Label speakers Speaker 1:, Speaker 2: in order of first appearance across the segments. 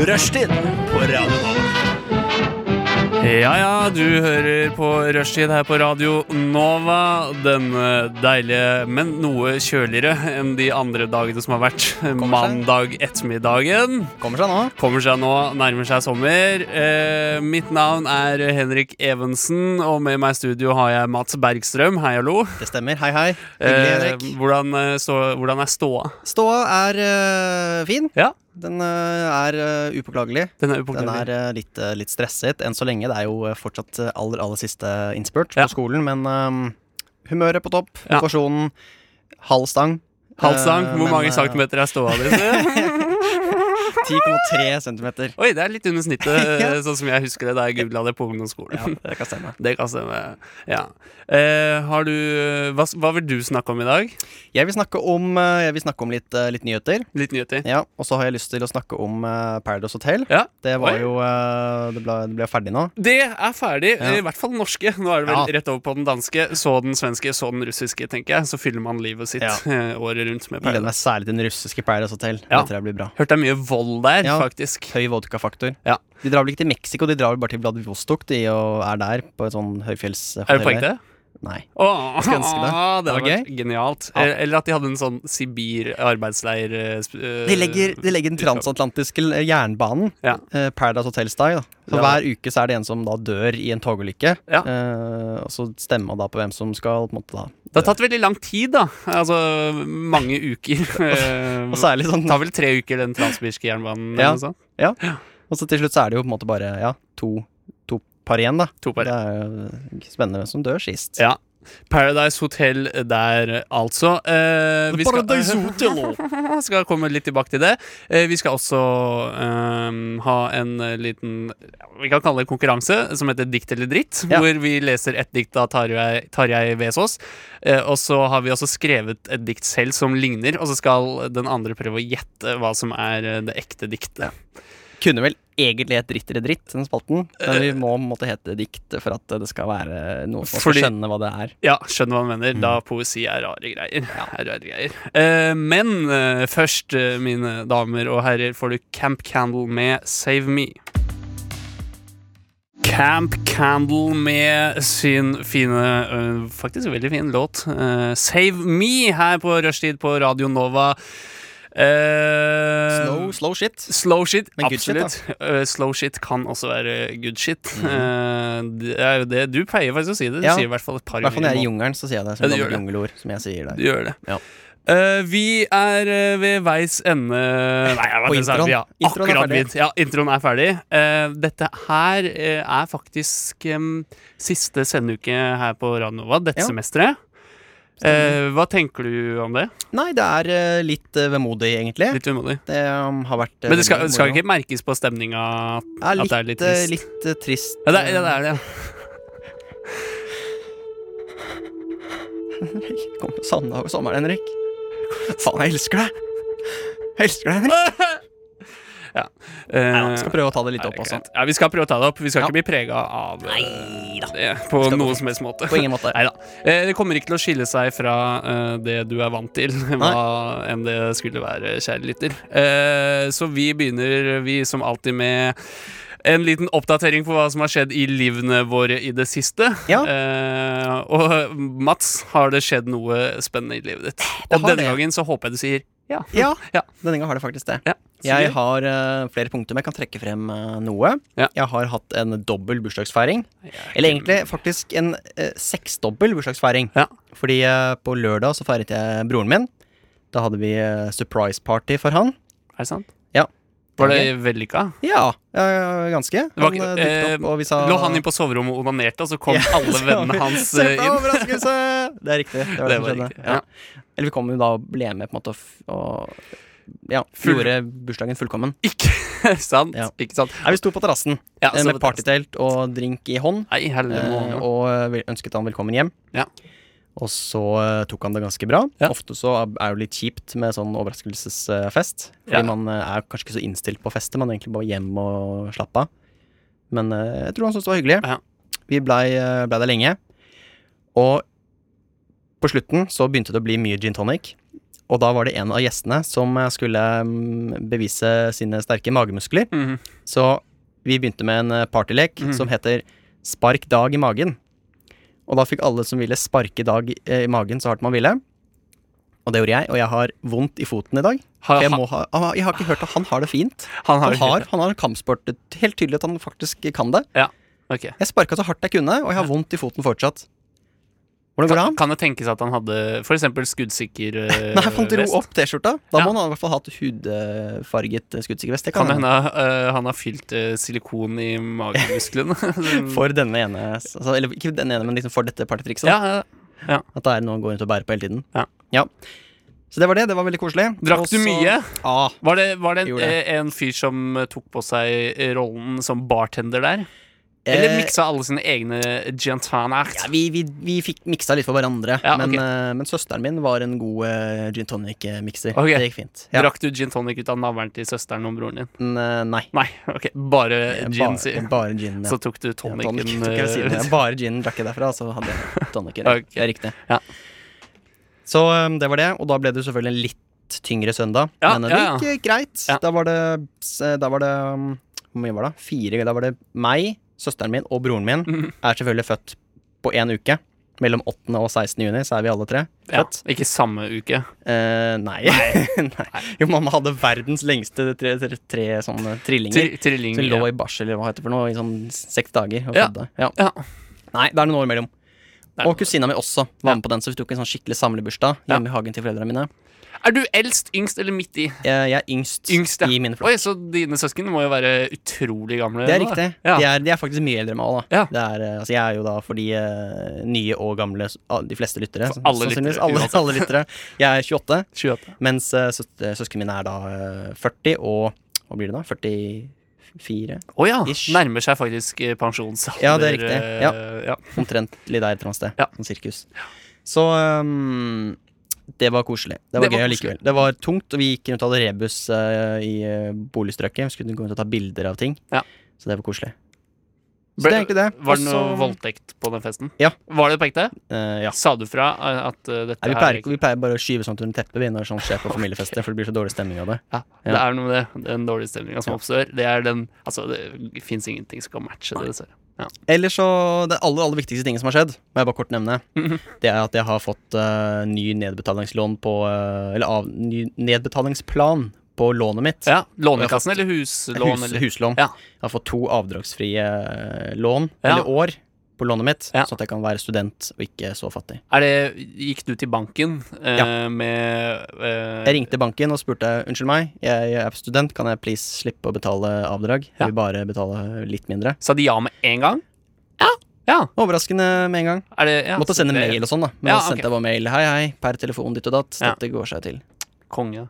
Speaker 1: Rushtid på Radio Nova.
Speaker 2: Ja, ja, du hører på Rushtid her på Radio Nova. Denne deilige, men noe kjøligere enn de andre dagene som har vært. Mandag ettermiddagen.
Speaker 3: Kommer seg nå.
Speaker 2: Kommer seg nå, nærmer seg sommer. Eh, mitt navn er Henrik Evensen, og med meg i studio har jeg Mats Bergstrøm. Hei, hallo.
Speaker 3: Det stemmer. Hei, hei. Hyggelig,
Speaker 2: Eh,
Speaker 3: Henrik.
Speaker 2: hvordan, eh, stå, hvordan er ståa?
Speaker 3: Ståa er eh, fin.
Speaker 2: Ja,
Speaker 3: Den eh, er eh, upåklagelig.
Speaker 2: den er
Speaker 3: Den
Speaker 2: upåklagelig.
Speaker 3: er eh, litt, eh, litt stresset enn så lenge. Det er jo eh, fortsatt eh, aller, aller siste innspurt
Speaker 2: Ja.
Speaker 3: på skolen, men eh, humøret på topp,
Speaker 2: Ja.
Speaker 3: motivasjonen, halv stang.
Speaker 2: Halv stang.
Speaker 3: Eh,
Speaker 2: Hvor
Speaker 3: men,
Speaker 2: mange
Speaker 3: eh,
Speaker 2: centimeter er ståa di?
Speaker 3: 10,3 centimeter.
Speaker 2: Oi, det er litt under snittet, eh, sånn som jeg husker det da jeg googla det på ungdomsskolen.
Speaker 3: Ja, det kan stemme.
Speaker 2: Det kan stemme. Ja. Eh, har du hva, hva vil du snakke om i dag?
Speaker 3: Jeg vil snakke om, eh, jeg vil snakke om litt, eh, litt nyheter.
Speaker 2: Litt nyheter?
Speaker 3: Ja, Og så har jeg lyst til å snakke om eh, Paradise Hotel.
Speaker 2: Ja.
Speaker 3: Det var
Speaker 2: Oi.
Speaker 3: jo eh, Det ble, det ble ferdig nå.
Speaker 2: Det er ferdig.
Speaker 3: Ja.
Speaker 2: I hvert fall den norske. Nå er det vel
Speaker 3: Ja.
Speaker 2: rett over på den danske, så den svenske, så den russiske, tenker jeg. Så fyller man livet sitt
Speaker 3: Ja.
Speaker 2: eh, året rundt med
Speaker 3: Gleder
Speaker 2: Paradise.
Speaker 3: meg særlig til den russiske Paradise Hotel.
Speaker 2: Ja.
Speaker 3: Det tror jeg blir bra.
Speaker 2: Hørte det er mye vold der,
Speaker 3: Ja.
Speaker 2: faktisk.
Speaker 3: Høy vodkafaktor.
Speaker 2: Ja.
Speaker 3: De drar vel ikke til Mexico, de drar vel bare til Vladivostok de, og er der på et sånn høyfjellshotell.
Speaker 2: Er det poeng til det?
Speaker 3: der. Nei.
Speaker 2: Åh, ah,
Speaker 3: Skulle ønske
Speaker 2: det
Speaker 3: det. Det
Speaker 2: hadde
Speaker 3: var
Speaker 2: vært genialt.
Speaker 3: Ja.
Speaker 2: Eh, Eller at de hadde en sånn Sibir-arbeidsleir eh, sp- eh,
Speaker 3: De legger, de legger den transatlantiske l- jernbanen,
Speaker 2: Ja.
Speaker 3: eh, Paradise Hotel-style. da. Så
Speaker 2: Ja.
Speaker 3: Hver uke så er det en som da dør i en togulykke.
Speaker 2: Ja.
Speaker 3: Eh, og så stemmer man da på hvem som skal på en måte da
Speaker 2: Det har tatt veldig lang tid, da. Altså mange uker. Eh,
Speaker 3: Og særlig sånn
Speaker 2: Det tar vel tre uker, den transsibirske jernbanen.
Speaker 3: Ja.
Speaker 2: Eller noe sånt.
Speaker 3: Og så til slutt så er det jo på en måte bare ja, to, to par igjen, da.
Speaker 2: To par.
Speaker 3: Det er jo spennende hvem som dør sist.
Speaker 2: Ja. Paradise Hotel der, altså. Eh, vi skal, skal komme litt tilbake til det. Eh, vi skal også eh, ha en eh, liten ja, Vi kan kalle det konkurranse, som heter Dikt eller dritt.
Speaker 3: Ja.
Speaker 2: Hvor vi leser et dikt av Tarjei Tarjei Vesaas. Eh, og så har vi også skrevet et dikt selv som ligner, og så skal den andre prøve å gjette hva som er eh, det ekte diktet.
Speaker 3: Kunne vel egentlig hett Dritt eller dritt, den spalten. Men
Speaker 2: Eh,
Speaker 3: vi må på en måte hete dikt for at det skal være noe som
Speaker 2: Fordi-
Speaker 3: skal skjønne hva det er.
Speaker 2: Ja, skjønner hva du mener. Da
Speaker 3: Mm.
Speaker 2: poesi er rare greier. Er rare greier. Eh, men eh, først, eh, mine damer og herrer, får du Camp Candle med Save Me. Camp Candle med sin fine, eh, faktisk veldig fin låt, eh, Save Me, her på rushtid på Radio Nova. Eh,
Speaker 3: Slow, slow shit.
Speaker 2: Slow shit,
Speaker 3: Men good shit, Mm.
Speaker 2: absolutt. Eh, slow shit kan også være good shit. Eh, det er jo det du pleier faktisk å si det. Du
Speaker 3: Ja.
Speaker 2: sier i hvert fall et par
Speaker 3: I hvert fall når jeg er i
Speaker 2: i måneden.
Speaker 3: jungelen, så sier jeg det
Speaker 2: Ja,
Speaker 3: som
Speaker 2: du
Speaker 3: et
Speaker 2: gjør det.
Speaker 3: jungelord. Som jeg sier
Speaker 2: Du
Speaker 3: der.
Speaker 2: gjør det.
Speaker 3: Ja.
Speaker 2: Eh, vi er eh, ved veis ende Nei, jeg vet
Speaker 3: På
Speaker 2: ikke, så er vi-
Speaker 3: introen.
Speaker 2: Ja,
Speaker 3: Introen er
Speaker 2: akkurat
Speaker 3: ferdig.
Speaker 2: vidt. Ja, introen er ferdig. Eh, dette her eh, er faktisk em, siste sendeuke her på Radio Nova dette
Speaker 3: Ja.
Speaker 2: semesteret. Eh, hva tenker du om det?
Speaker 3: Nei, det er eh, litt eh, vemodig, egentlig.
Speaker 2: Litt umodig.
Speaker 3: Det um, har vært eh,
Speaker 2: Men det skal,
Speaker 3: veldig
Speaker 2: det skal
Speaker 3: moro.
Speaker 2: ikke merkes på stemninga at
Speaker 3: Ja, litt,
Speaker 2: det er litt
Speaker 3: eh,
Speaker 2: trist?
Speaker 3: litt eh, trist.
Speaker 2: Ja, det er ja, det. Er det.
Speaker 3: Henrik. Kom på Sanda over sommeren, Henrik. Faen, jeg elsker deg! Jeg elsker deg, Henrik.
Speaker 2: Ah, ja.
Speaker 3: Nei, da, skal prøve å ta det litt
Speaker 2: Eh, Nei,
Speaker 3: opp også.
Speaker 2: greit. Ja, vi skal prøve å ta det opp. Vi skal
Speaker 3: Ja.
Speaker 2: ikke bli prega av eh,
Speaker 3: Neida.
Speaker 2: det på
Speaker 3: Skal gå
Speaker 2: noen
Speaker 3: fint.
Speaker 2: som helst måte.
Speaker 3: På ingen måte.
Speaker 2: Neida. Eh, Det kommer ikke til å skille seg fra eh, det du er vant til, hva enn det skulle være, kjære lytter. Eh, Så vi begynner, vi som alltid, med en liten oppdatering på hva som har skjedd i livene våre i det siste.
Speaker 3: Ja.
Speaker 2: Eh, og Mats, har det skjedd noe spennende i livet ditt? Og
Speaker 3: har
Speaker 2: denne
Speaker 3: det.
Speaker 2: gangen så håper jeg du sier ja.
Speaker 3: Ja,
Speaker 2: Ja.
Speaker 3: denne gangen har det faktisk det.
Speaker 2: Ja, så
Speaker 3: Jeg
Speaker 2: gøy.
Speaker 3: har eh, flere punkter, men jeg kan trekke frem eh, noe.
Speaker 2: Ja.
Speaker 3: Jeg har hatt en dobbel bursdagsfeiring. Eller egentlig faktisk en eh, seksdobbel bursdagsfeiring.
Speaker 2: Ja.
Speaker 3: Fordi eh, på lørdag så feiret jeg broren min. Da hadde vi eh, surprise party for han.
Speaker 2: Er det sant?
Speaker 3: Ja.
Speaker 2: Var det vellykka?
Speaker 3: Ja, eh, ganske.
Speaker 2: Det var
Speaker 3: Han
Speaker 2: ikke-
Speaker 3: eh, dukket opp,
Speaker 2: eh,
Speaker 3: og vi sa
Speaker 2: Lå han inn på soverommet og onanerte, og så kom
Speaker 3: Ja,
Speaker 2: alle
Speaker 3: så-
Speaker 2: vennene hans
Speaker 3: Se
Speaker 2: eh,
Speaker 3: på
Speaker 2: inn?
Speaker 3: overraskelse! Det er riktig. Det var det,
Speaker 2: Det var
Speaker 3: som skjedde.
Speaker 2: riktig,
Speaker 3: Ja.
Speaker 2: ja.
Speaker 3: Eller vi kom jo da og ble med på en måte og, f- og ja,
Speaker 2: Full-
Speaker 3: gjorde bursdagen fullkommen.
Speaker 2: Ikke sant?
Speaker 3: Ja.
Speaker 2: Ikke sant?
Speaker 3: Nei, vi sto på terrassen
Speaker 2: Ja,
Speaker 3: eh,
Speaker 2: så-
Speaker 3: med partytelt og drink i hånd.
Speaker 2: Nei, helle
Speaker 3: Eh,
Speaker 2: måne.
Speaker 3: og vel- ønsket han velkommen hjem.
Speaker 2: Ja.
Speaker 3: Og så eh, tok han det ganske bra.
Speaker 2: Ja.
Speaker 3: Ofte så er det jo litt kjipt med sånn overraskelsesfest. Fordi
Speaker 2: Ja.
Speaker 3: man eh, er kanskje ikke så innstilt på å feste, man er egentlig bare hjem og slappe av. Men eh, jeg tror han syntes det var hyggelig.
Speaker 2: Ja.
Speaker 3: Vi blei eh, blei der lenge. Og på slutten så begynte det å bli mye gin tonic. Og da var det en av gjestene som eh, skulle mm, bevise sine sterke magemuskler.
Speaker 2: Mhm.
Speaker 3: Så vi begynte med en eh, partylek som heter Spark Dag i magen. Og da fikk alle som ville sparke Dag eh, i magen så hardt man ville. Og det gjorde jeg, og jeg har vondt i foten i dag.
Speaker 2: Har-
Speaker 3: For jeg,
Speaker 2: ha-
Speaker 3: må ha, ah, jeg har ikke hørt at han har det fint.
Speaker 2: Han har
Speaker 3: Han
Speaker 2: det
Speaker 3: har,
Speaker 2: fint.
Speaker 3: han har kampsport. Det er Helt tydelig at han faktisk kan det.
Speaker 2: Ja, ok
Speaker 3: Jeg sparka så hardt jeg kunne, og jeg har vondt i foten fortsatt. Hvordan går det
Speaker 2: kan,
Speaker 3: an?
Speaker 2: kan det tenkes at han hadde for eksempel skuddsikker eh,
Speaker 3: Nei, han dro
Speaker 2: vest?
Speaker 3: opp T-skjorta. Da
Speaker 2: Ja.
Speaker 3: må han i hvert fall ha hatt hudfarget eh, skuddsikker vest. Det
Speaker 2: Kan
Speaker 3: kan
Speaker 2: det
Speaker 3: hende.
Speaker 2: hende eh, han har fylt eh, silikon i magemusklene? Sånn.
Speaker 3: For denne ene altså, Eller ikke denne ene, men liksom for dette partytrikset. da.
Speaker 2: ja, ja.
Speaker 3: At det er noe å gå rundt og bære på hele tiden.
Speaker 2: Ja.
Speaker 3: Så det var det. Det var veldig koselig.
Speaker 2: Drakk
Speaker 3: Og
Speaker 2: du
Speaker 3: så-
Speaker 2: mye?
Speaker 3: Ja.
Speaker 2: Var det, var det en,
Speaker 3: Gjorde det.
Speaker 2: eh, en fyr som eh, tok på seg rollen som bartender der? Eller
Speaker 3: Eh,
Speaker 2: miksa alle sine egne gentanaer?
Speaker 3: ja, vi, vi, vi fikk miksa litt for hverandre,
Speaker 2: Ja,
Speaker 3: men,
Speaker 2: ok.
Speaker 3: eh, men søsteren min var en god eh, gin tonic-mikser.
Speaker 2: Ok.
Speaker 3: Det gikk fint. Ja.
Speaker 2: Drakk du gin tonic ut av navlen til søsteren og broren din?
Speaker 3: Men, eh, nei.
Speaker 2: Nei, ok, bare gin, sier
Speaker 3: Bare, bare gin. Ja.
Speaker 2: Så tok du
Speaker 3: Ja,
Speaker 2: tonicen
Speaker 3: tonic, tok jeg ved siden av.
Speaker 2: eh,
Speaker 3: Bare ginen drakk jeg derfra, så hadde jeg tonicen.
Speaker 2: Ok.
Speaker 3: Det er riktig.
Speaker 2: Ja.
Speaker 3: Så um, det var det, og da ble det jo selvfølgelig en litt tyngre søndag.
Speaker 2: Ja,
Speaker 3: men
Speaker 2: ja,
Speaker 3: det gikk eh, greit.
Speaker 2: Ja.
Speaker 3: Da var det, s- da var det um, Hvor mye var det? Fire Da var det meg, søsteren min og broren min
Speaker 2: Mhm.
Speaker 3: er selvfølgelig født på én uke. Mellom 8. og 16. juni så er vi alle tre
Speaker 2: ja,
Speaker 3: født.
Speaker 2: Ikke samme uke.
Speaker 3: Eh, nei. nei. Jo, mamma hadde verdens lengste tre, tre, tre sånne trillinger.
Speaker 2: Tri- Trilling.
Speaker 3: Som lå
Speaker 2: ja.
Speaker 3: i barsel eller hva heter det for noe, i sånn seks dager. Og
Speaker 2: Ja.
Speaker 3: fødde. Ja.
Speaker 2: Ja.
Speaker 3: Nei, det er noen år imellom.
Speaker 2: Det er
Speaker 3: Og
Speaker 2: noe.
Speaker 3: kusina mi også var med på den, så vi tok en sånn skikkelig samlebursdag
Speaker 2: Ja.
Speaker 3: hjemme i hagen til foreldrene mine.
Speaker 2: Er du eldst, yngst eller midt i?
Speaker 3: Jeg jeg er yngst,
Speaker 2: Yngst, ja.
Speaker 3: i min flokk.
Speaker 2: Oi, Så dine søsken må jo være utrolig gamle.
Speaker 3: Det er
Speaker 2: nå, da.
Speaker 3: riktig.
Speaker 2: Ja.
Speaker 3: De, er, de er faktisk mye eldre enn meg òg, da.
Speaker 2: Ja.
Speaker 3: Det er, eh, altså, jeg er jo da for de eh, nye og gamle, s- ah, de fleste lyttere.
Speaker 2: For alle
Speaker 3: sannsynligvis.
Speaker 2: lyttere,
Speaker 3: Alle,
Speaker 2: uansett.
Speaker 3: alle lyttere. Jeg er 28,
Speaker 2: 28.
Speaker 3: mens uh, søsknene mine er da eh, 40 og Hva blir det da? 44?
Speaker 2: Å ja.
Speaker 3: Ish.
Speaker 2: Nærmer seg faktisk eh, pensjonsalder.
Speaker 3: Ja, det er riktig.
Speaker 2: eh, ja.
Speaker 3: Omtrent litt der et eller annet sted.
Speaker 2: Ja.
Speaker 3: Sånn sirkus. Så um, det var koselig. Det
Speaker 2: Det var
Speaker 3: var gøy
Speaker 2: koselig.
Speaker 3: allikevel. Det var tungt, og vi gikk rundt og hadde rebus eh, i eh, boligstrøket. Vi skulle gå rundt og ta bilder av ting.
Speaker 2: Ja.
Speaker 3: Så det var koselig. Så
Speaker 2: Ble-
Speaker 3: det er egentlig det.
Speaker 2: Var det noe
Speaker 3: Også-
Speaker 2: voldtekt på den festen?
Speaker 3: Ja.
Speaker 2: Var det på ekte?
Speaker 3: Eh, ja.
Speaker 2: Sa du fra eh, at eh, dette her
Speaker 3: Nei, vi, pleier,
Speaker 2: er
Speaker 3: ikke- vi pleier bare å skyve sånn sånt under teppet vi, når sånt skjer på familiefester, for det blir så dårlig stemning av det.
Speaker 2: ja,
Speaker 3: Ja.
Speaker 2: Det er noe med det. Den dårlige stemninga som oppstår. Det er den Altså, det fins ingenting som kan matche det, dessverre.
Speaker 3: Ellers så Det aller, aller viktigste tingen som har skjedd, må jeg bare kort nevne,
Speaker 2: Mhm.
Speaker 3: det er at jeg har fått eh, ny nedbetalingslån på eh, Eller av, ny nedbetalingsplan på lånet mitt.
Speaker 2: Ja, Lånekassen eller huslån?
Speaker 3: Hus,
Speaker 2: eller?
Speaker 3: Huslån.
Speaker 2: Ja.
Speaker 3: Jeg har fått to avdragsfrie eh, lån,
Speaker 2: Ja.
Speaker 3: eller år, på lånet mitt,
Speaker 2: Ja.
Speaker 3: sånn at jeg kan være student og ikke så fattig.
Speaker 2: Er det, gikk du til banken eh, med eh,
Speaker 3: Jeg ringte banken og spurte unnskyld meg, jeg er student, kan jeg please slippe å betale avdrag?
Speaker 2: Ja.
Speaker 3: Jeg vil bare betale litt mindre.
Speaker 2: Sa de ja med en gang? Ja. ja.
Speaker 3: Overraskende med en gang.
Speaker 2: Er det, ja
Speaker 3: Måtte
Speaker 2: så
Speaker 3: sende
Speaker 2: det-
Speaker 3: mail og sånn, da. Men
Speaker 2: Ja,
Speaker 3: da sendte
Speaker 2: ok.
Speaker 3: jeg bare mail. Hei, hei, per telefon ditt og datt.
Speaker 2: Ja.
Speaker 3: Dette går seg til.
Speaker 2: Konge.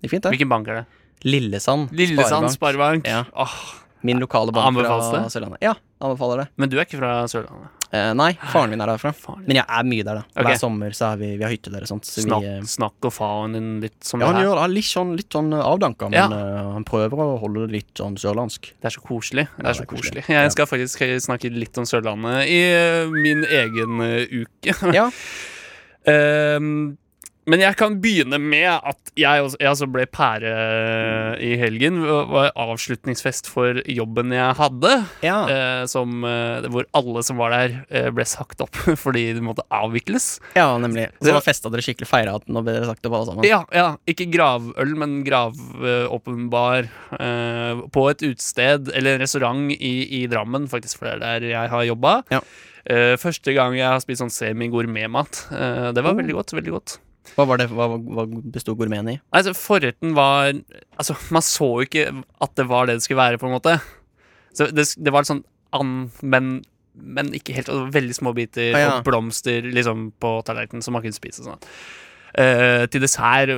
Speaker 3: Det gikk fint, det.
Speaker 2: Hvilken bank er det?
Speaker 3: Lillesand.
Speaker 2: Lillesand
Speaker 3: Sparebank.
Speaker 2: Sparebank.
Speaker 3: Ja.
Speaker 2: Åh,
Speaker 3: Min lokale bank
Speaker 2: Anbefales
Speaker 3: fra
Speaker 2: det?
Speaker 3: Sørlandet. Ja, anbefaler det.
Speaker 2: men du er ikke fra Sørlandet?
Speaker 3: Eh, nei, faren min er derfra.
Speaker 2: Faen.
Speaker 3: Men jeg er mye der, da.
Speaker 2: Ok.
Speaker 3: Hver sommer så er vi, vi har hytte der og sånt. Så
Speaker 2: Snakk,
Speaker 3: vi, eh,
Speaker 2: snakk og faen din litt som
Speaker 3: ja, han
Speaker 2: det her.
Speaker 3: gjør han er litt sånn, litt sånn avdanka, men
Speaker 2: Ja.
Speaker 3: eh, han prøver å holde det litt sånn sørlandsk.
Speaker 2: Det er så koselig. Det er
Speaker 3: det
Speaker 2: så
Speaker 3: er
Speaker 2: koselig.
Speaker 3: koselig. Ja.
Speaker 2: Jeg skal faktisk eh, snakke litt om Sørlandet i eh, min egen eh, uke.
Speaker 3: Ja.
Speaker 2: Ehm, men jeg kan begynne med at jeg, også, jeg altså ble pære eh, i helgen. Det var avslutningsfest for jobben jeg hadde.
Speaker 3: ja.
Speaker 2: eh, som, eh, hvor alle som var der, eh, ble sagt opp fordi det måtte avvikles.
Speaker 3: ja, nemlig. Så
Speaker 2: det-
Speaker 3: da festa dere skikkelig, feira at nå ble dere sagt opp, alle sammen.
Speaker 2: Ja, ja. Ikke gravøl, men gravåpenbar eh, på et utested eller en restaurant i, i Drammen, faktisk, for det er der jeg har jobba.
Speaker 3: Ja.
Speaker 2: Eh, første gang jeg har spist sånn semi-gourmetmat. Eh,
Speaker 3: Oh.
Speaker 2: det var veldig godt. veldig godt
Speaker 3: Hva, var det, hva, hva bestod gourmeten i?
Speaker 2: Nei, Altså, forretten var Altså, man så jo ikke at det var det det skulle være, på en måte. Så det, det var sånn an, men, men ikke helt. Og det var veldig små biter
Speaker 3: Ah, ja.
Speaker 2: og blomster liksom på tallerkenen som man kunne spise. og sånn. Eh, til dessert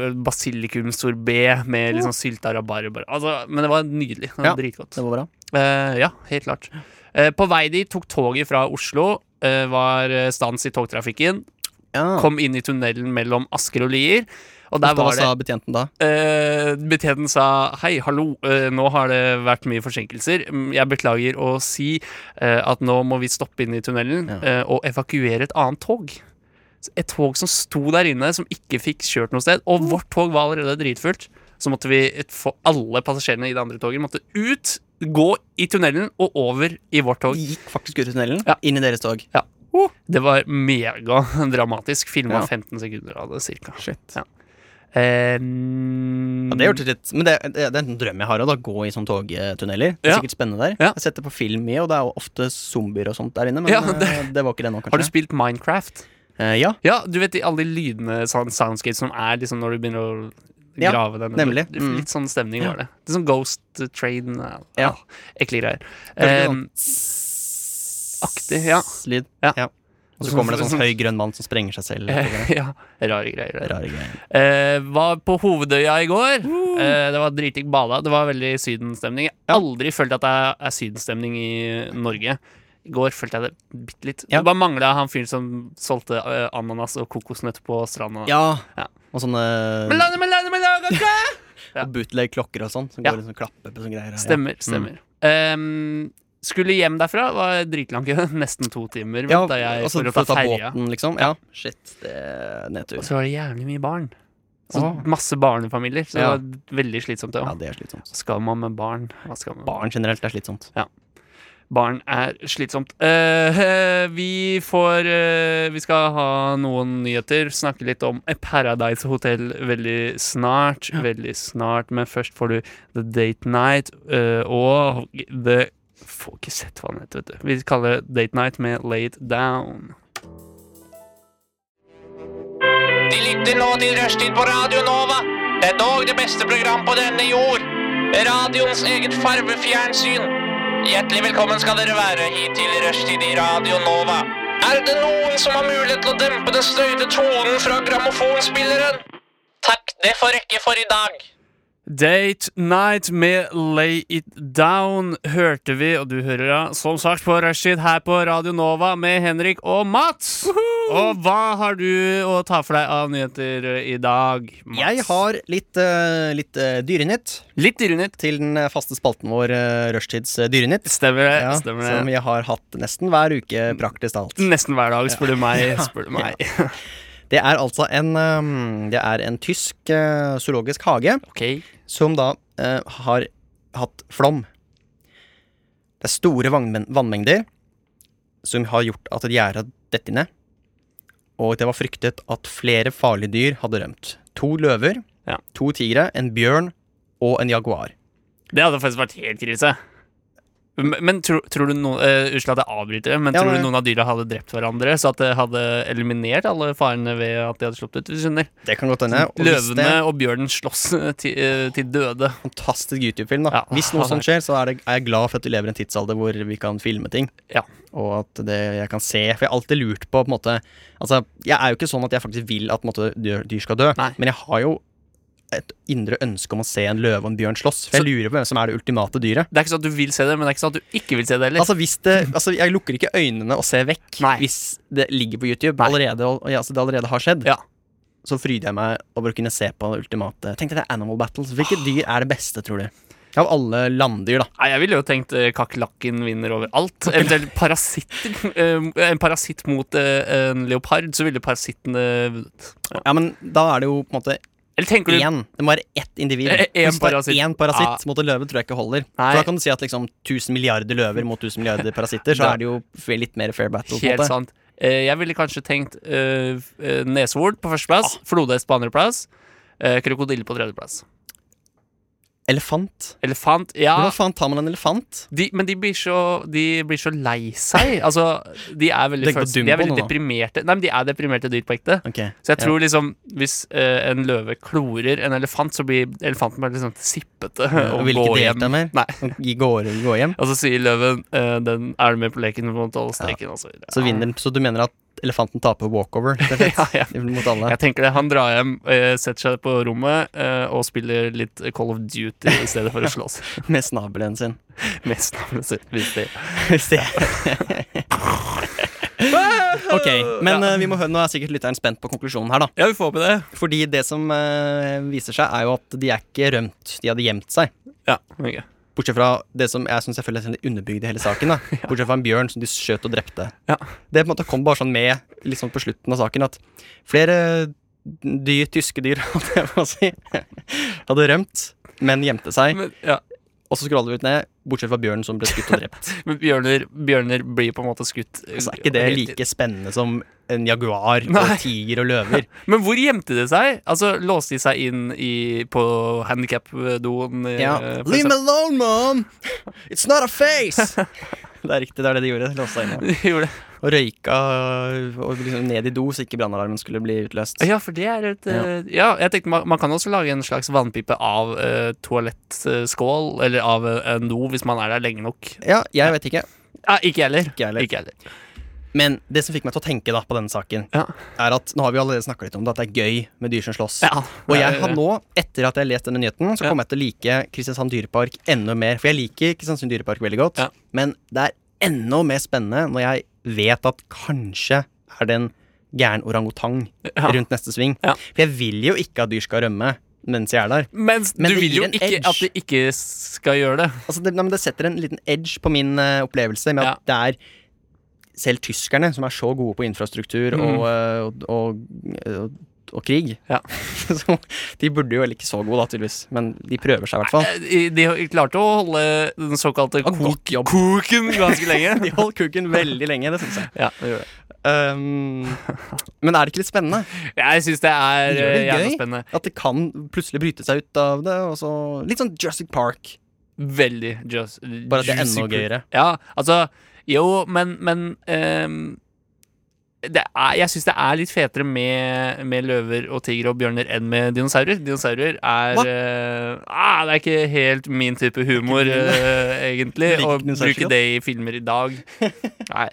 Speaker 2: basilikumsorbé med liksom sylta rabarber. Altså, men det var nydelig. Det var
Speaker 3: Ja.
Speaker 2: Dritgodt.
Speaker 3: Det var bra.
Speaker 2: Eh, ja, helt klart. Eh, på vei dit tok toget fra Oslo. eh, var eh, stans i togtrafikken.
Speaker 3: Ja.
Speaker 2: Kom inn i tunnelen mellom Asker og Lier. Og der
Speaker 3: Hva
Speaker 2: var det
Speaker 3: sa betjenten da?
Speaker 2: Eh, betjenten sa hei, hallo, eh, nå har det vært mye forsinkelser. Mm, Jeg beklager å si eh, at nå må vi stoppe inn i tunnelen
Speaker 3: Ja.
Speaker 2: eh, og evakuere et annet tog. et tog som sto der inne, som ikke fikk kjørt noe sted.
Speaker 3: Mm.
Speaker 2: Og vårt tog var allerede dritfullt. Så måtte vi et- få alle passasjerene i det andre toget måtte ut, gå i tunnelen og over i vårt tog.
Speaker 3: De gikk faktisk ut i tunnelen,
Speaker 2: Ja.
Speaker 3: inn i deres tog.
Speaker 2: Ja. Det var megadramatisk. Filma
Speaker 3: Ja.
Speaker 2: 15 sekunder av det, cirka.
Speaker 3: Shit.
Speaker 2: Ja. Eh, Ehm,
Speaker 3: Ja, det hørtes litt Men det, det, det er en drøm jeg har, å da gå i sånne togtunneler. Det er
Speaker 2: Ja.
Speaker 3: sikkert spennende der.
Speaker 2: Ja.
Speaker 3: Jeg har sett det på film mye, og det er jo ofte zombier og sånt der inne, men
Speaker 2: Ja,
Speaker 3: eh,
Speaker 2: det-
Speaker 3: det, var ikke det nå, kanskje.
Speaker 2: har du spilt Minecraft?
Speaker 3: Eh, ja,
Speaker 2: Ja, du vet de, alle de lydene, sånn soundscapes som er liksom når du begynner å
Speaker 3: Ja,
Speaker 2: grave den
Speaker 3: nemlig.
Speaker 2: Litt,
Speaker 3: Mm.
Speaker 2: litt sånn stemning var det. Litt sånn Ghost Train. Ja.
Speaker 3: Ja.
Speaker 2: Ah, Ekle greier.
Speaker 3: Hører du
Speaker 2: Ehm,
Speaker 3: sånn
Speaker 2: aktig, ja.
Speaker 3: Lyd.
Speaker 2: Ja. Eh.
Speaker 3: Og så kommer det en sånn høy grønn mann som sprenger seg selv. oppover.
Speaker 2: ja, rare greier. det der.
Speaker 3: Rare greier.
Speaker 2: Eh, var på Hovedøya i går. Eh, det var dritdigg bada. Det var veldig sydenstemning. Jeg har aldri følt at det er- er sydenstemning i Norge. I går følte jeg det bitte litt.
Speaker 3: Ja.
Speaker 2: Det bare mangla han fyren som solgte eh, ananas og kokosnøtt på stranda.
Speaker 3: Ja.
Speaker 2: Ja.
Speaker 3: Og sånne
Speaker 2: Melania, Melania, Melania, Melania! ja.
Speaker 3: og bootleg-klokker og sånn, som
Speaker 2: Ja.
Speaker 3: går og liksom klapper på sånne greier. Ja. Mm.
Speaker 2: Stemmer, stemmer. Ehm, skulle hjem derfra, var dritlang kø. Nesten to timer.
Speaker 3: Ja,
Speaker 2: venta jeg
Speaker 3: altså,
Speaker 2: for å ta ferja.
Speaker 3: båten, liksom. Ja. Shit, det er
Speaker 2: Og
Speaker 3: nedtur.
Speaker 2: så var det jævlig mye barn. Så
Speaker 3: Åh.
Speaker 2: Masse barnefamilier. Så
Speaker 3: Ja.
Speaker 2: det var veldig slitsomt. det
Speaker 3: Ja,
Speaker 2: også.
Speaker 3: det er slitsomt.
Speaker 2: Hva skal man med barn? Hva skal man?
Speaker 3: Barn generelt er slitsomt.
Speaker 2: Barn er slitsomt. Eh, eh, vi får eh, Vi skal ha noen nyheter. Snakke litt om Paradise Hotel veldig snart. Veldig snart, men først får du The Date Night eh, og The Får ikke sett hva den heter, vet du. Vi kaller det Date Night med Lay It Down.
Speaker 4: De lytter nå til Rushtid på Radio Nova. Det er dog det beste program på denne jord. Radioens eget farvefjernsyn. Hjertelig velkommen skal dere være hit til Rushtid i Radio Nova. Er det noen som har mulighet til å dempe den støyte tonen fra grammofonspilleren? Takk, det får rekke for i dag.
Speaker 2: Date Night med Lay It Down hørte vi, og du hører da, som sagt, på Rushtid her på Radio Nova med Henrik og Mats. Og hva har du å ta for deg av nyheter eh, i dag, Mats?
Speaker 3: Jeg har litt, eh, litt eh, dyrenytt
Speaker 2: litt dyrenytt.
Speaker 3: til den eh, faste spalten vår, uh, Rushtids eh, dyrenytt.
Speaker 2: Stemmer det.
Speaker 3: Ja, som
Speaker 2: stemmer det.
Speaker 3: jeg har hatt nesten hver uke, praktisk talt.
Speaker 2: Nesten hver dag, spør du meg. Spør du meg.
Speaker 3: Det er altså en, eh, det er en tysk eh, zoologisk hage
Speaker 2: ok.
Speaker 3: som da eh, har hatt flom. Det er store vannmen- vannmengder som har gjort at et gjerde har dett inne. Og det var fryktet at flere farlige dyr hadde rømt. To løver,
Speaker 2: Ja.
Speaker 3: to tigre, en bjørn og en jaguar.
Speaker 2: Det hadde faktisk vært helt krise. Men, men tro, tror du noen eh, Unnskyld at jeg avbryter, det, men
Speaker 3: Ja,
Speaker 2: tror du
Speaker 3: nei.
Speaker 2: noen av dyra hadde drept hverandre? Så at det hadde eliminert alle farene ved at de hadde sluppet ut? Hvis du skjønner
Speaker 3: Det kan godt hende. og hvis
Speaker 2: Løvene
Speaker 3: det-
Speaker 2: og bjørnen slåss eh, til, eh, til døde.
Speaker 3: fantastisk YouTube-film. da
Speaker 2: Ja.
Speaker 3: Hvis noe sånt skjer, så er, det, er jeg glad for at vi lever i en tidsalder hvor vi kan filme ting.
Speaker 2: Ja.
Speaker 3: Og at det jeg kan se For jeg har alltid lurt på, på en måte Altså, jeg er jo ikke sånn at jeg faktisk vil at på en måte, dyr, dyr skal dø,
Speaker 2: Nei.
Speaker 3: men jeg har jo et indre ønske om å se en løve og en bjørn slåss. For jeg
Speaker 2: Så-
Speaker 3: lurer på hvem som er det ultimate dyret.
Speaker 2: Det er ikke sånn at du vil se det, men det er ikke sånn at du ikke vil se det heller.
Speaker 3: Altså, hvis det, altså, jeg lukker ikke øynene og ser vekk
Speaker 2: Nei.
Speaker 3: hvis det ligger på YouTube
Speaker 2: Nei.
Speaker 3: allerede, og, ja, altså, det allerede har skjedd.
Speaker 2: Ja.
Speaker 3: Så fryder jeg meg over å kunne se på det ultimate. Tenk deg det er Animal Battles. Hvilket dyr er det beste, tror du? Av alle landdyr, da.
Speaker 2: Nei, jeg ville jo tenkt eh, kakerlakken vinner over alt. Eventuelt parasitter. Eh, en parasitt mot eh, en leopard, så ville parasitten eh, vunnet.
Speaker 3: Ja, men da er det jo på en måte
Speaker 2: Eller tenker du
Speaker 3: én. Det må være ett individ.
Speaker 2: Eh, én
Speaker 3: Hvis det er
Speaker 2: parasitt. Ah.
Speaker 3: Én parasitt mot en løve tror jeg ikke holder.
Speaker 2: Nei.
Speaker 3: For da kan du si at liksom 1000 milliarder løver mot 1000 milliarder parasitter, så
Speaker 2: Da-
Speaker 3: er det jo f- litt mer fair battle. på en
Speaker 2: Helt
Speaker 3: måte.
Speaker 2: sant. Eh, jeg ville kanskje tenkt eh, f- eh, neshorn på
Speaker 3: Ah.
Speaker 2: førsteplass, flodhest på andreplass, eh, krokodille på tredjeplass.
Speaker 3: Elefant.
Speaker 2: Elefant, ja.
Speaker 3: Hvordan faen tar man en elefant?
Speaker 2: De, men de blir, så, de blir så lei seg. Altså, de er veldig,
Speaker 3: Legg på
Speaker 2: følels- de er
Speaker 3: Dumbo
Speaker 2: veldig
Speaker 3: nå, da.
Speaker 2: deprimerte. Nei, men de er deprimerte dyr på ekte.
Speaker 3: Ok,
Speaker 2: Så jeg
Speaker 3: ja.
Speaker 2: tror liksom Hvis eh, en løve klorer en elefant, så blir elefanten bare liksom sippete og
Speaker 3: Og vil ikke
Speaker 2: går
Speaker 3: delta
Speaker 2: hjem.
Speaker 3: mer?
Speaker 2: Nei.
Speaker 3: Og gi- Går, gå hjem?
Speaker 2: Og så sier løven eh, den 'er du med på leken, du må holde streken', og så videre.
Speaker 3: Så vinner Så du mener at elefanten taper walkover rett og slett,
Speaker 2: Ah. Ja, ja.
Speaker 3: mot alle?
Speaker 2: Jeg tenker det, Han drar hjem, eh, setter seg på rommet eh, og spiller litt Call of Duty i stedet for å slåss
Speaker 3: Med snabelen sin.
Speaker 2: med snabelen sin. hvis det-
Speaker 3: Se. ok, men eh, vi må høre, nå er sikkert lytteren spent på konklusjonen her, da.
Speaker 2: Ja, vi får håpe det.
Speaker 3: Fordi det som eh, viser seg, er jo at de er ikke rømt. De hadde gjemt seg.
Speaker 2: Ja, ok.
Speaker 3: Bortsett fra det som jeg synes selvfølgelig er sånn det underbygde hele saken. da Bortsett fra en bjørn som de skjøt og drepte.
Speaker 2: Ja.
Speaker 3: Det på en måte kom bare sånn med litt sånn på slutten av saken at flere dyr, tyske dyr, hadde jeg på å si, hadde rømt, men gjemte seg.
Speaker 2: Men, ja.
Speaker 3: Og så scroller vi ut ned, bortsett fra bjørnen som ble skutt og drept.
Speaker 2: men bjørner, bjørner blir på en måte skutt. eh,
Speaker 3: Så Altså, er ikke det
Speaker 2: hele tiden.
Speaker 3: like spennende som en jaguar og
Speaker 2: Nei.
Speaker 3: tiger og løver.
Speaker 2: Men hvor gjemte de seg? Altså, Låste de seg inn i, på handikapdoen? eh,
Speaker 3: Ja. Leave me alone, mom! It's not a face! det er riktig, det er det de gjorde. Låste seg inne.
Speaker 2: Gjorde det.
Speaker 3: Og røyka og liksom ned i do så ikke brannalarmen skulle bli utløst.
Speaker 2: Ja, for det er et eh, Ja, jeg tenkte man, man kan også lage en slags vannpipe av eh, toalettskål, eller av eh, en do, hvis man er der lenge nok.
Speaker 3: Ja, jeg vet ikke.
Speaker 2: Nei, ikke heller.
Speaker 3: Ikke jeg heller.
Speaker 2: Ikke heller.
Speaker 3: Men det som fikk meg til å tenke da på denne saken,
Speaker 2: Ja.
Speaker 3: er at nå har vi allerede snakka litt om det, at det er gøy med dyr som slåss.
Speaker 2: Ja.
Speaker 3: Og jeg har nå, etter at jeg har lest denne nyheten,
Speaker 2: Ja.
Speaker 3: så kommer jeg til å like Kristiansand dyrepark enda mer. For jeg liker Kristiansund dyrepark veldig godt,
Speaker 2: Ja.
Speaker 3: men det er enda mer spennende når jeg vet at kanskje er det en gæren orangutang
Speaker 2: Ja.
Speaker 3: rundt neste sving.
Speaker 2: Ja.
Speaker 3: For jeg vil jo ikke at dyr skal rømme mens jeg er der.
Speaker 2: Mens
Speaker 3: Men
Speaker 2: du
Speaker 3: det
Speaker 2: vil
Speaker 3: gir
Speaker 2: jo
Speaker 3: en
Speaker 2: ikke
Speaker 3: edge.
Speaker 2: at de ikke skal gjøre det.
Speaker 3: Altså, det, nei, men det setter en liten edge på min eh, opplevelse med at det er selv tyskerne, som er så gode på infrastruktur og, eh, og, og, og, og krig
Speaker 2: Mm. Ja.
Speaker 3: så, De burde jo vel ikke så gode, da, tydeligvis, men de prøver seg i hvert fall.
Speaker 2: Eh, De de klarte å holde den såkalte
Speaker 3: Ja, godt
Speaker 2: kok koken ganske lenge.
Speaker 3: De holdt kuken veldig lenge, det syns jeg.
Speaker 2: ja, det gjorde det.
Speaker 3: Um, men er det ikke litt spennende?
Speaker 2: Jeg syns det er
Speaker 3: Det gjør
Speaker 2: eh, jævla
Speaker 3: det gøy
Speaker 2: spennende.
Speaker 3: at det kan plutselig bryte seg ut av det. Og så, litt sånn Jurassic Park.
Speaker 2: Veldig just,
Speaker 3: Bare at det er
Speaker 2: juicy
Speaker 3: enda
Speaker 2: fruit.
Speaker 3: gøyere.
Speaker 2: Ja, altså Jo, men, men ehm, det er, Jeg syns det er litt fetere med, med løver og tigre og bjørner enn med dinosaurer. Dinosaurer er
Speaker 3: Hva?
Speaker 2: eh, ah, Det er ikke helt min type humor, eh, egentlig,
Speaker 3: Liker
Speaker 2: å
Speaker 3: dinosaurer
Speaker 2: bruke
Speaker 3: ikke
Speaker 2: det i filmer i dag. Nei.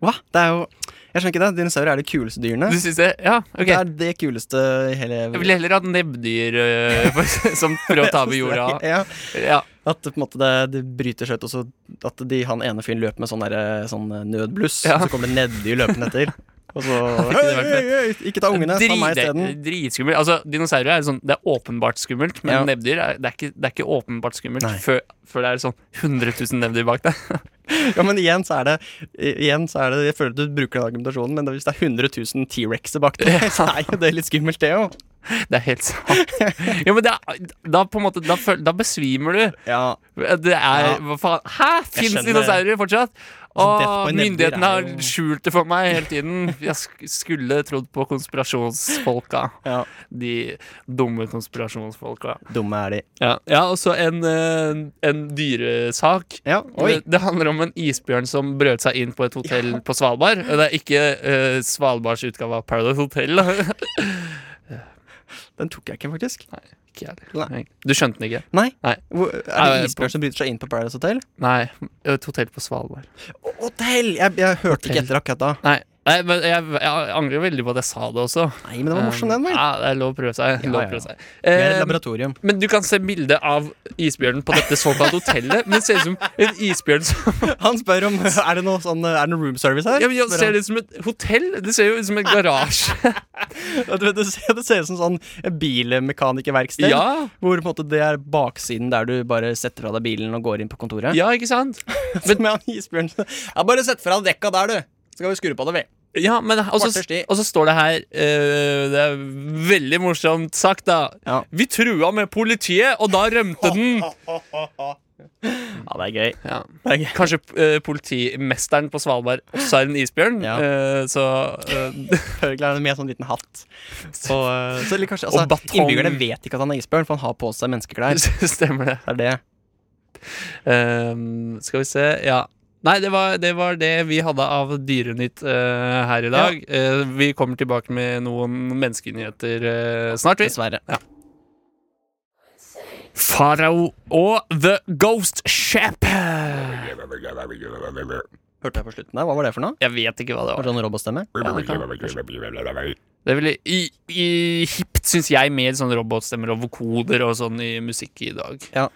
Speaker 3: Hva? Det er jo Jeg skjønner ikke det. Dinosaurer er de kuleste dyrene.
Speaker 2: Du syns det? Ja, OK.
Speaker 3: Det er det kuleste i hele
Speaker 2: Jeg ville heller hatt nebbdyr eh, for- som prøver å ta over jorda.
Speaker 3: Ja.
Speaker 2: Ja,
Speaker 3: At det på en måte det, det bryter seg ut, og så at de, han ene fyren løp med sånn, derre- sånn eh, nødbluss,
Speaker 2: Ja.
Speaker 3: og så kommer det neddyr løpende etter. Og så
Speaker 2: ikke det
Speaker 3: «Hei,
Speaker 2: vært
Speaker 3: hei, hei, Ikke ta ungene, ta meg
Speaker 2: Drit-
Speaker 3: isteden.
Speaker 2: Dritskummelt. Altså, dinosaurer er sånn, det er åpenbart skummelt, men
Speaker 3: Ja.
Speaker 2: nebbdyr er, det er, ikke, det er ikke åpenbart skummelt
Speaker 3: Nei.
Speaker 2: før, før det er sånn 100 000 nebbdyr bak deg.
Speaker 3: Ja, men igjen så er det, igjen så er det Jeg føler at du bruker den argumentasjonen, men hvis det er 100 000 T-rexer bak deg, så er jo det litt skummelt, det òg.
Speaker 2: Det er helt sant. Ja, men det er, da, på en måte, da, føl, da besvimer du.
Speaker 3: Ja.
Speaker 2: Det er
Speaker 3: Ja.
Speaker 2: Hva faen? Hæ? Fins
Speaker 3: skjønner det.
Speaker 2: dinosaurer fortsatt?
Speaker 3: Altså,
Speaker 2: Og
Speaker 3: death by nebbdyr er
Speaker 2: myndighetene har
Speaker 3: jo-
Speaker 2: skjult det for meg hele tiden. Jeg sk- skulle trodd på konspirasjonsfolka.
Speaker 3: ja.
Speaker 2: De dumme konspirasjonsfolka.
Speaker 3: Dumme er de.
Speaker 2: Ja, og så en, eh, en dyresak.
Speaker 3: Ja, oi.
Speaker 2: Det, det handler om en isbjørn som brøt seg inn på et hotell på Svalbard. Det er ikke eh, Svalbards utgave av Paradise Hotel. da.
Speaker 3: Den tok jeg ikke, faktisk.
Speaker 2: Ikke jeg heller. du skjønte den ikke?
Speaker 3: Nei.
Speaker 2: Nei.
Speaker 3: Hvor, er
Speaker 2: Nei,
Speaker 3: det isbjørn som bryter seg inn på Paradise Hotel?
Speaker 2: Nei, et hotell på Svalbard.
Speaker 3: Hotell! Jeg, jeg hørte
Speaker 2: Hotell.
Speaker 3: ikke etter akkurat da.
Speaker 2: Nei, Nei men jeg, jeg angrer veldig på at jeg sa det også.
Speaker 3: Nei, men det var morsom, den, vel.
Speaker 2: Ja, det er lov å prøve seg.
Speaker 3: Ja,
Speaker 2: lov
Speaker 3: ja.
Speaker 2: å prøve seg.
Speaker 3: Vi er et
Speaker 2: Eh,
Speaker 3: laboratorium.
Speaker 2: men du kan se bilde av isbjørnen på dette såkalte hotellet. Men det ser ut som en isbjørn som
Speaker 3: Han spør om Er det noe sånn Er det noe room service her?
Speaker 2: ja, men jeg
Speaker 3: Spør
Speaker 2: Ser
Speaker 3: han.
Speaker 2: det ut som et hotell? Det ser jo ut som en garasje.
Speaker 3: Du vet, det, ser, det ser ut som sånn bilmekanikerverksted.
Speaker 2: Ja.
Speaker 3: Hvor på en måte det er baksiden der du bare setter fra deg bilen og går inn på kontoret.
Speaker 2: Ja, ikke sant?
Speaker 3: Men med han isbjørnen Ja, bare sett fra deg dekka der, du. Så skal vi skru på det, vi.
Speaker 2: Ja, men Og så
Speaker 3: Kvarters tid.
Speaker 2: og så står det her eh, Det er veldig morsomt sagt, da.
Speaker 3: Ja.
Speaker 2: Vi trua med politiet, og da rømte den.
Speaker 3: Ja, det er gøy.
Speaker 2: Ja.
Speaker 3: Det er gøy.
Speaker 2: Kanskje eh, politimesteren på Svalbard også er en isbjørn.
Speaker 3: Ja.
Speaker 2: eh, så eh,
Speaker 3: Selvfølgelig er han med en sånn liten hatt. Og, eh, så, eller kanskje, altså,
Speaker 2: Og batong.
Speaker 3: Innbyggerne vet ikke at han er isbjørn, for han har på seg menneskeklær.
Speaker 2: Stemmer det.
Speaker 3: Det er det.
Speaker 2: Ehm, skal vi se Ja. Nei, det var, det var det vi hadde av Dyrenytt eh, her i dag. Eh, vi kommer tilbake med noen menneskenyheter eh, snart, vi.
Speaker 3: Dessverre.
Speaker 2: Farao og The Ghost Shep.
Speaker 3: Hørte jeg på slutten der? Hva var det for noe?
Speaker 2: Jeg vet ikke hva det
Speaker 3: Var
Speaker 2: var.
Speaker 3: det sånn robotstemme?
Speaker 2: Det er veldig i- i- hipt, syns jeg, med sånne robotstemmer og vokoder og sånn i musikk i dag.
Speaker 3: Ja.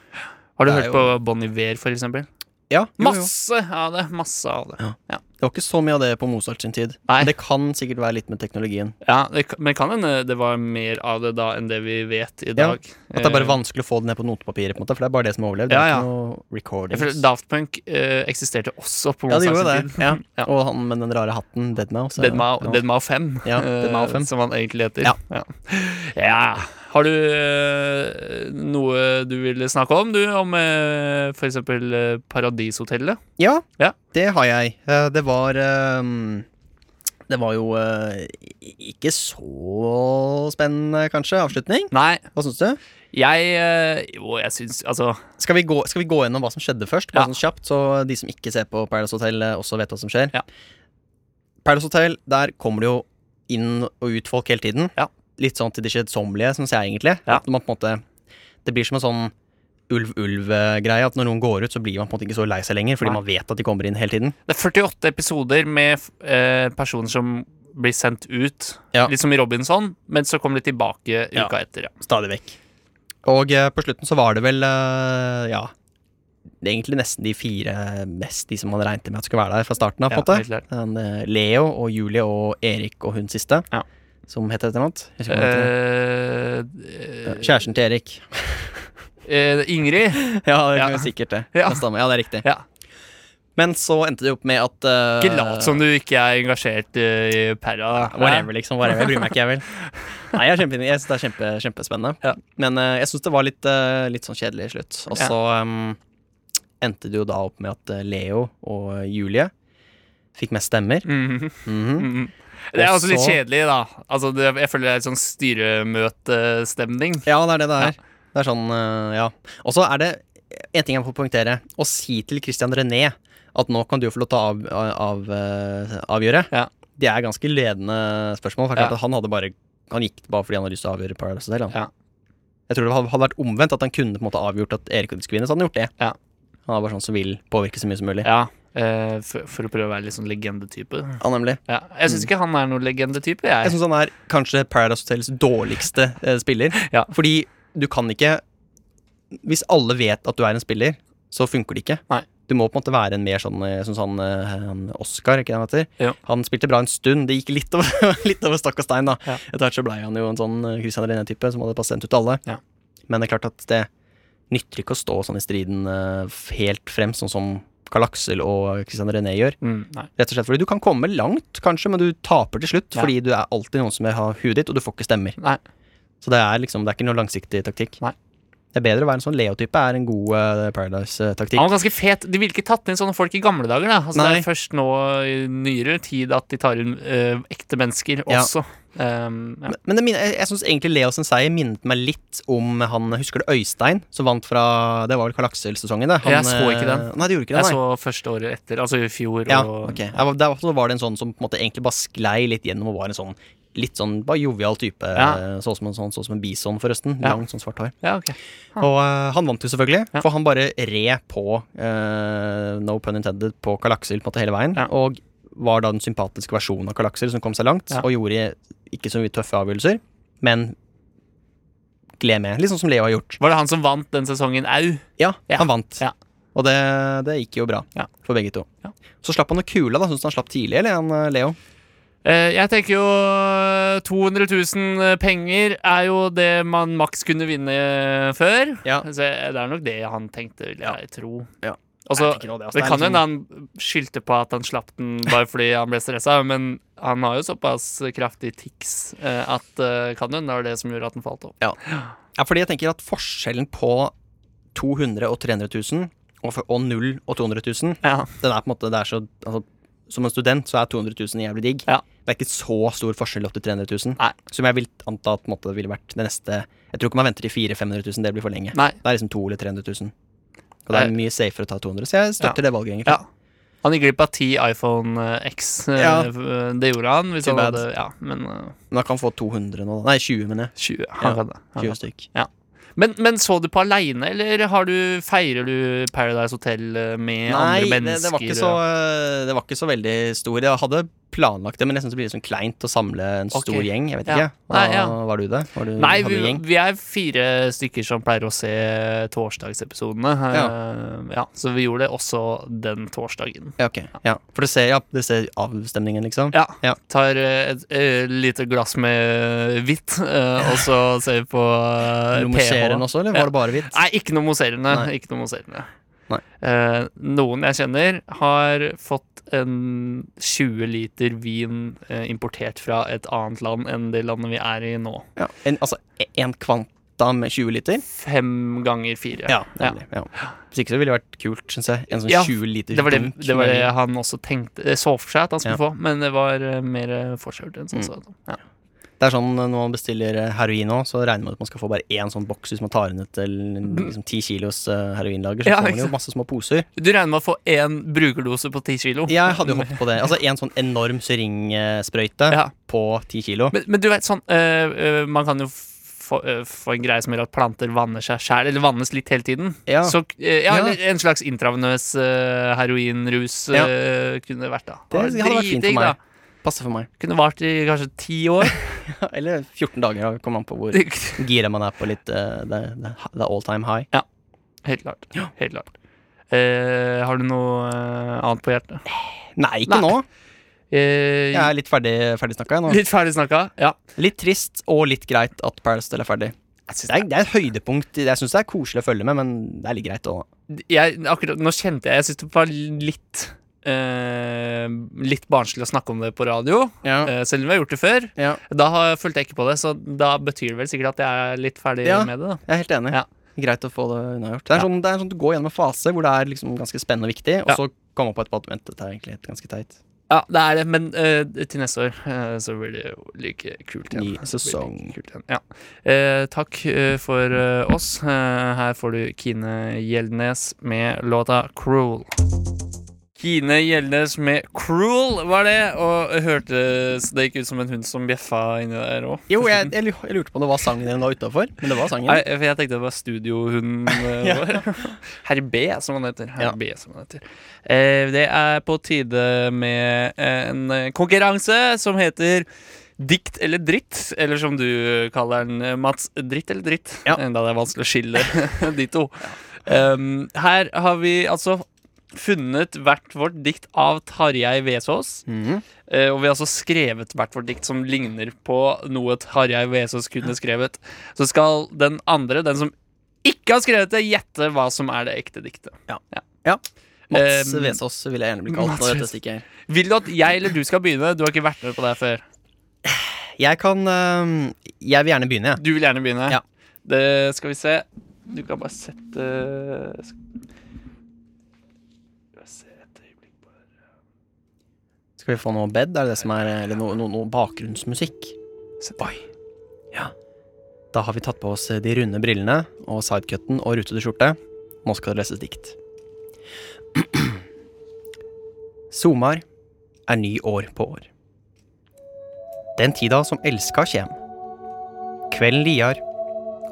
Speaker 2: Har du
Speaker 3: Det er
Speaker 2: hørt på Bon Iver, for eksempel?
Speaker 3: Ja. jo, jo.
Speaker 2: Masse av det. Masse av det.
Speaker 3: Ja. Det var ikke så mye av det på Mozart sin tid.
Speaker 2: Nei.
Speaker 3: Men Det kan sikkert være litt med teknologien.
Speaker 2: Ja, det, kan- men kan hende det var mer av det da enn det vi vet i dag.
Speaker 3: At det er bare
Speaker 2: Eh,
Speaker 3: vanskelig å få det ned på notepapiret, på en måte, for det er bare det som har overlevd.
Speaker 2: Ja,
Speaker 3: det er
Speaker 2: ja.
Speaker 3: ikke noe
Speaker 2: Jeg
Speaker 3: recordings.
Speaker 2: føler Daft Punk eh, eksisterte også på
Speaker 3: ja, det gjorde
Speaker 2: Mozart
Speaker 3: det.
Speaker 2: sin tid.
Speaker 3: Ja.
Speaker 2: Ja.
Speaker 3: Og han med den rare hatten, Deadmau5.
Speaker 2: Deadmau Deadmau 5,
Speaker 3: Ja, Deadmau 5.
Speaker 2: eh, som han egentlig heter.
Speaker 3: Ja.
Speaker 2: Ja. Ja. Har du eh, noe du ville snakke om, du? Om eh, for eksempel eh, Paradishotellet?
Speaker 3: Ja,
Speaker 2: Ja.
Speaker 3: det har jeg. Eh, Det var ehm, Det var jo eh, ikke så spennende, kanskje, avslutning.
Speaker 2: Nei,
Speaker 3: Hva syns du?
Speaker 2: jeg eh, Jo, jeg syns Altså,
Speaker 3: Skal vi, gå, skal vi gå gjennom hva som skjedde først, bare
Speaker 2: Ja.
Speaker 3: sånn kjapt, så de som ikke ser på Paradise Hotel, eh, også vet hva som skjer?
Speaker 2: Ja.
Speaker 3: Paradise Hotel, der kommer det jo inn og ut folk hele tiden.
Speaker 2: Ja.
Speaker 3: Litt sånn til det kjedsommelige, syns jeg egentlig.
Speaker 2: Ja.
Speaker 3: At man på en måte Det blir som en sånn ulv-ulv-greie, at når noen går ut, så blir man på en måte ikke så lei seg lenger, fordi
Speaker 2: Nei.
Speaker 3: man vet at de kommer inn hele tiden.
Speaker 2: det er 48 episoder med f- eh, personer som blir sendt ut,
Speaker 3: Ja.
Speaker 2: litt som i Robinson, men så kommer de tilbake
Speaker 3: Ja.
Speaker 2: uka etter. Ja.
Speaker 3: Stadig vekk. Og eh, på slutten så var det vel, eh, ja det er Egentlig nesten de fire mest de som man regnet med at skulle være der fra starten av.
Speaker 2: Ja,
Speaker 3: på en måte.
Speaker 2: helt klart.
Speaker 3: Den, eh, Leo og Julie og Erik og hun siste,
Speaker 2: Ja.
Speaker 3: som heter et eller annet. Jeg husker ikke hva hun heter.
Speaker 2: Eh,
Speaker 3: Kjæresten til Erik.
Speaker 2: eh, Ingrid?
Speaker 3: ja, det
Speaker 2: Ja.
Speaker 3: kan jo sikkert det.
Speaker 2: Ja.
Speaker 3: Kan stemme. ja, det er riktig.
Speaker 2: Ja.
Speaker 3: Men så endte det jo opp med at eh,
Speaker 2: Ikke lat som du ikke er engasjert eh, i Perra. da.
Speaker 3: Whatever, liksom. Whatever. Jeg bryr meg ikke, jeg vel. Nei, jeg, er kjempe, jeg synes det er kjempe, kjempespennende.
Speaker 2: Ja.
Speaker 3: Men eh, jeg syns det var litt, eh, litt sånn kjedelig i slutt. Og så em, endte det jo da opp med at eh, Leo og eh, Julie fikk mest stemmer.
Speaker 2: Mhm.
Speaker 3: Mhm.
Speaker 2: Mhm. Det er
Speaker 3: Og
Speaker 2: også litt
Speaker 3: så-
Speaker 2: kjedelig, da. Altså, det, jeg føler det er litt sånn styremøtestemning.
Speaker 3: Ja, det er det det er. Det er sånn, eh, ja. Og så er det en ting jeg må poengtere. Å si til Christian René at nå kan du få lov til å av, av, eh, avgjøre,
Speaker 2: Ja.
Speaker 3: det er ganske ledende spørsmål. For det er klart
Speaker 2: Ja.
Speaker 3: at han hadde bare Han gikk bare fordi han hadde lyst til å avgjøre Paradise Hotel. Han.
Speaker 2: Ja.
Speaker 3: Jeg tror det hadde hadde vært omvendt, at han kunne på en måte avgjort at Erik skulle vinne, så hadde han gjort det.
Speaker 2: Ja.
Speaker 3: Han er bare sånn som vil påvirke så mye som mulig.
Speaker 2: Ja, eh, for, for å prøve å være litt sånn legendetype.
Speaker 3: Ja, nemlig.
Speaker 2: Ja. Jeg syns ikke han er noen legendetype,
Speaker 3: Mm. Jeg
Speaker 2: jeg.
Speaker 3: syns han er kanskje Paradise Hotels dårligste eh, spiller.
Speaker 2: Ja.
Speaker 3: Fordi du kan ikke Hvis alle vet at du er en spiller, så funker det ikke.
Speaker 2: Nei.
Speaker 3: Du må på en måte være en mer sånn eh, Jeg syns han, eh, han Oscar, ikke det han heter?
Speaker 2: Ja.
Speaker 3: Han spilte bra en stund. Det gikk litt over, litt over stokk og stein, da.
Speaker 2: Ja.
Speaker 3: Etter hvert så blei han jo en sånn eh, Christian René-type som hadde passet sendt ut alle.
Speaker 2: Ja.
Speaker 3: Men det er klart at det nytter ikke å stå sånn i striden eh, f- helt frem, sånn som Karl Aksel og Christian René gjør.
Speaker 2: Mm, nei.
Speaker 3: Rett og slett fordi du kan komme langt, kanskje, men du taper til slutt.
Speaker 2: Ja.
Speaker 3: Fordi du er alltid noen som vil ha huet ditt, og du får ikke stemmer.
Speaker 2: Nei.
Speaker 3: Så det er liksom, det er ikke noe langsiktig taktikk.
Speaker 2: Nei.
Speaker 3: Det er bedre å være en sånn Leo-type, er en god eh, Paradise-taktikk.
Speaker 2: Han var ganske fet. De ville ikke tatt inn sånne folk i gamle dager. da altså, Det
Speaker 3: Nei.
Speaker 2: er først nå i nyere tid at de tar inn eh, ekte mennesker
Speaker 3: Ja.
Speaker 2: også. Um, ja.
Speaker 3: Men- Men det minner, jeg, jeg syns egentlig Leo sin seier minnet meg litt om han Husker du Øystein, som vant fra Det var vel Karl Aksel-sesongen, det? Han,
Speaker 2: Jeg så ikke
Speaker 3: eh,
Speaker 2: den.
Speaker 3: Nei, det gjorde ikke det,
Speaker 2: Jeg
Speaker 3: nei.
Speaker 2: så første året etter, altså i fjor.
Speaker 3: Ja,
Speaker 2: og,
Speaker 3: ok. Ja, var- Der også var det en sånn som på en måte egentlig bare sklei litt gjennom og var en sånn litt sånn bare jovial type.
Speaker 2: Ja.
Speaker 3: eh, Så ut som en sånn, så ut som en bison, forresten.
Speaker 2: Ja.
Speaker 3: Langt, sånn svart hår.
Speaker 2: Ja, ok.
Speaker 3: Og eh, han vant jo selvfølgelig,
Speaker 2: Ja.
Speaker 3: for han bare red på, eh, no pun intended, på Karl Aksel på en måte hele veien.
Speaker 2: Ja.
Speaker 3: Og var da den sympatiske versjonen av Karl Aksel som kom seg langt,
Speaker 2: Ja.
Speaker 3: og gjorde ikke så mye tøffe avgjørelser, men gled med. Litt sånn som Leo har gjort.
Speaker 2: Var det han som vant den sesongen au?
Speaker 3: Ja,
Speaker 2: Ja.
Speaker 3: han vant.
Speaker 2: Ja.
Speaker 3: Og det, det gikk jo bra
Speaker 2: Ja.
Speaker 3: for begge to.
Speaker 2: Ja.
Speaker 3: Så slapp han noe kula, da. Syns du han slapp tidlig, eller han eh, Leo?
Speaker 2: Eh, Jeg tenker jo eh, 200 000 eh, penger er jo det man maks kunne vinne eh, før.
Speaker 3: Ja.
Speaker 2: Så jeg- det er nok det han tenkte, vil jeg tro.
Speaker 3: Ja.
Speaker 2: Og så-
Speaker 3: Jeg tenker nå det, altså.
Speaker 2: det
Speaker 3: Det er
Speaker 2: kan
Speaker 3: liksom-
Speaker 2: hende han skyldte på at han slapp den bare fordi han ble stressa, men han har jo såpass kraftig tics eh, at eh, kan hende det var det som gjorde at han falt opp.
Speaker 3: Ja, fordi jeg tenker at forskjellen på 200 og 300 000, og, for, og 0 og 200 000
Speaker 2: Ja.
Speaker 3: den er på en måte, det er så, altså, Som en student så er 200 000 jævlig digg.
Speaker 2: Ja.
Speaker 3: Det er ikke så stor forskjell opp til 300 000.
Speaker 2: Nei.
Speaker 3: Som jeg vil anta at på en måte, det ville vært det neste Jeg tror ikke man venter til 400 500 000, det blir for lenge.
Speaker 2: Nei.
Speaker 3: Det er liksom 200 eller 300 000. Og det er mye safere å ta 200, så jeg støtter det valget, egentlig.
Speaker 2: Ja. Han gikk glipp av ti iPhone eh, X. eh,
Speaker 3: Ja.
Speaker 2: f- Det gjorde han. Hvis
Speaker 3: Too
Speaker 2: han
Speaker 3: bad.
Speaker 2: hadde, ja, men eh,
Speaker 3: Men man kan få 200 nå, da. Nei, 20, mener jeg.
Speaker 2: 20. Han
Speaker 3: Ja,
Speaker 2: kan det. Han
Speaker 3: 20 stykk.
Speaker 2: Men, men så du på aleine, eller har du, feirer du Paradise Hotel eh, med
Speaker 3: Nei,
Speaker 2: andre
Speaker 3: det,
Speaker 2: mennesker?
Speaker 3: det, var ikke så, øh, det var ikke så veldig stor. Jeg hadde planlagt det, men jeg syns det blir litt sånn kleint å samle en
Speaker 2: Ok.
Speaker 3: stor gjeng. Jeg vet
Speaker 2: Ja.
Speaker 3: ikke. Hva,
Speaker 2: Nei, ja.
Speaker 3: Var du det? Var du,
Speaker 2: Nei,
Speaker 3: hadde
Speaker 2: vi,
Speaker 3: du gjeng?
Speaker 2: vi er fire stykker som pleier å se torsdagsepisodene. eh, ja, så vi gjorde det også den torsdagen.
Speaker 3: Ja, ok. Ja. For du ser, ja, du ser avstemningen, liksom?
Speaker 2: Ja.
Speaker 3: Ja.
Speaker 2: Tar eh, et eh, lite glass med hvitt, eh, og så ser vi på eh,
Speaker 3: Nummerserer den
Speaker 2: PH.
Speaker 3: også, eller
Speaker 2: Ja.
Speaker 3: var det bare hvitt?
Speaker 2: Nei, ikke noe moserende.
Speaker 3: Nei.
Speaker 2: Ikke noe moserende.
Speaker 3: Nei.
Speaker 2: Eh, noen jeg kjenner, har fått en 20 liter vin eh, importert fra et annet land enn det landet vi er i nå.
Speaker 3: Ja. En, altså én kvanta med 20 liter?
Speaker 2: Fem ganger fire.
Speaker 3: Nemlig. Ja. Hvis ikke så ville det vært kult, syns jeg. En sånn
Speaker 2: Ja,
Speaker 3: 20 liter
Speaker 2: Det var det,
Speaker 3: dunk
Speaker 2: det var
Speaker 3: med
Speaker 2: det
Speaker 3: vin.
Speaker 2: han også tenkte eh, så for seg at han skulle
Speaker 3: Ja.
Speaker 2: få, men det var eh, mer eh, forskjell enn som
Speaker 3: Mm.
Speaker 2: så. Ja.
Speaker 3: Det er sånn eh, når man bestiller eh, heroin nå, så regner man at man skal få bare én sånn boks hvis man tar inn et liksom, 10 kilos eh, heroinlager. Så
Speaker 2: Mm. Ja,
Speaker 3: får
Speaker 2: ikke
Speaker 3: man jo
Speaker 2: sant.
Speaker 3: masse små poser.
Speaker 2: Du regner med å få én brukerdose på ti kilo?
Speaker 3: Jeg hadde jo hoppet på det. Altså en sånn enorm syringesprøyte
Speaker 2: Ja.
Speaker 3: på 10 kilo.
Speaker 2: Men, men du vet sånn eh, eh, Man kan jo få, eh, få en greie som gjør at planter vanner seg sjæl, eller vannes litt hele tiden.
Speaker 3: Ja.
Speaker 2: Så, eh, ja,
Speaker 3: Ja.
Speaker 2: eller en slags intravenøs eh, heroinrus
Speaker 3: Ja.
Speaker 2: eh, kunne det vært, da.
Speaker 3: Det hadde vært fint
Speaker 2: Dritdigg,
Speaker 3: for
Speaker 2: da.
Speaker 3: meg. Passer for meg.
Speaker 2: Kunne vart i kanskje ti år.
Speaker 3: Eller 14 dager, da kommer an på hvor gira man er på litt eh, det, det, det all time high.
Speaker 2: Helt klart. Helt klart. Eh, har du noe eh, annet på hjertet?
Speaker 3: Nei, ikke
Speaker 2: Nei.
Speaker 3: nå.
Speaker 2: Eh,
Speaker 3: Jeg er litt ferdig, ferdig snakka, jeg nå.
Speaker 2: Litt ferdig snakka? Ja.
Speaker 3: Litt trist og litt greit at Paris Del er ferdig. Det er, det er et høydepunkt. Jeg syns det er koselig å følge med, men det er litt greit òg.
Speaker 2: jeg, akkurat, nå kjente jeg Jeg syntes det var litt eh, Litt barnslig å snakke om det på radio,
Speaker 3: Ja.
Speaker 2: eh, selv om vi har gjort det før.
Speaker 3: Ja.
Speaker 2: Da har, følte jeg ikke på det, så da betyr det vel sikkert at jeg er litt ferdig
Speaker 3: Ja.
Speaker 2: med det. da
Speaker 3: Jeg er helt enig.
Speaker 2: Ja.
Speaker 3: Greit å få det unnagjort. Det er,
Speaker 2: Ja.
Speaker 3: sånn, det er sånn at Du går gjennom en fase hvor det er liksom ganske spennende og viktig, og
Speaker 2: Ja.
Speaker 3: så kommer man på etterpå at vent, dette er egentlig et ganske teit.
Speaker 2: Ja, det er det, men eh, til neste år eh, så blir det jo like kult igjen.
Speaker 3: Ny
Speaker 2: Så blir det like
Speaker 3: sesong.
Speaker 2: Kult igjen. Ja. Eh, takk eh, for eh, oss. Eh, her får du Kine Gjeldnes med låta 'Cruel'. Kine Gjeldnes med 'Cruel' var det, og hørtes det ikke ut som en hund som bjeffa inni der òg?
Speaker 3: Jo, jeg, jeg, lu- jeg lurte på om det var sangen din var utafor, men det var sangen.
Speaker 2: Nei, for jeg tenkte det var studiohunden eh, vår. Herr B, som han heter. Herr
Speaker 3: Ja.
Speaker 2: B, som han heter. Eh, det er på tide med en eh, konkurranse som heter Dikt eller dritt, eller som du kaller den, eh, Mats. Dritt eller dritt?
Speaker 3: Ja.
Speaker 2: Enda det er vanskelig å skille de to. Um, her har vi altså funnet hvert vårt dikt av Tarjei Vesaas.
Speaker 3: Mhm.
Speaker 2: Eh, og vi har altså skrevet hvert vårt dikt som ligner på noe Tarjei Vesaas kunne skrevet. Så skal den andre, den som ikke har skrevet det, gjette hva som er det ekte diktet.
Speaker 3: Ja. Mats
Speaker 2: Um,
Speaker 3: Vesaas ville jeg gjerne bli kalt
Speaker 2: Mats
Speaker 3: når dette
Speaker 2: Vesaas.
Speaker 3: stikker. her.
Speaker 2: Vil du at jeg eller du skal begynne? Du har ikke vært med på det her før.
Speaker 3: Jeg kan um, Jeg vil gjerne begynne, jeg.
Speaker 2: Du vil gjerne begynne?
Speaker 3: Ja.
Speaker 2: Det skal vi se. Du kan bare sette Skal vi se et øyeblikk på det.
Speaker 3: Skal vi få noe bed? Er det det som er Eller noe, noe, noe bakgrunnsmusikk?
Speaker 2: Sett- Oi.
Speaker 3: Da har vi tatt på oss de runde brillene og sidecutten og rutete skjorte. Nå skal det leses dikt. Somar er ny år på år. Den tida som elska kjem. Kvelden liar,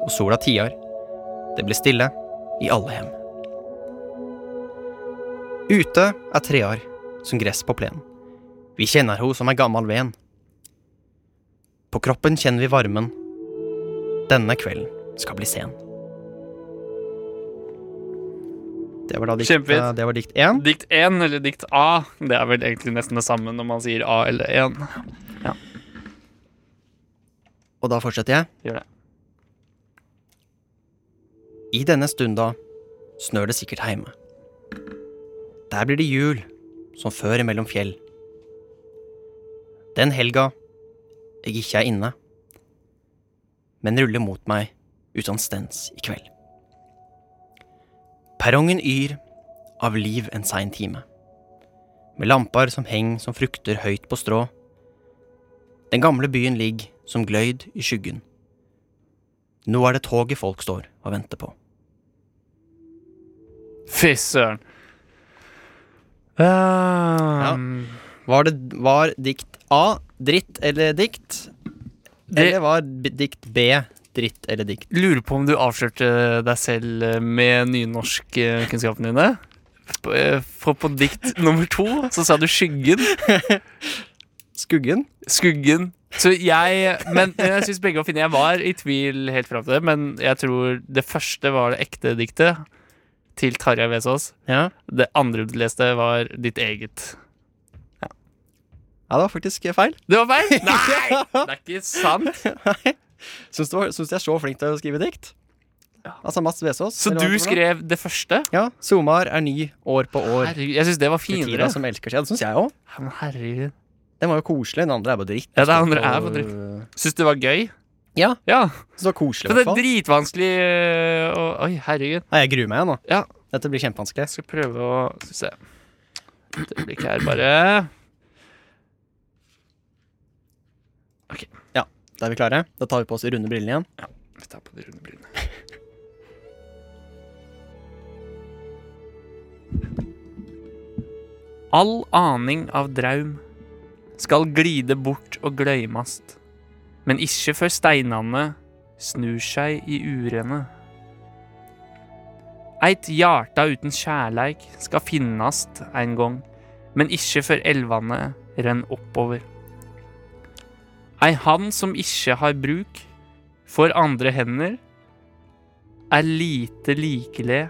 Speaker 3: og sola tiar. Det blir stille i alle hem. Ute er trear som gress på plen. Vi kjenner ho som ei gammal ven. På kroppen kjenner vi varmen. Denne kvelden skal bli sen. Det var da dikt, eh,
Speaker 2: Kjempefint.
Speaker 3: det var dikt én.
Speaker 2: Dikt 1 eller dikt A. Det er vel egentlig nesten det samme når man sier A eller 1.
Speaker 3: Og da fortsetter jeg.
Speaker 2: Gjør det.
Speaker 3: I denne stunda snør det sikkert heime. Der blir det jul, som før imellom fjell. Den helga jeg ikke er inne, men ruller mot meg uten stens i kveld. Perrongen yr av liv en sein time, med lamper som heng som frukter høyt på strå. Den gamle byen ligg som gløyd i skyggen. Nå er det toget folk står og venter på.
Speaker 2: Fy søren. Ehm,
Speaker 3: Var, det, var dikt A dritt eller dikt?
Speaker 2: Det-
Speaker 3: Eller var b- dikt B dritt eller dikt?
Speaker 2: Lurer på om du avslørte deg selv eh, med nynorskkunnskapene eh, dine? P- eh, For på dikt nummer to så sa du 'skyggen'.
Speaker 3: Skuggen.
Speaker 2: Skuggen. Så jeg Men jeg syns begge var fine. Jeg var i tvil helt fram til det, men jeg tror det første var det ekte diktet til Tarjei Vesaas.
Speaker 3: Ja.
Speaker 2: Det andre du leste, var ditt eget.
Speaker 3: ja, det var faktisk eh, feil.
Speaker 2: Det var feil! Nei! Det er ikke sant.
Speaker 3: Nei. Syns du, var- syns du jeg er så flink til å skrive dikt? Altså Mats Vesaas.
Speaker 2: Så
Speaker 3: eller
Speaker 2: du
Speaker 3: hva heter det for noe?
Speaker 2: skrev det første?
Speaker 3: Ja. Somar er ny år på år.
Speaker 2: Herregud, jeg syns det var
Speaker 3: Til
Speaker 2: finere.
Speaker 3: tida som elsker seg. Ja, Det syns jeg òg.
Speaker 2: Ja, men Herregud.
Speaker 3: Den var jo koselig. Den andre er bare dritt.
Speaker 2: Ja, det andre er
Speaker 3: Og-
Speaker 2: på dritt. Syns du det var gøy?
Speaker 3: Ja,
Speaker 2: Ja.
Speaker 3: så det var koselig,
Speaker 2: Så
Speaker 3: i
Speaker 2: det er
Speaker 3: hvert fall.
Speaker 2: dritvanskelig øh, å Oi, herregud.
Speaker 3: Nei, jeg gruer meg nå.
Speaker 2: Ja,
Speaker 3: Dette blir kjempevanskelig.
Speaker 2: jeg skal prøve å Skal vi se. Et øyeblikk her, bare.
Speaker 3: Da er vi klare. Da tar vi på oss runde brillene igjen.
Speaker 2: Vi tar på de runde brynene. All aning av draum skal glide bort og gløymast, men ikke før steinane snur seg i urene. Eit hjarta uten kjærleik skal finnast ein gong, men ikke før elvane renn oppover. Ei hand som ikke har bruk, for andre hender er lite likelig,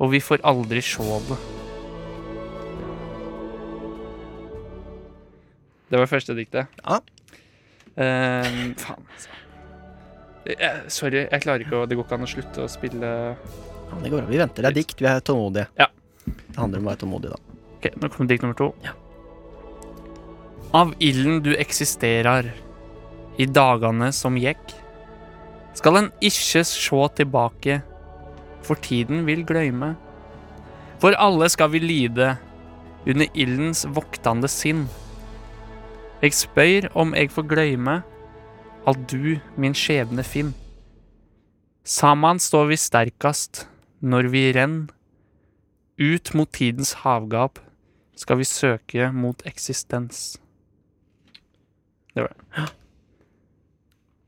Speaker 2: og vi får aldri se det. Det var første diktet.
Speaker 3: Ja.
Speaker 2: Ehm, faen, altså. Eh, sorry, jeg klarer ikke å Det går ikke an å slutte å spille
Speaker 3: Ja, det går bra. Vi venter. Det er dikt. Vi er tålmodige.
Speaker 2: Ja.
Speaker 3: Det handler om å være tålmodig, da.
Speaker 2: Ok, nå kommer dikt nummer to. Av ilden du eksisterer, i dagane som gikk, skal en ikke sjå tilbake, for tiden vil gløyme. For alle skal vi lide under ildens voktande sinn. Eg spør om eg får gløyme at du min skjebne finn. Saman står vi sterkast når vi renn ut mot tidens havgap skal vi søke mot eksistens.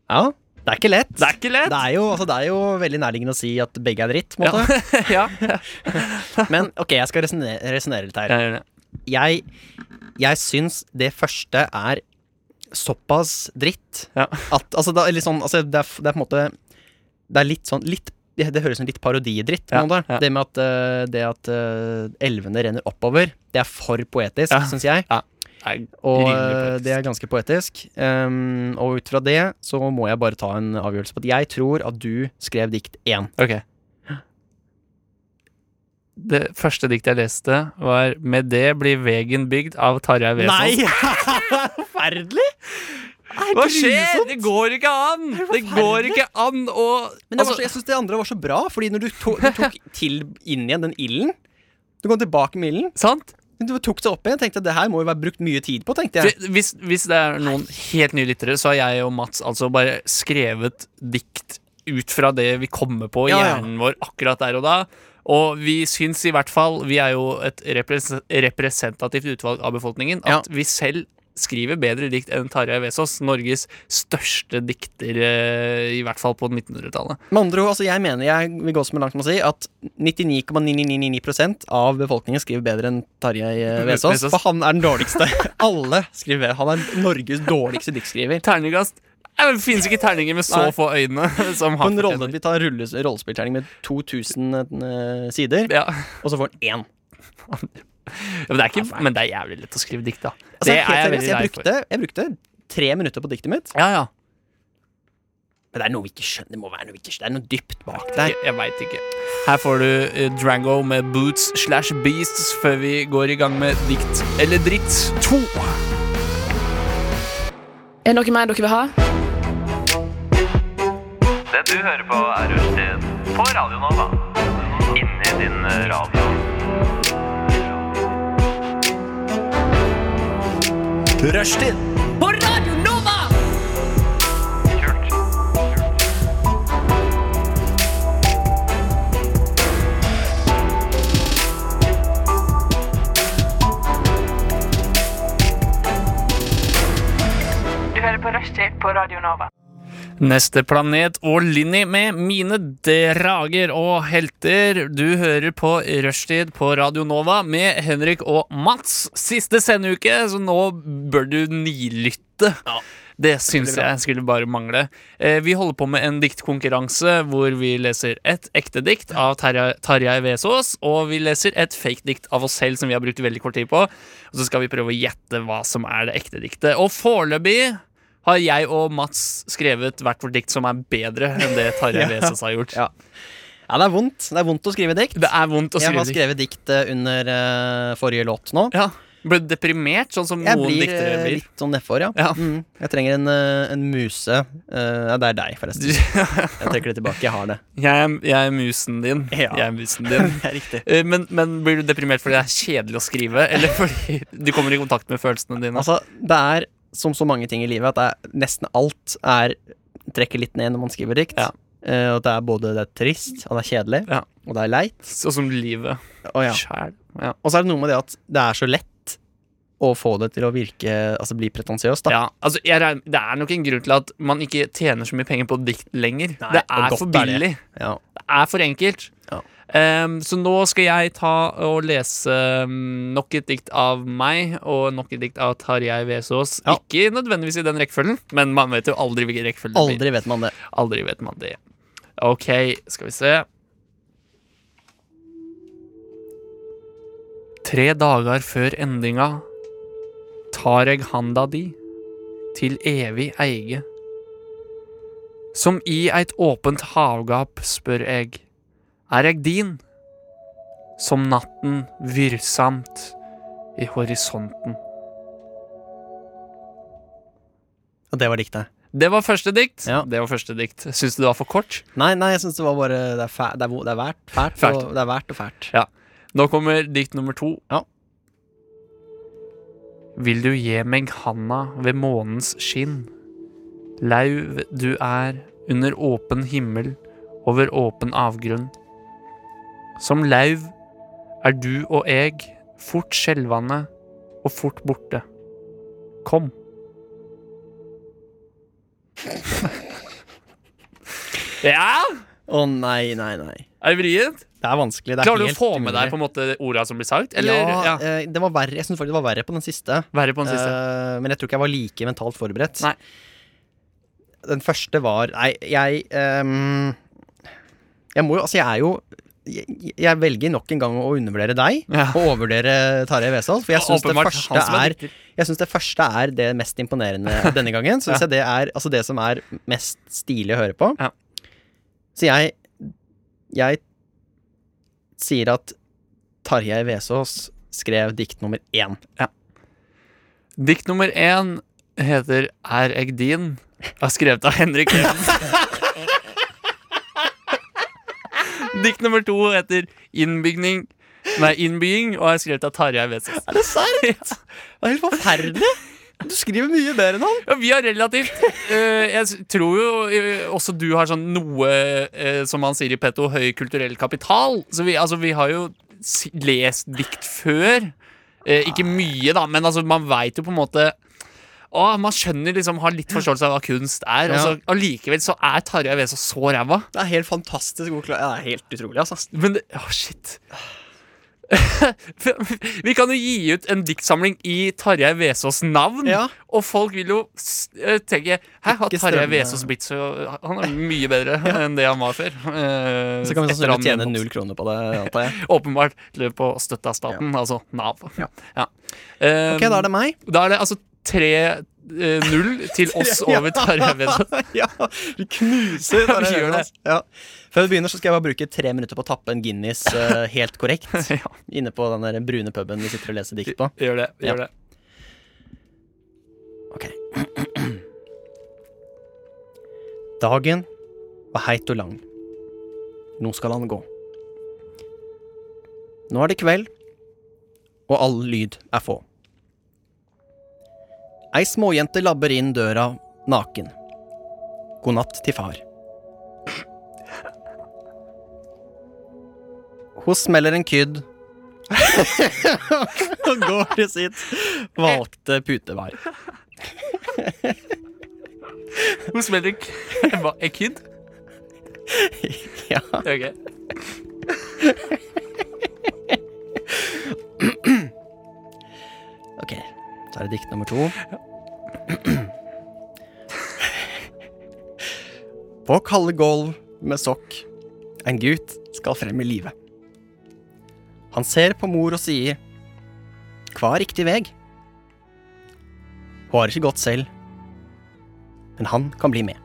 Speaker 3: Ja, det er ikke lett.
Speaker 2: Det er ikke lett!
Speaker 3: Det er jo, altså, det er jo veldig nærliggende å si at begge er dritt, på en
Speaker 2: Ja.
Speaker 3: måte.
Speaker 2: ja.
Speaker 3: Men ok, jeg skal resonnere litt her.
Speaker 2: Jeg gjør det.
Speaker 3: Jeg, jeg syns det første er såpass dritt
Speaker 2: Ja.
Speaker 3: at Altså, det er litt sånn altså, det, er, f- det er på en måte Det er litt sånn litt det det høres ut som litt parodidritt. på
Speaker 2: Ja,
Speaker 3: en måte.
Speaker 2: ja.
Speaker 3: Det med at, eh, det at eh, elvene renner oppover, det er for poetisk,
Speaker 2: Ja.
Speaker 3: syns jeg.
Speaker 2: Nei,
Speaker 3: Og
Speaker 2: rimelig
Speaker 3: eh,
Speaker 2: poetisk.
Speaker 3: det er ganske poetisk. Um, og ut fra det så må jeg bare ta en avgjørelse på at jeg tror at du skrev dikt én.
Speaker 2: Ok. Det første diktet jeg leste, var 'Med det blir vegen bygd' av Tarjei Vesaas.
Speaker 3: Forferdelig!
Speaker 2: Hva skjer?! Det går ikke an! Det går ikke an å
Speaker 3: Men det var
Speaker 2: altså,
Speaker 3: så, jeg syns det andre var så bra, fordi når du, to, du tok til inn igjen den ilden Du kom tilbake med ilden.
Speaker 2: Sant?
Speaker 3: Du tok det opp igjen. tenkte jeg, Det her må jo være brukt mye tid på, tenkte jeg.
Speaker 2: For Hvis, hvis det er noen helt nye lyttere, så har jeg og Mats altså bare skrevet dikt ut fra det vi kommer på i
Speaker 3: Ja, ja.
Speaker 2: hjernen vår akkurat der og da. Og vi syns i hvert fall, vi er jo et repres representativt utvalg av befolkningen,
Speaker 3: Ja.
Speaker 2: at vi selv skriver bedre dikt enn Tarjei Vesaas, Norges største dikter, eh, i hvert fall på 1900-tallet.
Speaker 3: Med andre ord, altså jeg mener jeg vil gå så langt med å si at 99,999% av befolkningen skriver bedre enn Tarjei eh, Vesaas.
Speaker 2: Vesaas.
Speaker 3: For han er den dårligste. Alle skriver Han er Norges dårligste diktsskriver.
Speaker 2: Terningkast Nei, men Det finnes ikke terninger med så
Speaker 3: Nei.
Speaker 2: få øyne som
Speaker 3: På
Speaker 2: han
Speaker 3: en rolle,
Speaker 2: fortjener.
Speaker 3: vi tar rulles, rollespillterning med 2000 eh, sider,
Speaker 2: Ja.
Speaker 3: og så får han én.
Speaker 2: Ja, Men, det er ikke, men det er jævlig lett å skrive dikt, da. det
Speaker 3: Altså, helt
Speaker 2: er jeg
Speaker 3: seriøst,
Speaker 2: veldig
Speaker 3: jeg
Speaker 2: lei for.
Speaker 3: brukte, jeg brukte tre minutter på diktet mitt.
Speaker 2: Ja, ja.
Speaker 3: Men det er noe vi ikke skjønner. Det må være noe vi ikke skjønner. Det er noe dypt bak der.
Speaker 2: Jeg, jeg veit ikke. Her får du eh, Drango med Boots slash Beasts før vi går i gang med dikt eller dritt to.
Speaker 5: Er det noe mer dere vil ha?
Speaker 6: Det du hører på er Rushtid på Radio Nova. Inni din radio.
Speaker 1: Rushtid!
Speaker 6: Kult.
Speaker 7: Du hører på Rushtid på Radio Nova.
Speaker 2: Neste planet og Linni med mine drager og helter. Du hører på Rushtid på Radio Nova med Henrik og Mats. Siste sendeuke, så nå bør du nilytte. Det syns jeg skulle bare mangle. Eh, vi holder på med en diktkonkurranse hvor vi leser et ekte dikt av Terja- Tarjei Vesaas, og vi leser et fake dikt av oss selv som vi har brukt veldig kort tid på. Og så skal vi prøve å gjette hva som er det ekte diktet. Og foreløpig har jeg og Mats skrevet hvert vårt dikt som er bedre enn det Tarjei Vesaas har gjort.
Speaker 3: Ja. Ja, det er vondt. Det er vondt å skrive dikt.
Speaker 2: Det er vondt å
Speaker 3: Jeg
Speaker 2: skrive
Speaker 3: har
Speaker 2: dikt.
Speaker 3: skrevet dikt eh, under eh, forrige låt nå.
Speaker 2: Ja. Ble du deprimert, sånn som
Speaker 3: Jeg
Speaker 2: noen
Speaker 3: blir
Speaker 2: diktere
Speaker 3: eh,
Speaker 2: blir?
Speaker 3: litt sånn nedfor, ja.
Speaker 2: Ja.
Speaker 3: Mm. Jeg trenger en, eh, en muse. Eh, ja, det er deg, forresten. Jeg trekker det tilbake. Jeg har det.
Speaker 2: Jeg er, jeg er musen din.
Speaker 3: Ja.
Speaker 2: Jeg er musen din.
Speaker 3: Det er riktig.
Speaker 2: Eh, Men, men blir du deprimert fordi det er kjedelig å skrive, eller fordi du kommer i kontakt med følelsene dine?
Speaker 3: Altså, det er som så mange ting i livet at det er, nesten alt er trekker litt ned når man skriver dikt.
Speaker 2: Ja.
Speaker 3: Eh, og det er både det er trist, og det er kjedelig,
Speaker 2: Ja.
Speaker 3: og det er leit.
Speaker 2: Sånn som livet
Speaker 3: Og, ja.
Speaker 2: sjæl. Ja.
Speaker 3: og så er det noe med det at det er så lett å få det til å virke Altså bli pretensiøst, da.
Speaker 2: Ja, altså jeg regner, Det er nok en grunn til at man ikke tjener så mye penger på dikt lenger. det
Speaker 3: og
Speaker 2: er
Speaker 3: godt
Speaker 2: for
Speaker 3: er det.
Speaker 2: billig.
Speaker 3: Ja.
Speaker 2: Det er for enkelt.
Speaker 3: Ja.
Speaker 2: Ehm, så nå skal jeg ta og lese um, nok et dikt av meg og nok et dikt av Tarjei Vesaas.
Speaker 3: Ja.
Speaker 2: Ikke nødvendigvis i den rekkefølgen, men man vet jo aldri hvilken rekkefølge det blir.
Speaker 3: Aldri vet man det.
Speaker 2: Aldri vet man det. Ok, skal vi se. Tre dager før endinga tar eg handa di til evig eige. Som i eit åpent havgap spør eg, er eg din? Som natten virsamt i horisonten.
Speaker 3: Og det var diktet.
Speaker 2: Det var første dikt.
Speaker 3: Ja.
Speaker 2: Det var første dikt. Syns du det var for kort?
Speaker 3: Nei, nei, jeg syns det var bare Det er, fæ, det er, vo- det er vært, fælt,
Speaker 2: Fælt.
Speaker 3: Og, det er vært og fælt.
Speaker 2: Nå kommer dikt nummer to.
Speaker 3: Ja.
Speaker 2: Vil du gi meg handa ved månens skinn? Lauv du er under åpen himmel, over åpen avgrunn. Som lauv er du og eg fort skjelvende og fort borte. Kom. ja!
Speaker 3: Å nei, nei, nei.
Speaker 2: Er det vrient?
Speaker 3: Det er vanskelig. Det er
Speaker 2: Klarer du å
Speaker 3: helt
Speaker 2: få med
Speaker 3: umulig.
Speaker 2: deg på en måte orda som blir sagt? Eller,
Speaker 3: ja,
Speaker 2: ja,
Speaker 3: eh, det var verre. Jeg syns faktisk det var verre på den siste.
Speaker 2: Verre på den siste.
Speaker 3: Eh, men jeg tror ikke jeg var like mentalt forberedt.
Speaker 2: Nei.
Speaker 3: Den første var Nei, jeg ehm, Jeg må jo Altså, jeg er jo jeg, jeg velger nok en gang å undervurdere deg
Speaker 2: Ja.
Speaker 3: og overvurdere Tarjei Vesaas. For jeg syns det,
Speaker 2: Åpenbart,
Speaker 3: første
Speaker 2: han som er
Speaker 3: er-
Speaker 2: dikter.
Speaker 3: jeg synes det første er det mest imponerende denne gangen. Syns jeg det er altså det som er mest stilig å høre på.
Speaker 2: Ja.
Speaker 3: Så jeg Jeg sier at Tarjei Vesaas skrev dikt nummer én.
Speaker 2: Dikt nummer én heter Er eg din? Er skrevet av Henrik Even. Dikt nummer to heter Innbygning Nei, Innbying og er skrevet av Tarjei Vesaas.
Speaker 3: Er det sant? Det er helt forferdelig! Du skriver mye bedre enn han.
Speaker 2: Ja, vi har relativt eh, Jeg s- tror jo eh, også du har sånn noe eh, Som man sier i Petto, høy kulturell kapital Så vi, altså, vi har jo s- lest dikt før Eh, Ikke mye da, men altså, man vet jo på en måte Åh, man skjønner liksom, har litt forståelse av hva kunst er Og så allikevel så er Tarja Vesa så ræva
Speaker 3: Det er helt fantastisk god klar... Det er helt utrolig, altså.
Speaker 2: men det, Å, shit. Vi kan jo gi ut en diktsamling i Tarjei Vesaas navn,
Speaker 3: Ja.
Speaker 2: og folk vil jo s- eh, tenke Hæ, har
Speaker 3: Ikke
Speaker 2: Tarjei
Speaker 3: stemme.
Speaker 2: Vesaas blitt så Han er mye bedre enn det han var før. Eh,
Speaker 3: Så kan vi
Speaker 2: etter han-
Speaker 3: sannsynligvis tjene null kroner på det, antar jeg.
Speaker 2: Åpenbart løp på støtte av staten, altså Nav. Ja. Eh,
Speaker 3: Ok, da er det meg.
Speaker 2: da er det altså 3-0 til oss over Tarjei Vesaas.
Speaker 3: Ja, vi
Speaker 2: Ja,
Speaker 3: knuser
Speaker 2: vi
Speaker 3: Tarjei
Speaker 2: gjør
Speaker 3: Vesaas. Ja. Før vi begynner, så skal jeg bare bruke tre minutter på å tappe en Guinness eh, helt korrekt.
Speaker 2: Ja,
Speaker 3: Inne på den der brune puben vi sitter og leser dikt på.
Speaker 2: gjør det. Gjør
Speaker 3: Ja.
Speaker 2: det.
Speaker 3: Ok. Dagen var heit og lang. Nå skal han gå. Nå er det kveld, og all lyd er få. Ei småjente labber inn døra naken. God natt til far. Hun smeller en kydd og går til sitt valgte putevar.
Speaker 2: Hun smeller kæva A kid?
Speaker 3: Ja.
Speaker 2: Ok.
Speaker 3: Ok, så er det dikt nummer to. På kalde gulv med sokk en gutt skal frem i livet. Han ser på mor og sier Hva er riktig veg? Hun har ikke gått selv, men han kan bli med.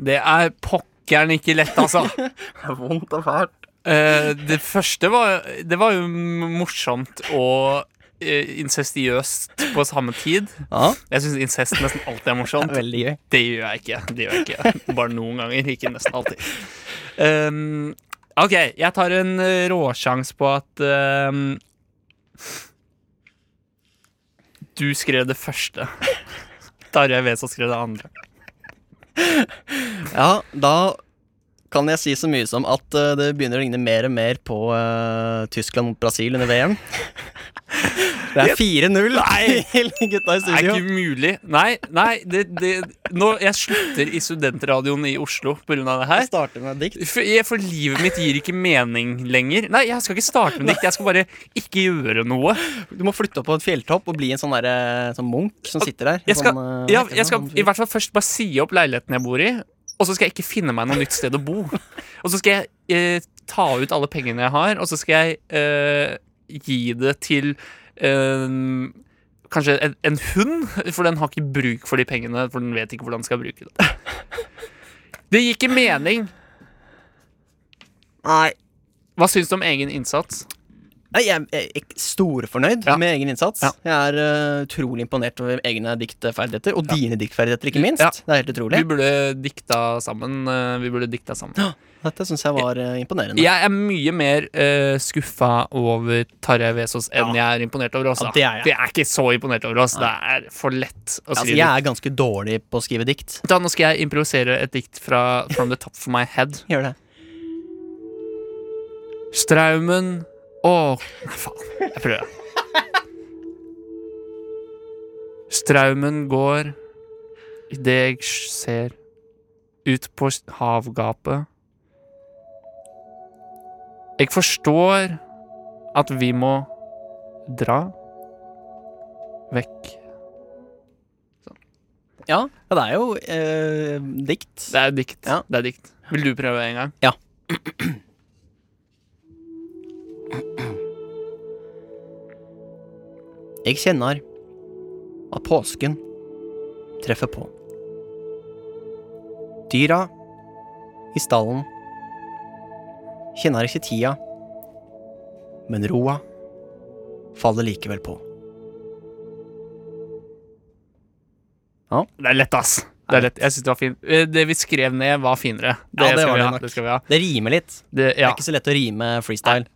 Speaker 2: Det er pokkeren ikke lett, altså.
Speaker 3: Vondt og fælt.
Speaker 2: Eh, det første var Det var jo morsomt og eh, incestiøst på samme tid.
Speaker 3: Ja,
Speaker 2: Jeg syns incest nesten alltid er morsomt.
Speaker 3: veldig gøy.
Speaker 2: Det gjør jeg ikke. Det gjør jeg ikke. Bare noen ganger, ikke nesten alltid. Um, OK, jeg tar en eh, råsjans på at um, Du skrev det første. Tarjei Vesaas skrev det andre.
Speaker 3: Ja, da kan jeg si så mye som at eh, det begynner å ligne mer og mer på eh, Tyskland mot Brasil under VM. Det er 4-0 til gutta
Speaker 2: Det er
Speaker 3: i studio.
Speaker 2: ikke mulig. Nei, nei det, det, nå, jeg slutter i studentradioen i Oslo pga. det
Speaker 3: Jeg
Speaker 2: her.
Speaker 3: starter med et dikt.
Speaker 2: For, jeg, for livet mitt gir ikke mening lenger. Nei, jeg skal ikke starte med dikt. Jeg skal bare ikke gjøre noe.
Speaker 3: Du må flytte opp på et fjelltopp og bli en sånn, derre- sånn munk som sitter der.
Speaker 2: Jeg skal,
Speaker 3: sånn, eh,
Speaker 2: ja,
Speaker 3: hva heter det,
Speaker 2: jeg skal
Speaker 3: sånn fyr.
Speaker 2: i hvert fall først bare si opp leiligheten jeg bor i, og så skal jeg ikke finne meg noe nytt sted å bo. Og så skal jeg eh, ta ut alle pengene jeg har, og så skal jeg eh, gi det til eh, Kanskje en, en hund, for den har ikke bruk for de pengene. For den vet ikke hvordan den skal bruke det. Det gir ikke mening.
Speaker 3: Nei.
Speaker 2: Hva syns du om egen innsats?
Speaker 3: Nei, jeg er ek- storfornøyd
Speaker 2: Ja.
Speaker 3: med egen innsats.
Speaker 2: Ja.
Speaker 3: Jeg er eh, utrolig imponert over egne diktferdigheter, og dine diktferdigheter, ikke minst.
Speaker 2: Ja.
Speaker 3: Det er helt utrolig.
Speaker 2: Vi burde dikta sammen. eh, Vi burde dikta sammen.
Speaker 3: Dette syns jeg var eh, imponerende.
Speaker 2: Jeg er mye mer uh, skuffa over Tarjei Vesaas enn jeg er imponert over oss.
Speaker 3: Ja,
Speaker 2: da.
Speaker 3: det er jeg.
Speaker 2: Vi er ikke så imponert over oss. Det er for lett å
Speaker 3: Altså,
Speaker 2: skrive.
Speaker 3: jeg er ganske dårlig på å skrive dikt.
Speaker 2: Da, nå skal jeg improvisere et dikt fra From the Top of My Head.
Speaker 3: Gjør det.
Speaker 2: Straumen og Nei, faen. Jeg prøver. Straumen går idet jeg ser ut på havgapet. Jeg forstår at vi må dra vekk.
Speaker 3: Ja, ja det er jo eh, dikt.
Speaker 2: Det er dikt.
Speaker 3: Ja.
Speaker 2: Det er dikt. Vil du prøve en gang?
Speaker 3: Jeg kjenner at påsken treffer på. Dyra i stallen kjenner ikke tida, men roa faller likevel på.
Speaker 2: Det er lett, ass. Det er lett. Jeg synes det var fint. Eh, Det vi skrev ned, var finere. Det,
Speaker 3: Ja, det
Speaker 2: skal,
Speaker 3: var
Speaker 2: vi
Speaker 3: det
Speaker 2: ha.
Speaker 3: nok.
Speaker 2: det skal vi ha.
Speaker 3: Det rimer litt.
Speaker 2: Det,
Speaker 3: Det
Speaker 2: ja.
Speaker 3: er ikke så lett å rime freestyle.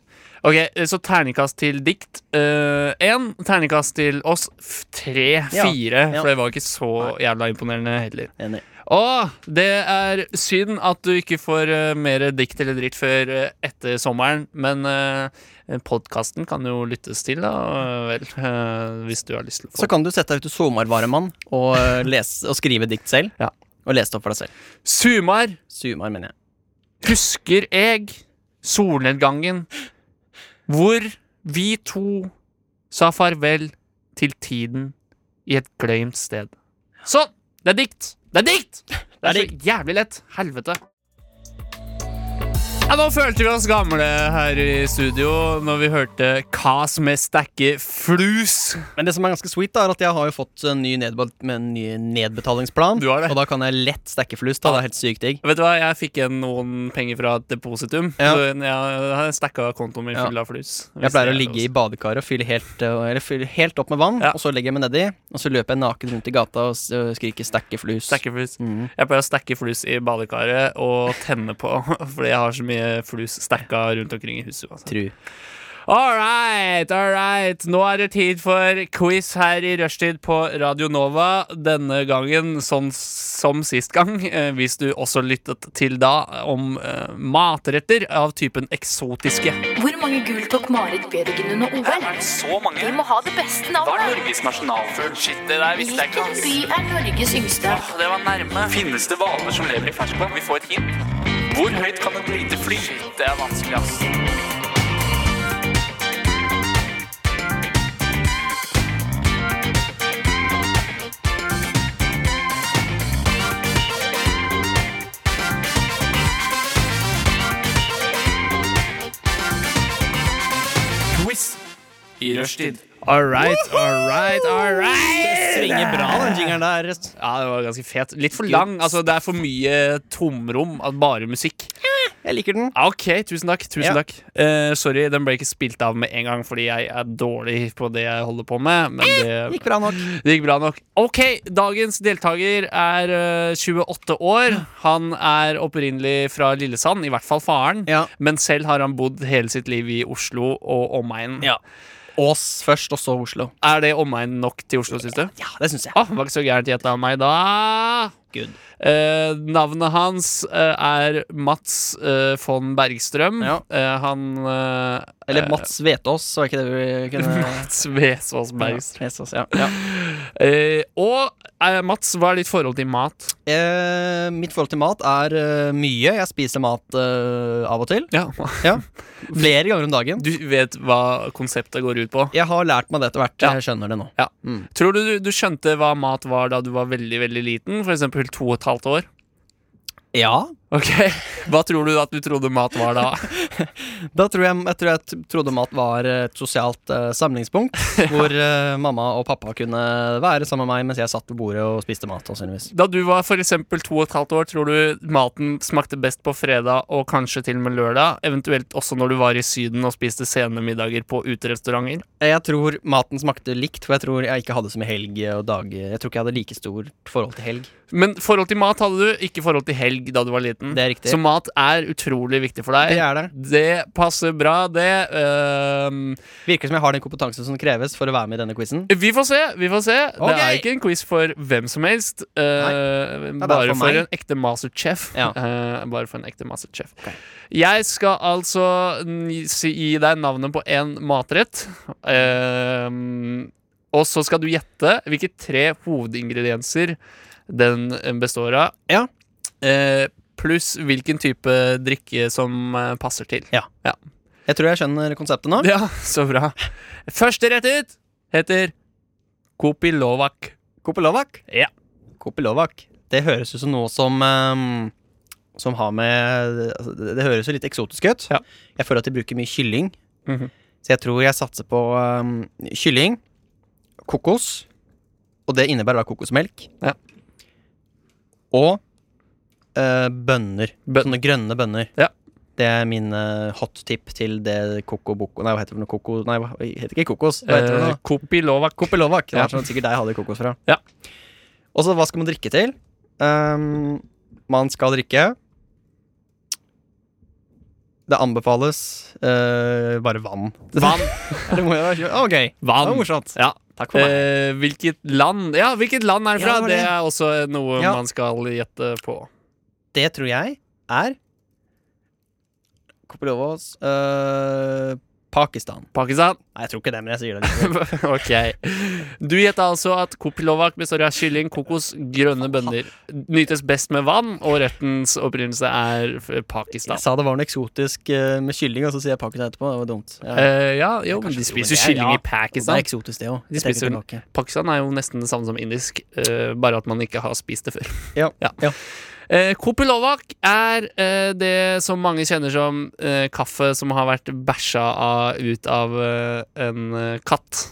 Speaker 2: Ok, eh, så terningkast til dikt. Én terningkast til oss. F- Tre,
Speaker 3: Ja,
Speaker 2: fire.
Speaker 3: ja.
Speaker 2: For det var ikke så jævla imponerende heller.
Speaker 3: Enig.
Speaker 2: Å, det er synd at du ikke får eh, mer dikt eller dritt før eh, etter sommeren, men uh, podkasten kan jo lyttes til, da vel. eh, hvis du har lyst til å få
Speaker 3: Så kan du sette deg ut til Somar-varemann og, eh, lese- og skrive dikt selv.
Speaker 2: Ja.
Speaker 3: Og lese det opp for deg selv.
Speaker 2: Sumar!
Speaker 3: Sumar, mener jeg.
Speaker 2: Husker eg solnedgangen hvor vi to sa farvel til tiden i et glemt sted. Sånn! Det er dikt! Det er dikt! Det er så jævlig lett. Helvete. Ja, nå følte vi oss gamle her i studio når vi hørte Kas med stakke flus.
Speaker 3: Men det som er ganske sweet, da, er at jeg har jo fått en ny, nedbe med en ny nedbetalingsplan.
Speaker 2: Du har det.
Speaker 3: Og da kan jeg lett stacke flust. Da. Det er helt sykt digg.
Speaker 2: Vet du hva, jeg fikk igjen noen penger fra et depositum.
Speaker 3: Ja.
Speaker 2: Så jeg har stacka kontoen min
Speaker 3: Ja.
Speaker 2: full av flus.
Speaker 3: Jeg pleier å ligge i badekaret og fylle helt, eh, eller fylle helt opp med vann,
Speaker 2: Ja.
Speaker 3: og så legger jeg meg nedi, og så løper jeg naken rundt i gata og s- og skriker 'stacke flus'.
Speaker 2: Stakke flus. Jeg pleier å stakke flus i badekaret og tenne på, fordi jeg har så mye flus stakka rundt omkring i huset. Altså.
Speaker 3: Tru.
Speaker 2: All right, all right. Nå er det tid for quiz her i rushtid på Radio Nova. Denne gangen sånn som sist gang, eh, hvis du også lyttet til da, om eh, matretter av typen eksotiske.
Speaker 7: Hvor mange gull tok Marit Bjørgen under OL?
Speaker 2: Så
Speaker 7: Vi
Speaker 2: mange.
Speaker 7: må ha det beste navnet.
Speaker 2: Norges nasjonalfugl. Shit, det der
Speaker 7: Hvilken by er Norges yngste?
Speaker 2: Det var nærme. Finnes det hvaler som lever i ferskvann? Vi får et hint. Hvor høyt kan et lite fly? Det er vanskelig, ass. Quiz i rushtid. All right, all right, all right.
Speaker 3: Svinger bra, den jingeren der.
Speaker 2: Ja, det var ganske fet. Litt for lang. altså Det er for mye tomrom av bare musikk.
Speaker 3: Jeg liker den.
Speaker 2: Ah, Ok, tusen takk. tusen
Speaker 3: Ja.
Speaker 2: takk Eh, Sorry, den ble ikke spilt av med en gang fordi jeg er dårlig på det jeg holder på med. Men Eh, det,
Speaker 3: Gikk bra nok.
Speaker 2: det gikk bra nok. Ok, dagens deltaker er eh, 28 år. Han er opprinnelig fra Lillesand, i hvert fall faren.
Speaker 3: Ja.
Speaker 2: Men selv har han bodd hele sitt liv i Oslo og omegn.
Speaker 3: Ja. Ås først, og så Oslo.
Speaker 2: Er det omegn nok til Oslo, syns du?
Speaker 3: Ja, det syns jeg.
Speaker 2: Ah, var ikke så gærent gjetta av meg da.
Speaker 3: Good.
Speaker 2: Eh, navnet hans eh, er Mats eh, von Bergstrøm.
Speaker 3: Ja.
Speaker 2: Eh, han eh,
Speaker 3: Eller
Speaker 2: eh,
Speaker 3: Mats Vetås, var ikke det vi kunne
Speaker 2: Mats Vesaas Bergstrøm.
Speaker 3: Vetås, ja. ja.
Speaker 2: Eh, og eh, Mats, hva er ditt forhold til mat?
Speaker 3: Eh, mitt forhold til mat er eh, mye. Jeg spiser mat eh, av og til. Ja. Flere ganger om dagen.
Speaker 2: Du vet hva konseptet går ut på?
Speaker 3: Jeg har lært meg det etter hvert.
Speaker 2: Ja.
Speaker 3: Jeg skjønner det nå.
Speaker 2: Ja.
Speaker 3: Mm.
Speaker 2: Tror du du- du skjønte hva mat var da du var veldig veldig liten? For eksempel to og et halvt år?
Speaker 3: Ja,
Speaker 2: Ok, Hva tror du at du trodde mat var da?
Speaker 3: Da tror jeg jeg, tror jeg t- trodde mat var et sosialt eh, samlingspunkt. Hvor eh, mamma og pappa kunne være sammen med meg mens jeg satt ved bordet og spiste mat. sannsynligvis.
Speaker 2: Da du var for eksempel to og et halvt år, tror du maten smakte best på fredag og kanskje til og med lørdag? Eventuelt også når du var i Syden og spiste sene middager på uterestauranter?
Speaker 3: Eh, Jeg tror maten smakte likt, for jeg tror jeg ikke hadde så mye helg eh, og dager. Jeg tror ikke jeg hadde like stort forhold til helg.
Speaker 2: Men forhold til mat hadde du, ikke forhold til helg da du var liten.
Speaker 3: Det er riktig.
Speaker 2: Så mat er utrolig viktig for deg.
Speaker 3: Det er det.
Speaker 2: Det passer bra, det. Ehm,
Speaker 3: Virker som jeg har den kompetansen som kreves for å være med i denne quizen.
Speaker 2: vi får se. vi får se Det
Speaker 3: Ok.
Speaker 2: er ikke en quiz for hvem som helst. eh,
Speaker 3: er
Speaker 2: bare
Speaker 3: for
Speaker 2: for,
Speaker 3: meg.
Speaker 2: en ekte masterchef.
Speaker 3: Ja.
Speaker 2: Eh, bare for en ekte masterchef. Jeg skal altså n- si- gi deg navnet på én matrett. Ehm, og så skal du gjette hvilke tre hovedingredienser den eh, består av.
Speaker 3: Ja.
Speaker 2: Eh, pluss hvilken type drikke som eh, passer til.
Speaker 3: Ja. Jeg tror jeg skjønner konseptet nå.
Speaker 2: Ja, så bra. Første rett ut heter Kopilovak.
Speaker 3: Kopelovak.
Speaker 2: Ja.
Speaker 3: Kopelovak. Det høres jo som noe som ehm, Som har med altså, Det det høres jo litt eksotisk ut.
Speaker 2: Ja.
Speaker 3: Jeg føler at de bruker mye kylling.
Speaker 2: Mhm.
Speaker 3: Så jeg tror jeg satser på ehm, kylling, kokos, og det innebærer da kokosmelk.
Speaker 2: Ja.
Speaker 3: Og eh, bønner.
Speaker 2: Bønn-
Speaker 3: Sånne grønne bønner.
Speaker 2: Ja.
Speaker 3: Det er min eh, hot tip til det koko boko Nei, hva heter det for noe koko... Nei, hva det heter ikke kokos? Hva heter det for noe?
Speaker 2: Eh, Kopilovak.
Speaker 3: Kopelovak. Det
Speaker 2: Ja.
Speaker 3: var sånn sikkert deg hadde kokos fra.
Speaker 2: Ja.
Speaker 3: Og så hva skal man drikke til? Ehm, man skal drikke Det anbefales eh, bare vann.
Speaker 2: Vann.
Speaker 3: Det må jo være OK. Det var
Speaker 2: Vann.
Speaker 3: morsomt.
Speaker 2: Ja.
Speaker 3: Takk for meg.
Speaker 2: Eh, hvilket land Ja, hvilket land er det
Speaker 3: Ja,
Speaker 2: fra?
Speaker 3: det var
Speaker 2: det.
Speaker 3: det.
Speaker 2: er også noe
Speaker 3: Ja.
Speaker 2: man skal gjette på.
Speaker 3: det tror jeg er Kopelovos eh, Pakistan.
Speaker 2: Pakistan.
Speaker 3: Nei, jeg tror ikke det, men jeg sier det. likevel.
Speaker 2: ok. Du gjetta altså at kopilovak består av kylling, kokos, grønne bønner. Nytes best med vann, og rettens opprinnelse er f- Pakistan.
Speaker 3: Jeg sa det var noe eksotisk eh, med kylling, og så sier jeg Pakistan etterpå. Det var dumt. Ja.
Speaker 2: Eh, ja, jo, men
Speaker 3: Kanskje-
Speaker 2: de
Speaker 3: jo, men
Speaker 2: spiser
Speaker 3: det er-
Speaker 2: kylling
Speaker 3: ja.
Speaker 2: i Pakistan.
Speaker 3: det er eksotisk, det òg.
Speaker 2: De spiser vel- Pakistan er jo nesten det samme som indisk, eh, bare at man ikke har spist det før.
Speaker 3: Ja.
Speaker 2: Ja.
Speaker 3: ja.
Speaker 2: Eh, Kopilovak er eh, det som mange kjenner som eh, kaffe som har vært bæsja av, ut av eh, en eh, katt.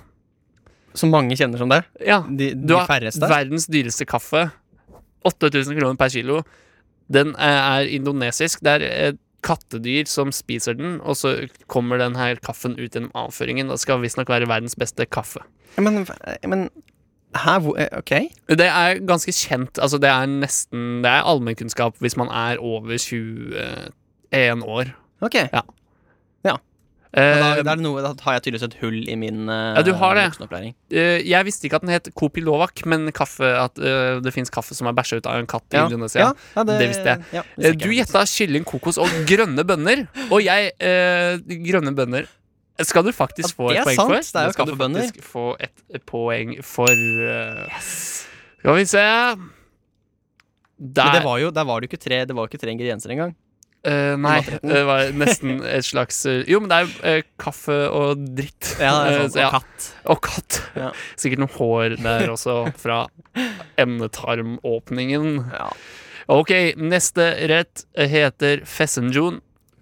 Speaker 3: Som mange kjenner som det.
Speaker 2: Ja,
Speaker 3: De,
Speaker 2: du
Speaker 3: de
Speaker 2: har
Speaker 3: færreste.
Speaker 2: verdens dyreste kaffe. 8000 kroner per kilo. Den eh, er indonesisk. Det er eh, kattedyr som spiser den, og så kommer den her kaffen ut gjennom avføringen. Og skal visstnok være verdens beste kaffe.
Speaker 3: Men, men Hæ? Hvor, eh, ok.
Speaker 2: Det er ganske kjent. Altså, det er nesten Det er allmennkunnskap hvis man er over 21 år.
Speaker 3: Ok.
Speaker 2: Ja.
Speaker 3: Men Da,
Speaker 2: Eh,
Speaker 3: da, er det noe, da har jeg tydeligvis et hull i min eh,
Speaker 2: Ja, du har det.
Speaker 3: voksenopplæring.
Speaker 2: eh, jeg visste ikke at den het Kopilovak, men kaffe, at eh, det fins kaffe som er bæsja ut av en katt i Indonesia.
Speaker 3: ja,
Speaker 2: det visste jeg.
Speaker 3: ja,
Speaker 2: Eh,
Speaker 3: visste
Speaker 2: Du
Speaker 3: jeg.
Speaker 2: gjetta kylling, kokos og grønne bønner. Og jeg eh, Grønne bønner skal du faktisk
Speaker 3: Ja,
Speaker 2: få
Speaker 3: det
Speaker 2: et
Speaker 3: er
Speaker 2: poeng
Speaker 3: sant,
Speaker 2: for.
Speaker 3: det er jo
Speaker 2: skal du
Speaker 3: kaffebønner.
Speaker 2: faktisk få et poeng for. eh, Skal vi se
Speaker 3: Men
Speaker 2: Der.
Speaker 3: det var jo, der var det jo ikke tre, det var jo ikke tre ingredienser engang.
Speaker 2: eh, nei,
Speaker 3: matretten.
Speaker 2: det var nesten et slags eh, Jo, men det er jo eh, kaffe og dritt.
Speaker 3: Ja, det er
Speaker 2: Eh,
Speaker 3: sant,
Speaker 2: så ja,
Speaker 3: og katt.
Speaker 2: og katt.
Speaker 3: Ja.
Speaker 2: Sikkert noe hår der også, fra endetarmåpningen.
Speaker 3: Ja.
Speaker 2: Ok, neste rett heter fessenjun.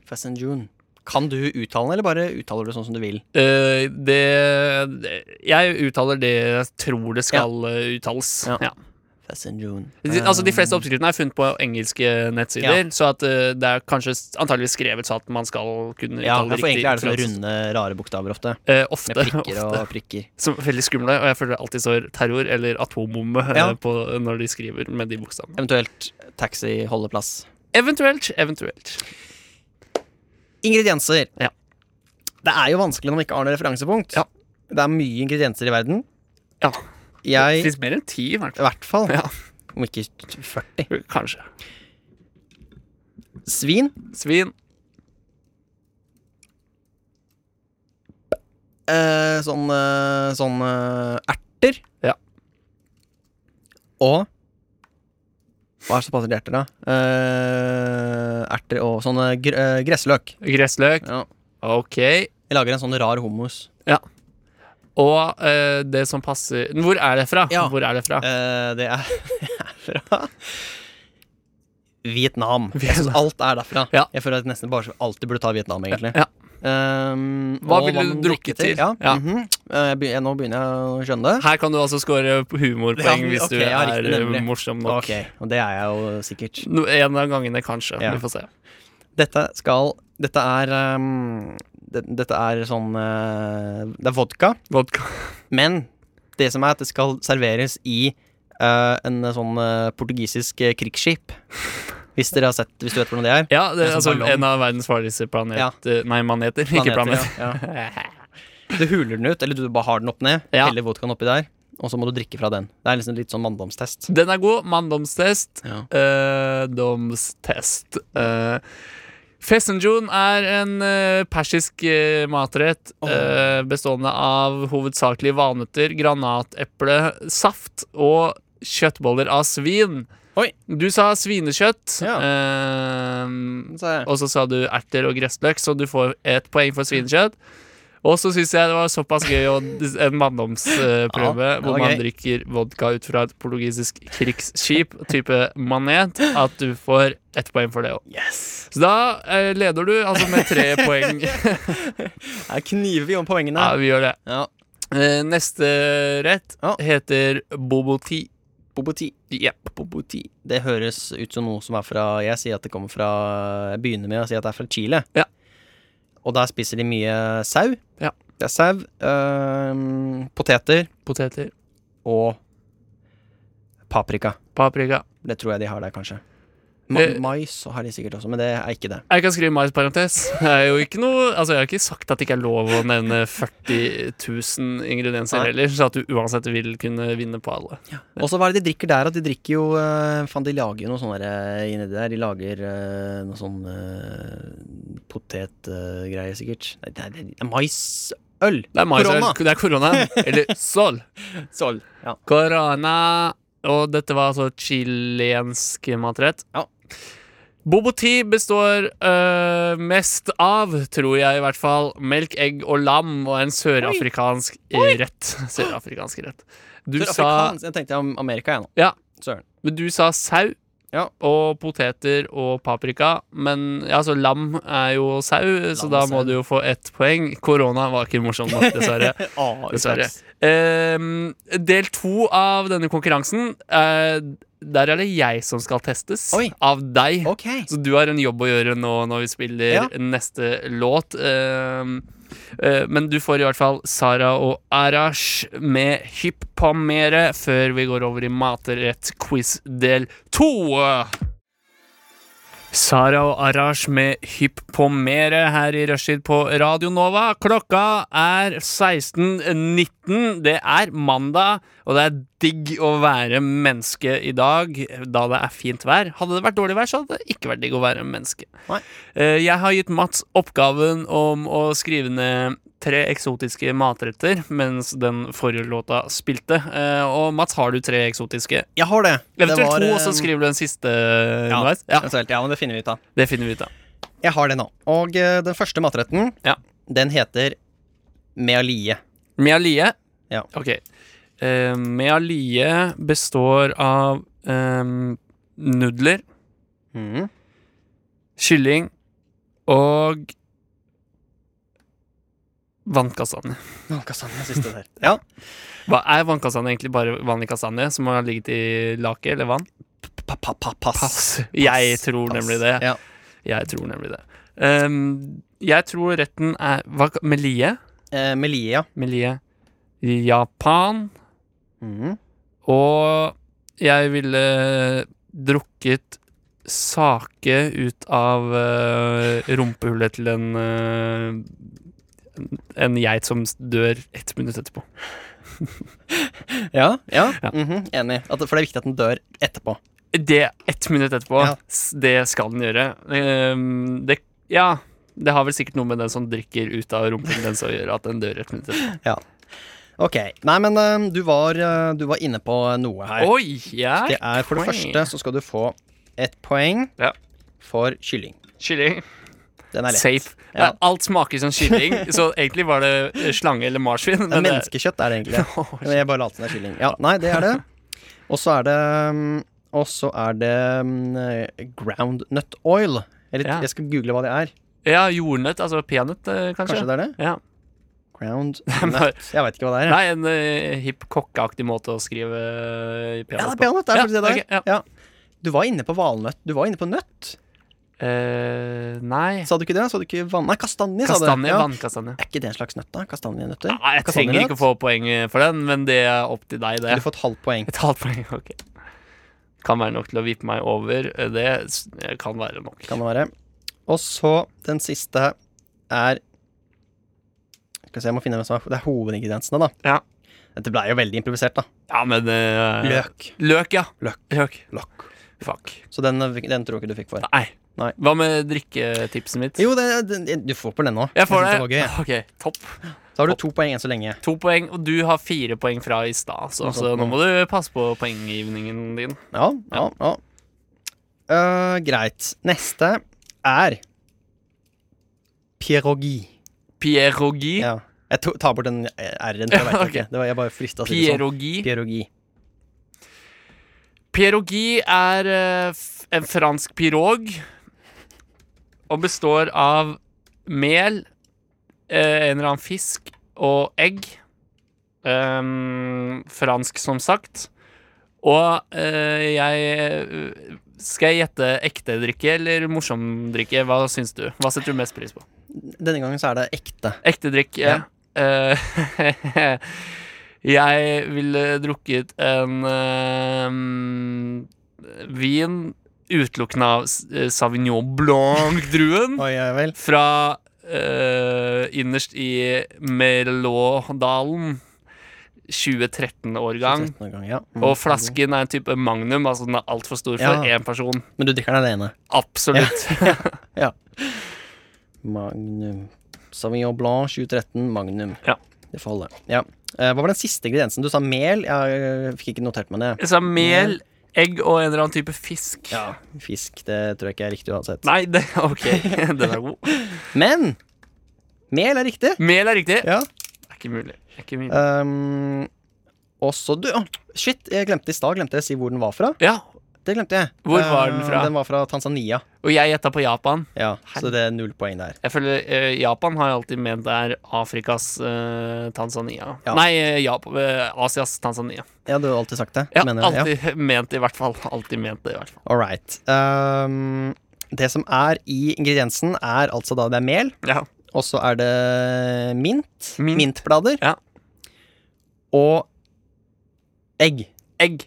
Speaker 3: Fessenjun. Kan du uttale den, eller bare uttaler du det sånn som du vil?
Speaker 2: Eh, det, det- Jeg uttaler det jeg tror det skal eh, uttales.
Speaker 3: Ja.
Speaker 2: Ja.
Speaker 3: Fessenjun.
Speaker 2: De, altså, de fleste oppskriftene er funnet på engelske nettsider, så at, eh, det er kanskje s- antageligvis skrevet så at man skal kunne uttale
Speaker 3: Ja,
Speaker 2: det
Speaker 3: for
Speaker 2: riktig.
Speaker 3: egentlig er det sånne
Speaker 2: fransk.
Speaker 3: runde, rare bokstaver ofte.
Speaker 2: Eh, ofte.
Speaker 3: Med prikker
Speaker 2: ofte.
Speaker 3: og prikker.
Speaker 2: Som er veldig skumle, og jeg føler det alltid står terror eller atombombe eh,
Speaker 3: Ja.
Speaker 2: på, når de skriver med de bokstavene.
Speaker 3: Eventuelt taxi-holdeplass.
Speaker 2: Eventuelt, eventuelt.
Speaker 3: Ingredienser.
Speaker 2: Ja.
Speaker 3: Det er jo vanskelig når man ikke har noe referansepunkt.
Speaker 2: Ja.
Speaker 3: Det er mye ingredienser i verden.
Speaker 2: Ja. Det
Speaker 3: Jeg
Speaker 2: fins mer enn ti, i hvert
Speaker 3: I hvert fall.
Speaker 2: Ja.
Speaker 3: Om ikke 40.
Speaker 2: fall. Kanskje.
Speaker 3: Svin.
Speaker 2: Svin.
Speaker 3: Eh, sånn eh, sånn eh, erter.
Speaker 2: Ja.
Speaker 3: Og Hva er det som passer til erter, da? Eh, erter og sånn eh, gr eh, gressløk.
Speaker 2: Gressløk.
Speaker 3: Ja.
Speaker 2: Ok.
Speaker 3: Jeg lager en sånn rar hummus.
Speaker 2: Og eh, det som passer Hvor er det fra?
Speaker 3: Ja.
Speaker 2: Hvor er det fra?
Speaker 3: Eh, det er fra Vietnam. Jeg synes
Speaker 2: Vietnam.
Speaker 3: alt er derfra.
Speaker 2: Ja.
Speaker 3: Jeg føler at jeg nesten bare alltid burde ta Vietnam, egentlig.
Speaker 2: Ja.
Speaker 3: Ehm,
Speaker 2: Hva
Speaker 3: og
Speaker 2: ville du
Speaker 3: man
Speaker 2: drukket
Speaker 3: drikker
Speaker 2: til?
Speaker 3: Ja.
Speaker 2: Ja.
Speaker 3: mhm. Eh, jeg begy- nå begynner jeg å skjønne det.
Speaker 2: Her kan du altså score humorpoeng
Speaker 3: Ja,
Speaker 2: hvis
Speaker 3: ok,
Speaker 2: du
Speaker 3: ja,
Speaker 2: er
Speaker 3: riktig, nemlig.
Speaker 2: eh, morsom nok.
Speaker 3: Ok, Og det er jeg jo sikkert.
Speaker 2: No, en av gangene, kanskje.
Speaker 3: Ja.
Speaker 2: Vi får se.
Speaker 3: Dette skal Dette er ehm, det, Dette er sånn eh, Det er vodka,
Speaker 2: Vodka.
Speaker 3: men det som er at det skal serveres i eh, en sånn eh, portugisisk eh, krigsskip. Hvis dere har sett Hvis du vet hvordan det er.
Speaker 2: Ja, det,
Speaker 3: Det er
Speaker 2: er
Speaker 3: som
Speaker 2: altså
Speaker 3: ballong.
Speaker 2: en av verdens farligste planet...
Speaker 3: Ja.
Speaker 2: eh, Nei, maneter. Ikke planeter.
Speaker 3: Planeter, ja. Ja. Du huler den ut, eller du bare har den opp ned,
Speaker 2: Ja.
Speaker 3: heller vodkaen oppi der, og så må du drikke fra den. Det er liksom litt sånn manndomstest.
Speaker 2: Den er god. Manndomstest.
Speaker 3: Ja.
Speaker 2: Eh, domstest. Eh, Fessenjun er en eh, persisk eh, matrett eh, bestående av hovedsakelig valnøtter, granateple, saft og kjøttboller av svin.
Speaker 3: Oi.
Speaker 2: Du sa svinekjøtt.
Speaker 3: Ja.
Speaker 2: eh,
Speaker 3: Så jeg,
Speaker 2: og så sa du erter og gressløk, så du får ett poeng for svinekjøtt. Og så syns jeg det var såpass gøy å, en manndomsprøve
Speaker 3: Ja, det var
Speaker 2: hvor man
Speaker 3: gøy.
Speaker 2: drikker vodka ut fra et portugisisk krigsskip, type manet, at du får ett poeng for det òg. Så da eh, leder du altså med tre poeng.
Speaker 3: jeg kniver vi om poengene.
Speaker 2: Ja, vi gjør det.
Speaker 3: Ja.
Speaker 2: Eh, neste rett
Speaker 3: Ja.
Speaker 2: heter boboti.
Speaker 3: Boboti.
Speaker 2: Jepp.
Speaker 3: Boboti. Det høres ut som noe som er fra Jeg sier at det kommer fra Jeg begynner med å si at det er fra Chile.
Speaker 2: Ja.
Speaker 3: Og der spiser de mye sau.
Speaker 2: Ja.
Speaker 3: Det er sau, øhm, poteter
Speaker 2: Poteter.
Speaker 3: og paprika.
Speaker 2: Paprika.
Speaker 3: Det tror jeg de har der, kanskje. Ma
Speaker 2: Eh.
Speaker 3: mais har de sikkert også, men det er ikke det.
Speaker 2: Jeg kan skrive mais parentes. Det er jo ikke noe, altså jeg har ikke sagt at det ikke er lov å nevne 40 000 ingredienser
Speaker 3: Nei.
Speaker 2: heller, så at du uansett vil kunne vinne på alle.
Speaker 3: Og så hva er det de drikker der? At de drikker jo eh, Faen, de lager jo noe sånn der eh, inni der. De lager eh, noe sånn potetgreier, sikkert. Nei, det er- det er maisøl!
Speaker 2: Det er mais,
Speaker 3: Korona.
Speaker 2: Det er korona. Eller sol.
Speaker 3: Sol. Ja.
Speaker 2: Corona. Og dette var altså chilensk matrett.
Speaker 3: Ja.
Speaker 2: Boboti består øh, mest av, tror jeg i hvert fall, melk, egg og lam og en sørafrikansk rett. Sørafrikansk rett. Du sa
Speaker 3: Sørafrikansk. Jeg tenkte om Amerika, jeg nå.
Speaker 2: Ja.
Speaker 3: Søren.
Speaker 2: Men du sa sau
Speaker 3: Ja.
Speaker 2: og poteter og paprika. Men ja, altså, lam er jo sau, så
Speaker 3: Lam
Speaker 2: da
Speaker 3: er
Speaker 2: må
Speaker 3: sau.
Speaker 2: du jo få ett poeng. Korona var ikke morsom nok, dessverre.
Speaker 3: Ah,
Speaker 2: dessverre. Ehm, del to av denne konkurransen, eh, der er det jeg som skal testes.
Speaker 3: Oi.
Speaker 2: Av deg.
Speaker 3: Ok.
Speaker 2: Så du har en jobb å gjøre nå når vi spiller
Speaker 3: Ja.
Speaker 2: neste låt. Ehm, eh, men du får i hvert fall Sara og Arash med Hypp på mere før vi går over i materett-quiz del to. Sara og Arash med Hypp på mere her i rushtid på Radio Nova. Klokka er 16.19. Det er mandag, og det er digg å være menneske i dag, da det er fint vær. Hadde det vært dårlig vær, så hadde det ikke vært digg å være menneske.
Speaker 3: Nei.
Speaker 2: Eh, Jeg har gitt Mats oppgaven om å skrive ned tre eksotiske matretter mens den forrige låta spilte. Eh, Og Mats, har du tre eksotiske?
Speaker 3: Jeg har det.
Speaker 2: Eventuelt
Speaker 3: det var,
Speaker 2: to, og
Speaker 3: eh,
Speaker 2: så skriver du den siste
Speaker 3: ja,
Speaker 2: underveis. Ja,
Speaker 3: eventuelt. ja, men det finner vi ut av.
Speaker 2: det finner vi ut av.
Speaker 3: Jeg har det nå. Og eh, den første matretten,
Speaker 2: Ja.
Speaker 3: den heter mealie.
Speaker 2: Mealie?
Speaker 3: Ja.
Speaker 2: Ok. Eh, mealie består av eh, nudler,
Speaker 3: Mhm.
Speaker 2: kylling og vannkastanje.
Speaker 3: Å, Kastanje, siste der. Ja,
Speaker 2: Hva er vannkastanje egentlig bare vanlig kastanje som har ligget i lake eller vann?
Speaker 3: pa, pa, pa, pass.
Speaker 2: Jeg tror
Speaker 3: Pass.
Speaker 2: nemlig det.
Speaker 3: Ja.
Speaker 2: Jeg tror nemlig det. Ehm, jeg tror retten er hva, Melie?
Speaker 3: Eh, melie, ja.
Speaker 2: Melie Japan.
Speaker 3: Mhm.
Speaker 2: Og jeg ville drukket sake ut av eh, rumpehullet til en eh, en- en geit som dør ett minutt etterpå.
Speaker 3: Ja, ja.
Speaker 2: Ja.
Speaker 3: mhm, Enig. At, for det er viktig at den dør etterpå.
Speaker 2: Det ett minutt etterpå,
Speaker 3: Ja.
Speaker 2: s- det skal den gjøre. Ehm, det, ja, det har vel sikkert noe med den som drikker ut av rumpehullet dens å gjøre, at den dør ett minutt etterpå.
Speaker 3: Ok. Nei, men eh, du, var, eh, du var inne på noe her.
Speaker 2: Oi, ja.
Speaker 3: Det er For det
Speaker 2: poeng.
Speaker 3: første så skal du få et poeng
Speaker 2: Ja.
Speaker 3: for kylling.
Speaker 2: Kylling.
Speaker 3: Den er lett.
Speaker 2: Safe.
Speaker 3: Ja.
Speaker 2: Alt smaker som kylling, så egentlig var det eh, slange eller marsvin.
Speaker 3: Det er
Speaker 2: Men eh, det,
Speaker 3: menneskekjøtt er det egentlig.
Speaker 2: Åh,
Speaker 3: Men jeg bare later som det er kylling. Ja, nei, det er det. Og så er det mm, Og så er det mm, eh, groundnut oil. Eller
Speaker 2: Ja.
Speaker 3: jeg skal google hva det er.
Speaker 2: Ja, jordnøtt, altså peanøtt, eh, kanskje.
Speaker 3: Kanskje det er det?
Speaker 2: Ja. bare-
Speaker 3: Groundnut. Jeg veit ikke hva det er. jeg.
Speaker 2: Nei, en eh, hipp kokkeaktig måte å skrive eh,
Speaker 3: Ja, det
Speaker 2: peanøtt
Speaker 3: er peanøtt.
Speaker 2: Ja,
Speaker 3: Det er faktisk det det
Speaker 2: ok, ja.
Speaker 3: er. Ja. Du var inne på valnøtt. Du var inne på nøtt.
Speaker 2: Eh, nei.
Speaker 3: Sa du ikke det? Sa du ikke van... Nei, kastanje, sa du.
Speaker 2: Kastanje.
Speaker 3: Ja.
Speaker 2: Vannkastanje.
Speaker 3: Er ikke det en slags nøtt, da? Kastanjenøtter?
Speaker 2: Nei, jeg trenger ikke å få poeng eh, for den, men det er opp til deg, det.
Speaker 3: Du får et halvt poeng.
Speaker 2: Et halvt poeng, ok. Kan være nok til å vippe meg over. Eh, Det s- eh, kan være nok.
Speaker 3: Kan det være. Og så den siste er Skal vi se, jeg må finne hvem som er Det er hovedingrediensene, da.
Speaker 2: Ja.
Speaker 3: Dette ble jo veldig improvisert, da.
Speaker 2: Ja, men eh,
Speaker 3: Løk.
Speaker 2: Løk, ja.
Speaker 3: Løk.
Speaker 2: Løk.
Speaker 3: Lokk.
Speaker 2: Fuck.
Speaker 3: Så den, den tror jeg ikke du fikk for.
Speaker 2: Nei.
Speaker 3: Nei.
Speaker 2: Hva med drikketipset mitt?
Speaker 3: Jo, det, den- du får på den nå.
Speaker 2: jeg får det.
Speaker 3: synes var gøy, jeg.
Speaker 2: Ok, topp.
Speaker 3: Så har du to poeng enn så lenge.
Speaker 2: To poeng, og du har fire poeng fra i stad, så,
Speaker 3: Noe sånt
Speaker 2: så nå
Speaker 3: nå.
Speaker 2: må du passe på poenggivningen din.
Speaker 3: Ja, ja, ja. Øh, greit. Neste er pierogi.
Speaker 2: Pierogi.
Speaker 3: Ja. Jeg to, tar bort den r-en, for jeg veit
Speaker 2: Ok.
Speaker 3: ikke. Det var, jeg bare frista å si det sånn.
Speaker 2: Pierogi.
Speaker 3: Pierogi.
Speaker 2: Pierogi er eh, f- en fransk pirog og består av mel, eh, en eller annen fisk og egg. Ehm, fransk, som sagt. Og eh, jeg Skal jeg gjette ekte drikke eller morsom drikke? Hva syns du? Hva setter du mest pris på?
Speaker 3: Denne gangen så er det ekte.
Speaker 2: Ekte drikke.
Speaker 3: Ja.
Speaker 2: Eh, jeg ville drukket en eh, vin utelukkende av S- eh, Sauvignon Blanc-druen
Speaker 3: Oi, ja vel.
Speaker 2: fra eh, innerst i Merlot-dalen. 2013-årgang.
Speaker 3: 13 gang, ja. Mm.
Speaker 2: Og flasken er en type magnum, altså den er altfor stor for
Speaker 3: Ja.
Speaker 2: én person.
Speaker 3: Men du drikker den alene.
Speaker 2: Absolutt.
Speaker 3: Magnum. Sauvignon Blanc 2013 Magnum.
Speaker 2: Ja.
Speaker 3: Det får holde. Ja. Eh, hva var den siste ingrediensen? Du sa mel. Jeg eh, fikk ikke notert meg det.
Speaker 2: Så er mel, egg og en eller annen type fisk.
Speaker 3: Ja, Fisk. Det tror jeg ikke er riktig uansett.
Speaker 2: Nei, det, ok, den er god.
Speaker 3: Men mel er riktig.
Speaker 2: Mel er riktig.
Speaker 3: Ja.
Speaker 2: Det er ikke mulig. Det er ikke mulig.
Speaker 3: Um, og så du Å, Shit, jeg glemte i stad glemte jeg å si hvor den var fra.
Speaker 2: Ja,
Speaker 3: Det glemte jeg.
Speaker 2: Hvor var den
Speaker 3: Eh,
Speaker 2: fra?
Speaker 3: Den var fra Tanzania.
Speaker 2: og jeg gjetta på Japan.
Speaker 3: Ja, Så det er null poeng der.
Speaker 2: Jeg føler eh, Japan har jeg alltid ment er Afrikas eh, Tanzania.
Speaker 3: Ja.
Speaker 2: Nei, eh, Jap eh, Asias Tanzania.
Speaker 3: Ja, du har alltid sagt det.
Speaker 2: Ja,
Speaker 3: mener jeg. Ja.
Speaker 2: alltid ment det, i hvert fall. Alltid ment det, i hvert fall.
Speaker 3: All right. Ehm, det som er i ingrediensen, er altså da det er mel,
Speaker 2: Ja.
Speaker 3: og så er det mint.
Speaker 2: Mint.
Speaker 3: Mintblader.
Speaker 2: Ja.
Speaker 3: Og egg.
Speaker 2: Egg.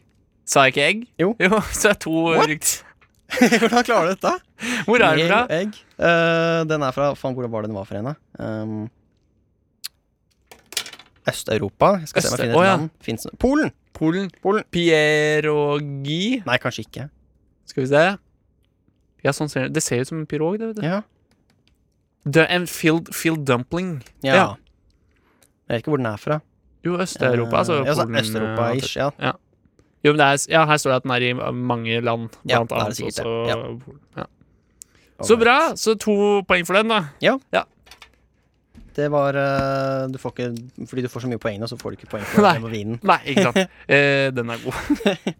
Speaker 2: Sa jeg ikke egg?
Speaker 3: Jo.
Speaker 2: så er to
Speaker 3: What?
Speaker 2: riktig.
Speaker 3: Hvordan klarer du dette?
Speaker 2: Hvor er den fra?
Speaker 3: Mail, egg. Eh, den er fra Faen, hvordan var det den var for henne? Um, Øst-Europa. Jeg skal se om
Speaker 2: Øste-
Speaker 3: jeg finner et
Speaker 2: Å, ja.
Speaker 3: land. Finnes, Polen!
Speaker 2: Polen.
Speaker 3: Polen.
Speaker 2: Pierogi.
Speaker 3: Nei, kanskje ikke.
Speaker 2: Skal vi se. Ja, sånn ser det. det ser ut som en pirog. Det, vet du.
Speaker 3: Ja.
Speaker 2: Det er en filled, filled dumpling.
Speaker 3: ja.
Speaker 2: Ja.
Speaker 3: Jeg vet ikke hvor den er fra.
Speaker 2: Jo, Øst-Europa. Altså
Speaker 3: Eh, ja, så
Speaker 2: Polen,
Speaker 3: Østeuropa-ish, ja.
Speaker 2: Jo, men det er, ja, her står det at den er i eh, mange land.
Speaker 3: Ja,
Speaker 2: Blant
Speaker 3: det er det
Speaker 2: annet
Speaker 3: sikkert
Speaker 2: også
Speaker 3: det. Ja.
Speaker 2: Polen. Ja. Så bra! Så to poeng for den, da.
Speaker 3: Det var eh, du får ikke, Fordi du får så mye poeng nå, så får du ikke poeng for
Speaker 2: Nei.
Speaker 3: den på vinen.
Speaker 2: Nei, ikke sant. eh, den er god.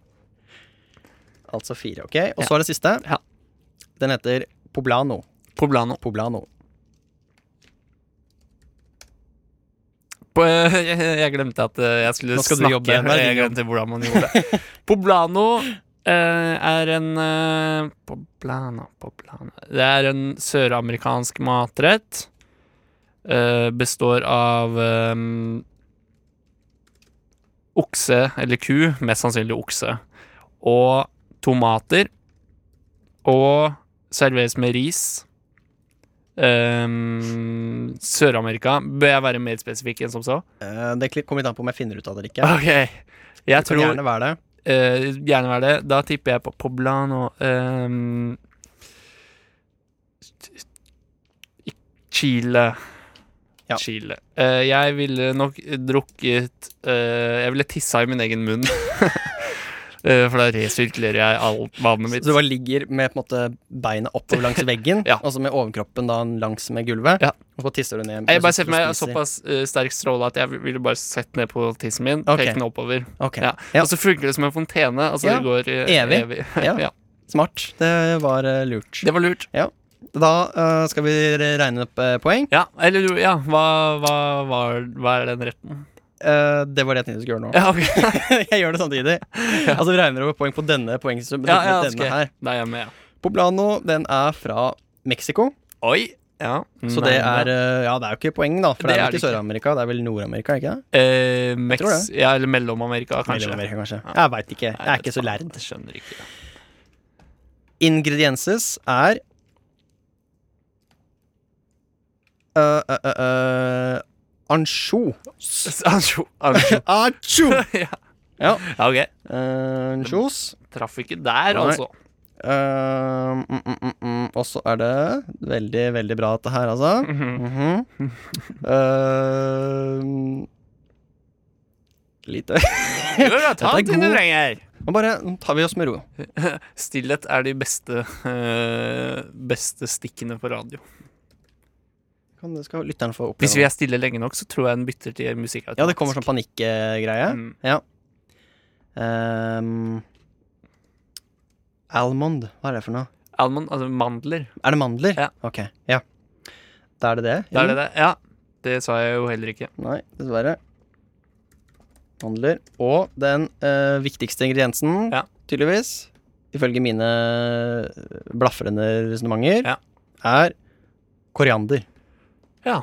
Speaker 3: Altså fire, ok? Og så er det siste.
Speaker 2: Ja.
Speaker 3: Den heter Poblano.
Speaker 2: Poblano.
Speaker 3: Poblano.
Speaker 2: På, jeg, jeg glemte at eh, jeg skulle
Speaker 3: Nå skal du
Speaker 2: snakke.
Speaker 3: jobbe, nå er det
Speaker 2: jeg
Speaker 3: din
Speaker 2: glemte hvordan man gjorde det. Poblano eh, er en eh, Poblano, Poblano Det er en søramerikansk matrett. Eh, består av eh, okse eller ku, mest sannsynlig okse, og tomater. Og serveres med ris. Ehm, Sør-Amerika. Bør jeg være mer spesifikk enn som så?
Speaker 3: Eh, det kli- kommer litt an på om jeg finner ut av det eller ikke.
Speaker 2: Ok. Jeg
Speaker 3: Det kan
Speaker 2: Ah, tror
Speaker 3: gjerne være det.
Speaker 2: eh, Gjerne være det. Da tipper jeg på Poblano ehm, i Chile.
Speaker 3: Ja.
Speaker 2: Chile. Eh, jeg ville nok drukket eh, Jeg ville tissa i min egen munn. Eh, for da resirkulerer jeg alt vannet mitt.
Speaker 3: Så du bare ligger med på en måte beina oppover langs veggen,
Speaker 2: Ja.
Speaker 3: og så med overkroppen da langs med gulvet,
Speaker 2: Ja.
Speaker 3: og så tisser du ned.
Speaker 2: Nei, Jeg bare ser
Speaker 3: og
Speaker 2: for meg
Speaker 3: spiser.
Speaker 2: såpass eh, sterk stråle at jeg ville bare sett ned på tissen min.
Speaker 3: Ok.
Speaker 2: Pekt den oppover.
Speaker 3: Ok,
Speaker 2: Ja.
Speaker 3: Ja.
Speaker 2: Og så funker det som en fontene. Altså
Speaker 3: Ja.
Speaker 2: det går eh,
Speaker 3: Evig.
Speaker 2: evig.
Speaker 3: Ja.
Speaker 2: ja.
Speaker 3: Smart. Det var eh, lurt.
Speaker 2: Det var lurt.
Speaker 3: Da eh, skal vi regne opp eh, poeng.
Speaker 2: Ja, eller jo, ja, hva, hva, hva, hva er den retten?
Speaker 3: Eh, det var det jeg tenkte du skulle gjøre nå.
Speaker 2: Ja, ok.
Speaker 3: jeg gjør det samtidig. Altså vi regner over poeng på denne poengsummen.
Speaker 2: ja, ja,
Speaker 3: denne
Speaker 2: ok.
Speaker 3: her.
Speaker 2: Da er jeg med, ja.
Speaker 3: Poblano, den er fra Mexico.
Speaker 2: Oi! Ja.
Speaker 3: Så det er eh, Ja, det er jo ikke poeng, da, for det,
Speaker 2: Det
Speaker 3: er
Speaker 2: er
Speaker 3: vel
Speaker 2: det
Speaker 3: ikke Sør-Amerika, det er vel Nord-Amerika, er ikke det?
Speaker 2: eh, Mex,
Speaker 3: tror det.
Speaker 2: Ja, eller Mellom-Amerika, kanskje.
Speaker 3: Mellom-Amerika, kanskje. Jeg veit ikke. Jeg er ikke så lærd.
Speaker 2: Jeg skjønner ikke.
Speaker 3: Ingredienses er uh, uh, uh, uh, Ansjo.
Speaker 2: Anjo, anjo.
Speaker 3: Ansjo!
Speaker 2: ja.
Speaker 3: Ja.
Speaker 2: ja, ok.
Speaker 3: Uh, ansjos.
Speaker 2: Traff ikke der,
Speaker 3: Nei.
Speaker 2: altså.
Speaker 3: Uh, mm, mm, mm, mm. Og så er det veldig, veldig bra dette her, altså. Mhm. Uh, lite
Speaker 2: Jo, da, ta
Speaker 3: Dette er
Speaker 2: den du
Speaker 3: god.
Speaker 2: trenger.
Speaker 3: Nå bare nå tar vi oss med ro.
Speaker 2: Stillhet er de beste, eh, beste stikkene på radio.
Speaker 3: Kan, skal lytteren få oppleve
Speaker 2: Hvis vi er stille lenge nok, så tror jeg den bytter til musikk.
Speaker 3: Ja, det kommer sånn panikkgreie.
Speaker 2: Mm.
Speaker 3: Ja. Ehm, almond, hva er det for noe?
Speaker 2: Almond, altså mandler.
Speaker 3: Er det mandler?
Speaker 2: Ja.
Speaker 3: Ok, ja. Da er det det?
Speaker 2: Da er det
Speaker 3: eller?
Speaker 2: det. Ja, det sa jeg jo heller ikke.
Speaker 3: Nei, dessverre. Mandler. Og den eh, viktigste ingrediensen,
Speaker 2: Ja.
Speaker 3: tydeligvis, ifølge mine eh, blafrende resonnementer,
Speaker 2: Ja.
Speaker 3: er koriander.
Speaker 2: Ja.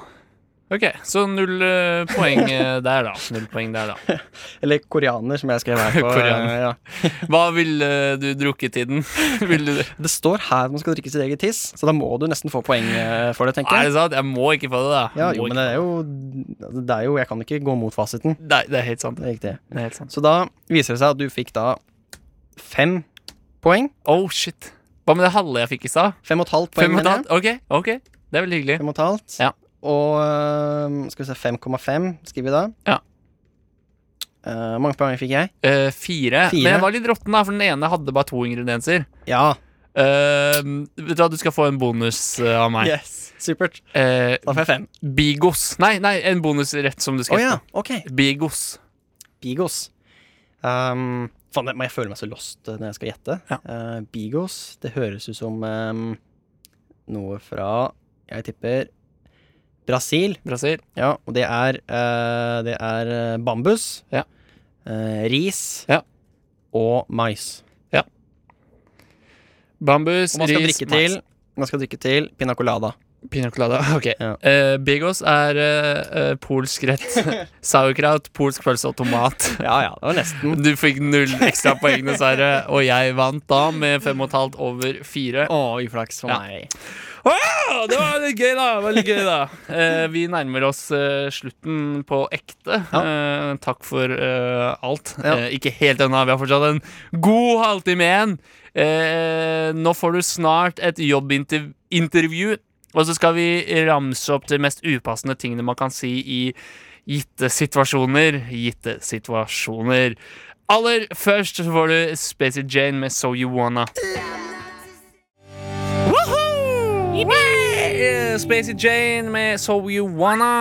Speaker 2: Ok, så null eh, poeng eh, der, da. Null poeng der, da.
Speaker 3: Eller koreaner, som jeg skrev her. På, eh,
Speaker 2: Koriander.
Speaker 3: ja.
Speaker 2: Hva ville eh, du drukket i den? Vil du det?
Speaker 3: Det står her at man skal drikke sitt eget tiss, så da må du nesten få poeng eh, for det, tenker jeg.
Speaker 2: Er det sant? Jeg må ikke få det, da.
Speaker 3: Ja,
Speaker 2: Jeg
Speaker 3: jo,
Speaker 2: må
Speaker 3: men
Speaker 2: ikke
Speaker 3: det er
Speaker 2: få
Speaker 3: jo, altså, det er jo Jeg kan ikke gå mot fasiten.
Speaker 2: Nei, det er helt sant.
Speaker 3: Det er riktig.
Speaker 2: Det er helt sant.
Speaker 3: Så da viser det seg at du fikk da fem poeng.
Speaker 2: Oh, shit. Hva med det halve jeg fikk i stad?
Speaker 3: Fem og et halvt poeng,
Speaker 2: Fem og et
Speaker 3: mener jeg.
Speaker 2: halvt? Ok, ok. Det er veldig hyggelig.
Speaker 3: Fem og et halvt.
Speaker 2: Ja.
Speaker 3: Og øhm, skal vi se 5,5 skriver vi da.
Speaker 2: Ja.
Speaker 3: Eh, Hvor mange poeng fikk jeg?
Speaker 2: Eh, fire.
Speaker 3: Fire.
Speaker 2: Men jeg var litt råtten, da, for den ene hadde bare to ingredienser.
Speaker 3: Ja.
Speaker 2: Eh, vet du hva, du skal få en bonus eh, av meg.
Speaker 3: Yes. Supert.
Speaker 2: Eh,
Speaker 3: Da får jeg fem.
Speaker 2: Bigos. Nei, nei, en bonusrett som du
Speaker 3: Å
Speaker 2: skal
Speaker 3: ja,
Speaker 2: gjette.
Speaker 3: ok.
Speaker 2: Bigos.
Speaker 3: Bigos. Um, Faen, jeg- jeg føler meg så lost eh, når jeg skal gjette.
Speaker 2: Ja.
Speaker 3: Eh, Bigos, det høres ut som ehm, noe fra Jeg tipper Brasil.
Speaker 2: Brasil.
Speaker 3: Ja, og det er eh, Det er eh, bambus.
Speaker 2: Ja.
Speaker 3: eh, ris.
Speaker 2: Ja.
Speaker 3: Og mais.
Speaker 2: Bambus,
Speaker 3: Og man skal
Speaker 2: ris,
Speaker 3: drikke
Speaker 2: mais.
Speaker 3: til Man skal drikke til pina colada.
Speaker 2: Pina colada. Ok.
Speaker 3: Ja.
Speaker 2: Eh, Bigos er eh, eh, polsk rett. Sauerkraut, polsk pølse og tomat.
Speaker 3: Ja ja, det var nesten.
Speaker 2: Du fikk null ekstrapoeng, dessverre. Og jeg vant da med fem og et halvt over fire.
Speaker 3: Å, uflaks for
Speaker 2: Ja.
Speaker 3: meg.
Speaker 2: Wow, det var litt gøy, da. Det var litt gøy, da. Eh, vi nærmer oss eh, slutten på ekte. Eh, takk for eh, alt.
Speaker 3: Ja.
Speaker 2: Eh, ikke helt ennå. Vi har fortsatt en god halvtime igjen. Eh, nå får du snart et jobbintervju, og så skal vi ramse opp de mest upassende tingene man kan si i gitte situasjoner. Gitte situasjoner. Aller først så får du Spacey Jane med So You Wanna. Woohoo! Eh, Spacey Jane med So You Wanna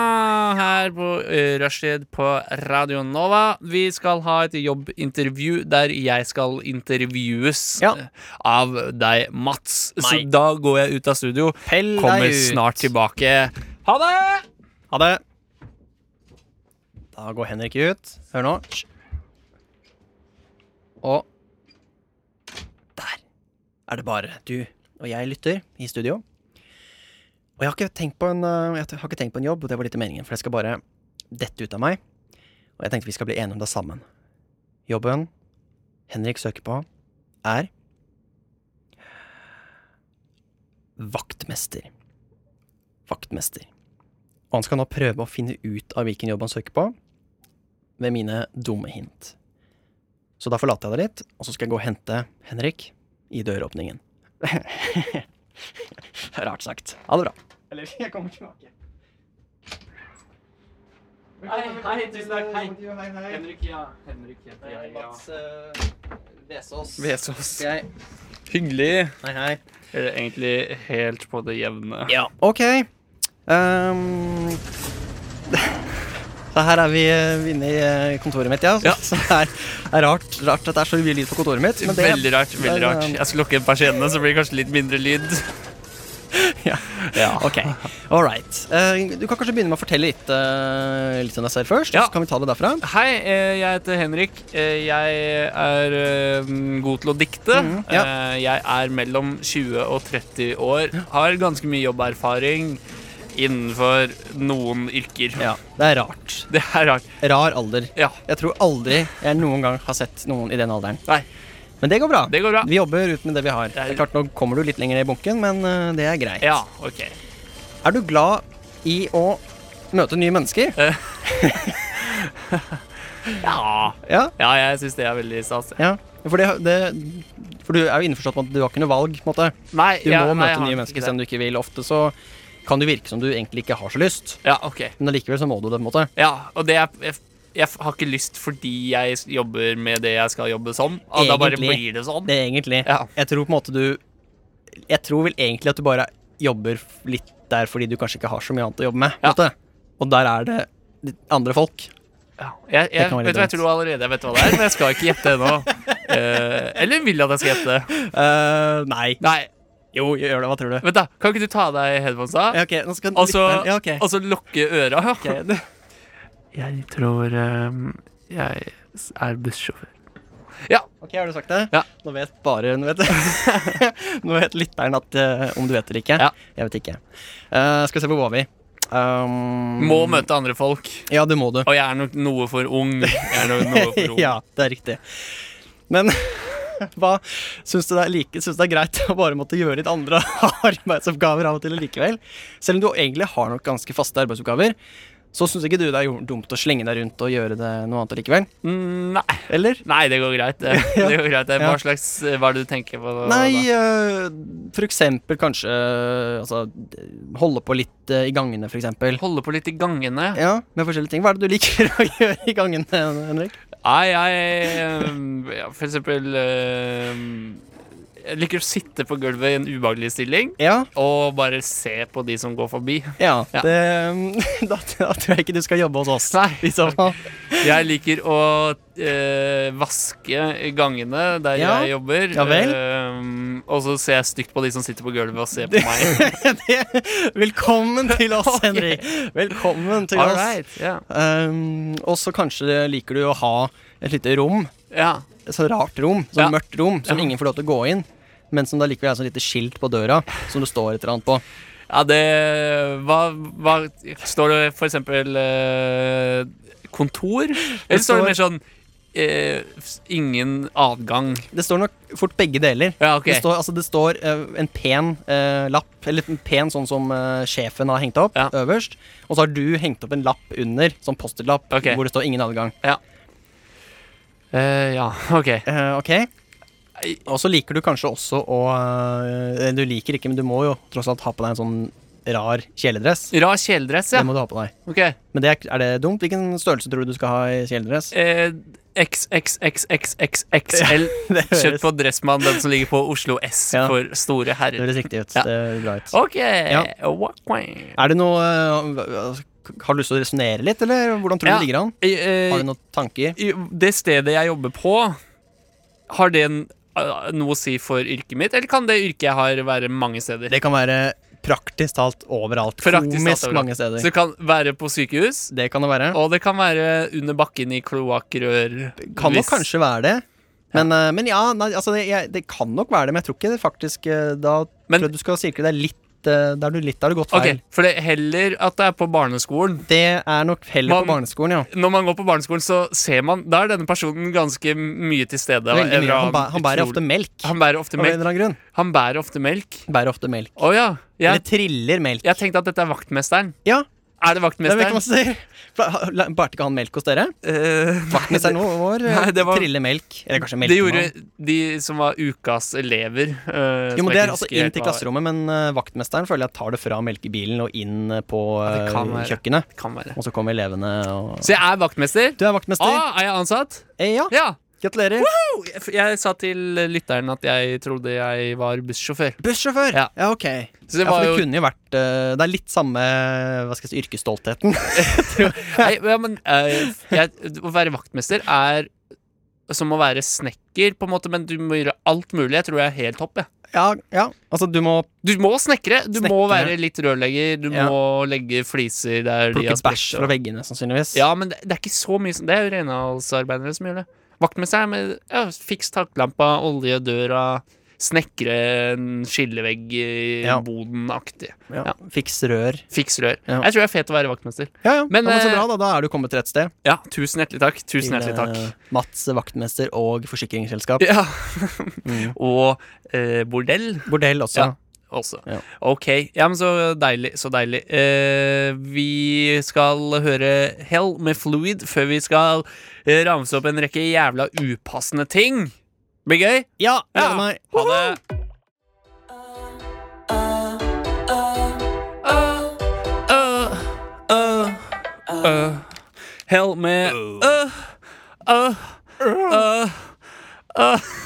Speaker 2: her på eh, Rushtid på Radio Nova. Vi skal ha et jobbintervju der jeg skal intervjues
Speaker 3: Ja.
Speaker 2: eh, av deg, Mats. Så
Speaker 3: Meg.
Speaker 2: da går jeg ut av studio.
Speaker 3: Pell deg
Speaker 2: Kommer
Speaker 3: ut.
Speaker 2: snart tilbake. Ha det!
Speaker 3: Ha det. Da går Henrik ut. Hør nå. Hysj. Og der er det bare du og jeg lytter i studio. Og jeg har ikke tenkt på en, eh, jeg har ikke tenkt på en jobb, og det var litt i meningen, for det skal bare dette ut av meg. Og jeg tenkte vi skal bli enige om det sammen. Jobben Henrik søker på, er Vaktmester. Vaktmester. Og han skal nå prøve å finne ut av hvilken jobb han søker på, med mine dumme hint. Så da forlater jeg det litt, og så skal jeg gå og hente Henrik i døråpningen. Rart sagt. Ha det bra. Eller, jeg kommer tilbake.
Speaker 2: Hei, hei, tusen takk. Hei.
Speaker 3: Hei, hei. eh,
Speaker 2: Henrik, ja. Henrik heter jeg, ja.
Speaker 3: Vesås.
Speaker 2: Vesås.
Speaker 3: Jeg.
Speaker 2: Hyggelig.
Speaker 3: Hei, hei.
Speaker 2: Eller egentlig helt på det jevne.
Speaker 3: Ja. Ok. Ehm, så her er vi eh, inne i eh, kontoret mitt, ja.
Speaker 2: Ja.
Speaker 3: Så det er, er rart, rart at det er så mye lyd på kontoret mitt. Men det,
Speaker 2: veldig rart. veldig
Speaker 3: men,
Speaker 2: rart
Speaker 3: eh,
Speaker 2: Jeg skal lukke persiennene, så blir det kanskje litt mindre lyd.
Speaker 3: ehm, Ja.
Speaker 2: Ja.
Speaker 3: Ok, all right. Eh, du kan kanskje begynne med å fortelle litt, eh, litt om deg selv først,
Speaker 2: Ja.
Speaker 3: så kan vi ta det derfra.
Speaker 2: Hei, eh, jeg heter Henrik. Eh, Jeg er eh, god til å dikte.
Speaker 3: Mhm, ja.
Speaker 2: Eh, Jeg er mellom 20 og 30 år. Har ganske mye jobberfaring innenfor noen yrker.
Speaker 3: Ja, Det er rart.
Speaker 2: Det er rart.
Speaker 3: Rar alder.
Speaker 2: Ja.
Speaker 3: Jeg tror aldri jeg noen gang har sett noen i den alderen.
Speaker 2: Nei,
Speaker 3: Men det går bra.
Speaker 2: det går bra.
Speaker 3: Vi jobber ut med det vi har. Det
Speaker 2: Det er-
Speaker 3: er klart, Nå kommer du litt lenger ned i bunken, men eh, det er greit.
Speaker 2: Ja, OK.
Speaker 3: Er du glad i å møte nye mennesker?
Speaker 2: Eh. Ja,
Speaker 3: Ja.
Speaker 2: ja jeg syns det er veldig stas.
Speaker 3: ja. For, det, det, for du er jo innforstått med at du har ikke noe valg. på en måte.
Speaker 2: Nei,
Speaker 3: Du
Speaker 2: ja, nei,
Speaker 3: må
Speaker 2: jeg
Speaker 3: møte
Speaker 2: har
Speaker 3: nye
Speaker 2: ikke
Speaker 3: mennesker
Speaker 2: det.
Speaker 3: selv om du ikke vil. Ofte så kan det virke som du egentlig ikke har så lyst,
Speaker 2: Ja, ok.
Speaker 3: men allikevel så må du det. på en måte.
Speaker 2: Ja, og det er jeg, jeg har ikke lyst fordi jeg jobber med det jeg skal jobbe som. Og da bare
Speaker 3: Egentlig.
Speaker 2: blir det sånn.
Speaker 3: Det er egentlig.
Speaker 2: Ja.
Speaker 3: Jeg tror på en måte du Jeg tror vel egentlig at du bare jobber f- litt der fordi du kanskje ikke har så mye annet å jobbe med. på en
Speaker 2: Ja.
Speaker 3: måte. Og der er det litt andre folk.
Speaker 2: Ja, jeg, jeg,
Speaker 3: Det kan være
Speaker 2: vet du, hva, jeg
Speaker 3: dumt.
Speaker 2: tror allerede jeg vet hva det er, men jeg skal ikke gjette ennå. Eh, eller vil jeg at jeg skal gjette?
Speaker 3: Eh, nei.
Speaker 2: Nei,
Speaker 3: Jo, gjør det. Hva tror du?
Speaker 2: vent da, kan ikke du ta av deg headphonesa?
Speaker 3: Ja, ok, nå skal
Speaker 2: Og så
Speaker 3: ja, ok.
Speaker 2: og så lukke øra?
Speaker 3: Ok, du-
Speaker 2: Jeg tror ehm, jeg er bussjåfør. Ja,
Speaker 3: Ok, har du sagt det?
Speaker 2: Ja.
Speaker 3: Nå vet bare Nå vet, nå vet lytteren at, eh, om du vet eller ikke.
Speaker 2: Ja.
Speaker 3: Jeg vet ikke. Eh, skal vi se, hvor var vi? Um,
Speaker 2: må møte andre folk.
Speaker 3: Ja, det må du.
Speaker 2: Og jeg er nok noe for ung. Jeg er nok noe for ung.
Speaker 3: ja, det er riktig. Men hva syns du det er like Syns du det er greit å bare måtte gjøre litt andre arbeidsoppgaver av og til likevel? Selv om du egentlig har nok ganske faste arbeidsoppgaver, så syns ikke du det er jo- dumt å slenge deg rundt og gjøre det noe annet likevel?
Speaker 2: Mm, Nei.
Speaker 3: Eller?
Speaker 2: Nei, det går greit. Det, det går greit. Hva
Speaker 3: Ja.
Speaker 2: slags Hva er det du tenker på? da?
Speaker 3: Nei, eh, for eksempel kanskje eh, altså, d- holde på litt eh, i gangene, for eksempel.
Speaker 2: Holde på litt i gangene.
Speaker 3: Ja, med forskjellige ting. Hva er det du liker å gjøre i gangene, Henrik?
Speaker 2: Nei, jeg um, ja, For eksempel um, Jeg liker å sitte på gulvet i en ubehagelig stilling
Speaker 3: Ja,
Speaker 2: og bare se på de som går forbi.
Speaker 3: ja,
Speaker 2: Ja.
Speaker 3: Det, mm, da, da tror jeg ikke du skal jobbe hos oss. liksom.
Speaker 2: Nei.
Speaker 3: I så fall.
Speaker 2: Jeg liker å eh, vaske gangene der
Speaker 3: Ja.
Speaker 2: jeg jobber.
Speaker 3: Ja vel.
Speaker 2: Um, og så ser jeg stygt på de som sitter på gulvet og ser på meg.
Speaker 3: Det, velkommen til oss, Henrik. Velkommen til
Speaker 2: All
Speaker 3: oss.
Speaker 2: right. Ja.
Speaker 3: Um, og så kanskje liker du å ha et lite rom,
Speaker 2: ja.
Speaker 3: et så rart rom, sånn
Speaker 2: Ja.
Speaker 3: mørkt rom, som
Speaker 2: Ja.
Speaker 3: ingen får lov til å gå inn, men som da likevel er sånn lite skilt på døra som det står et eller annet på.
Speaker 2: Ja, det hva, hva Står det for eksempel eh, kontor? Eller står
Speaker 3: står-
Speaker 2: det mer sånn eh, s- ingen adgang?
Speaker 3: Det står nok fort begge deler.
Speaker 2: Ja, ok.
Speaker 3: Det står, altså det står eh, en pen eh, lapp, eller en pen sånn som eh, sjefen har hengt opp,
Speaker 2: Ja.
Speaker 3: øverst. Og så har du hengt opp en lapp under, sånn Post-It-lapp,
Speaker 2: Ok.
Speaker 3: hvor det står 'ingen adgang'.
Speaker 2: Eh, ja, OK.
Speaker 3: Eh, ok? Og så liker du kanskje også å eh, Du liker ikke, men du må jo tross alt ha på deg en sånn rar kjeledress.
Speaker 2: Rar kjeledress, ja.
Speaker 3: Det må du ha på deg.
Speaker 2: Ok.
Speaker 3: Men det er, er det dumt? Hvilken størrelse tror du du skal ha i kjeledress?
Speaker 2: Eh, XXXXXXL.
Speaker 3: det høres-
Speaker 2: Kjøpt på Dressmann, den som ligger på Oslo S
Speaker 3: Ja.
Speaker 2: for store
Speaker 3: Det
Speaker 2: herrer.
Speaker 3: høres riktig ut.
Speaker 2: Ja.
Speaker 3: Det høres bra ut.
Speaker 2: OK.
Speaker 3: Ja.
Speaker 2: Wah, wah.
Speaker 3: Er det noe eh, Har du lyst til å resonnere litt, eller hvordan tror du
Speaker 2: Ja.
Speaker 3: det ligger an?
Speaker 2: Eh, eh,
Speaker 3: Har du noen tanker?
Speaker 2: i- det stedet jeg jobber på, har det en, eh, noe å si for yrket mitt, eller kan det yrket jeg har, være mange steder?
Speaker 3: Det kan være praktisk talt overalt.
Speaker 2: Praktisk talt
Speaker 3: Komisk
Speaker 2: overalt.
Speaker 3: mange steder.
Speaker 2: Så det kan være på sykehus,
Speaker 3: det kan det være.
Speaker 2: og det kan være under bakken i kloakkrør.
Speaker 3: Kan nok
Speaker 2: hvis-
Speaker 3: kanskje være det. Men ja, men ja nei, altså det, jeg, det kan nok være det, men jeg tror ikke det faktisk eh, Da
Speaker 2: Men-
Speaker 3: tror jeg du skal sirkle deg litt eh, Der du litt har du gått feil.
Speaker 2: Ok, For det er heller at det er på barneskolen.
Speaker 3: Det er nok heller på
Speaker 2: Man-
Speaker 3: barneskolen, ja.
Speaker 2: Når man går på barneskolen, så ser man Da er denne personen ganske mye til stede. og
Speaker 3: Veldig
Speaker 2: en
Speaker 3: mye.
Speaker 2: eller
Speaker 3: Han, bæ-
Speaker 2: annen
Speaker 3: han bærer
Speaker 2: utrolig-
Speaker 3: ofte melk.
Speaker 2: Han bærer ofte
Speaker 3: Av en
Speaker 2: melk.
Speaker 3: eller annen grunn.
Speaker 2: Han bærer ofte melk.
Speaker 3: Bærer ofte melk.
Speaker 2: Å ja. Jeg,
Speaker 3: Eller triller melk.
Speaker 2: jeg tenkte at dette er vaktmesteren.
Speaker 3: Ja,
Speaker 2: Er det
Speaker 3: det vet ikke
Speaker 2: vaktmesteren?
Speaker 3: hva man sier. Bæ- ha- la- Bærte ikke han melk hos dere? Vaktmesteren vår eh,
Speaker 2: Nei, det var-
Speaker 3: triller melk. Eller kanskje
Speaker 2: Det
Speaker 3: melkemann.
Speaker 2: gjorde de som var ukas elever. eh,
Speaker 3: Jo,
Speaker 2: som
Speaker 3: men
Speaker 2: jeg
Speaker 3: Det
Speaker 2: ikke
Speaker 3: er altså
Speaker 2: husker
Speaker 3: inn
Speaker 2: helt
Speaker 3: til
Speaker 2: hva-
Speaker 3: klasserommet, men eh, vaktmesteren føler jeg tar det fra melkebilen og inn eh, på
Speaker 2: Ja, det kan
Speaker 3: eh,
Speaker 2: være.
Speaker 3: kjøkkenet.
Speaker 2: Kan være.
Speaker 3: Og så kommer elevene og
Speaker 2: Så jeg er vaktmester.
Speaker 3: Du er vaktmester.
Speaker 2: Ah, er jeg ansatt?
Speaker 3: Eh, ja,
Speaker 2: Ja.
Speaker 3: gratulerer.
Speaker 2: Jo, Jeg, jeg sa til lytteren at jeg trodde jeg var bussjåfør.
Speaker 3: Bussjåfør.
Speaker 2: Ja.
Speaker 3: Ja. ok.
Speaker 2: Så det
Speaker 3: ja,
Speaker 2: var
Speaker 3: for det
Speaker 2: jo
Speaker 3: kunne jo vært eh, Det er litt samme eh, hva skal jeg si, yrkesstoltheten.
Speaker 2: Nei, ja, men eh, jeg, Å være vaktmester er som å være snekker, på en måte, men du må gjøre alt mulig. Jeg tror jeg er helt topp, jeg.
Speaker 3: ja, ja. Altså, du må
Speaker 2: Du må snekre. Du må
Speaker 3: Snekre.
Speaker 2: være litt rørlegger. Du
Speaker 3: Ja.
Speaker 2: må legge fliser der de
Speaker 3: plukke
Speaker 2: har
Speaker 3: bæsj
Speaker 2: spurt.
Speaker 3: fra veggene, sannsynligvis.
Speaker 2: Ja, men det, det er ikke så mye som Det er jo renholdsarbeidere som gjør det. Vaktmesteren med ja, fiks taklampa, olje døra, snekre en skillevegg i
Speaker 3: Ja.
Speaker 2: boden-aktig.
Speaker 3: Ja.
Speaker 2: Ja.
Speaker 3: Fiks rør.
Speaker 2: Fiks rør.
Speaker 3: Ja.
Speaker 2: Jeg tror jeg er fet å være vaktmester.
Speaker 3: Ja, ja.
Speaker 2: Men,
Speaker 3: ja, men så
Speaker 2: eh,
Speaker 3: bra, da. Da er du kommet til rett sted.
Speaker 2: Ja, tusen hjertelig takk. Tusen
Speaker 3: Til,
Speaker 2: hjertelig takk.
Speaker 3: eh, Mats vaktmester og forsikringsselskap.
Speaker 2: Ja. Og eh, bordell
Speaker 3: Bordell også.
Speaker 2: Ja. også.
Speaker 3: Ja.
Speaker 2: Ok. Ja, men så deilig. Så deilig. Eh, vi skal høre Hell med Fluid før vi skal eh, ramse opp en rekke jævla upassende ting. Blir gøy?
Speaker 3: Ja, gleder
Speaker 2: Ja.
Speaker 3: meg.
Speaker 2: Ha det. Uh, uh, uh. Hell med uh, uh, uh,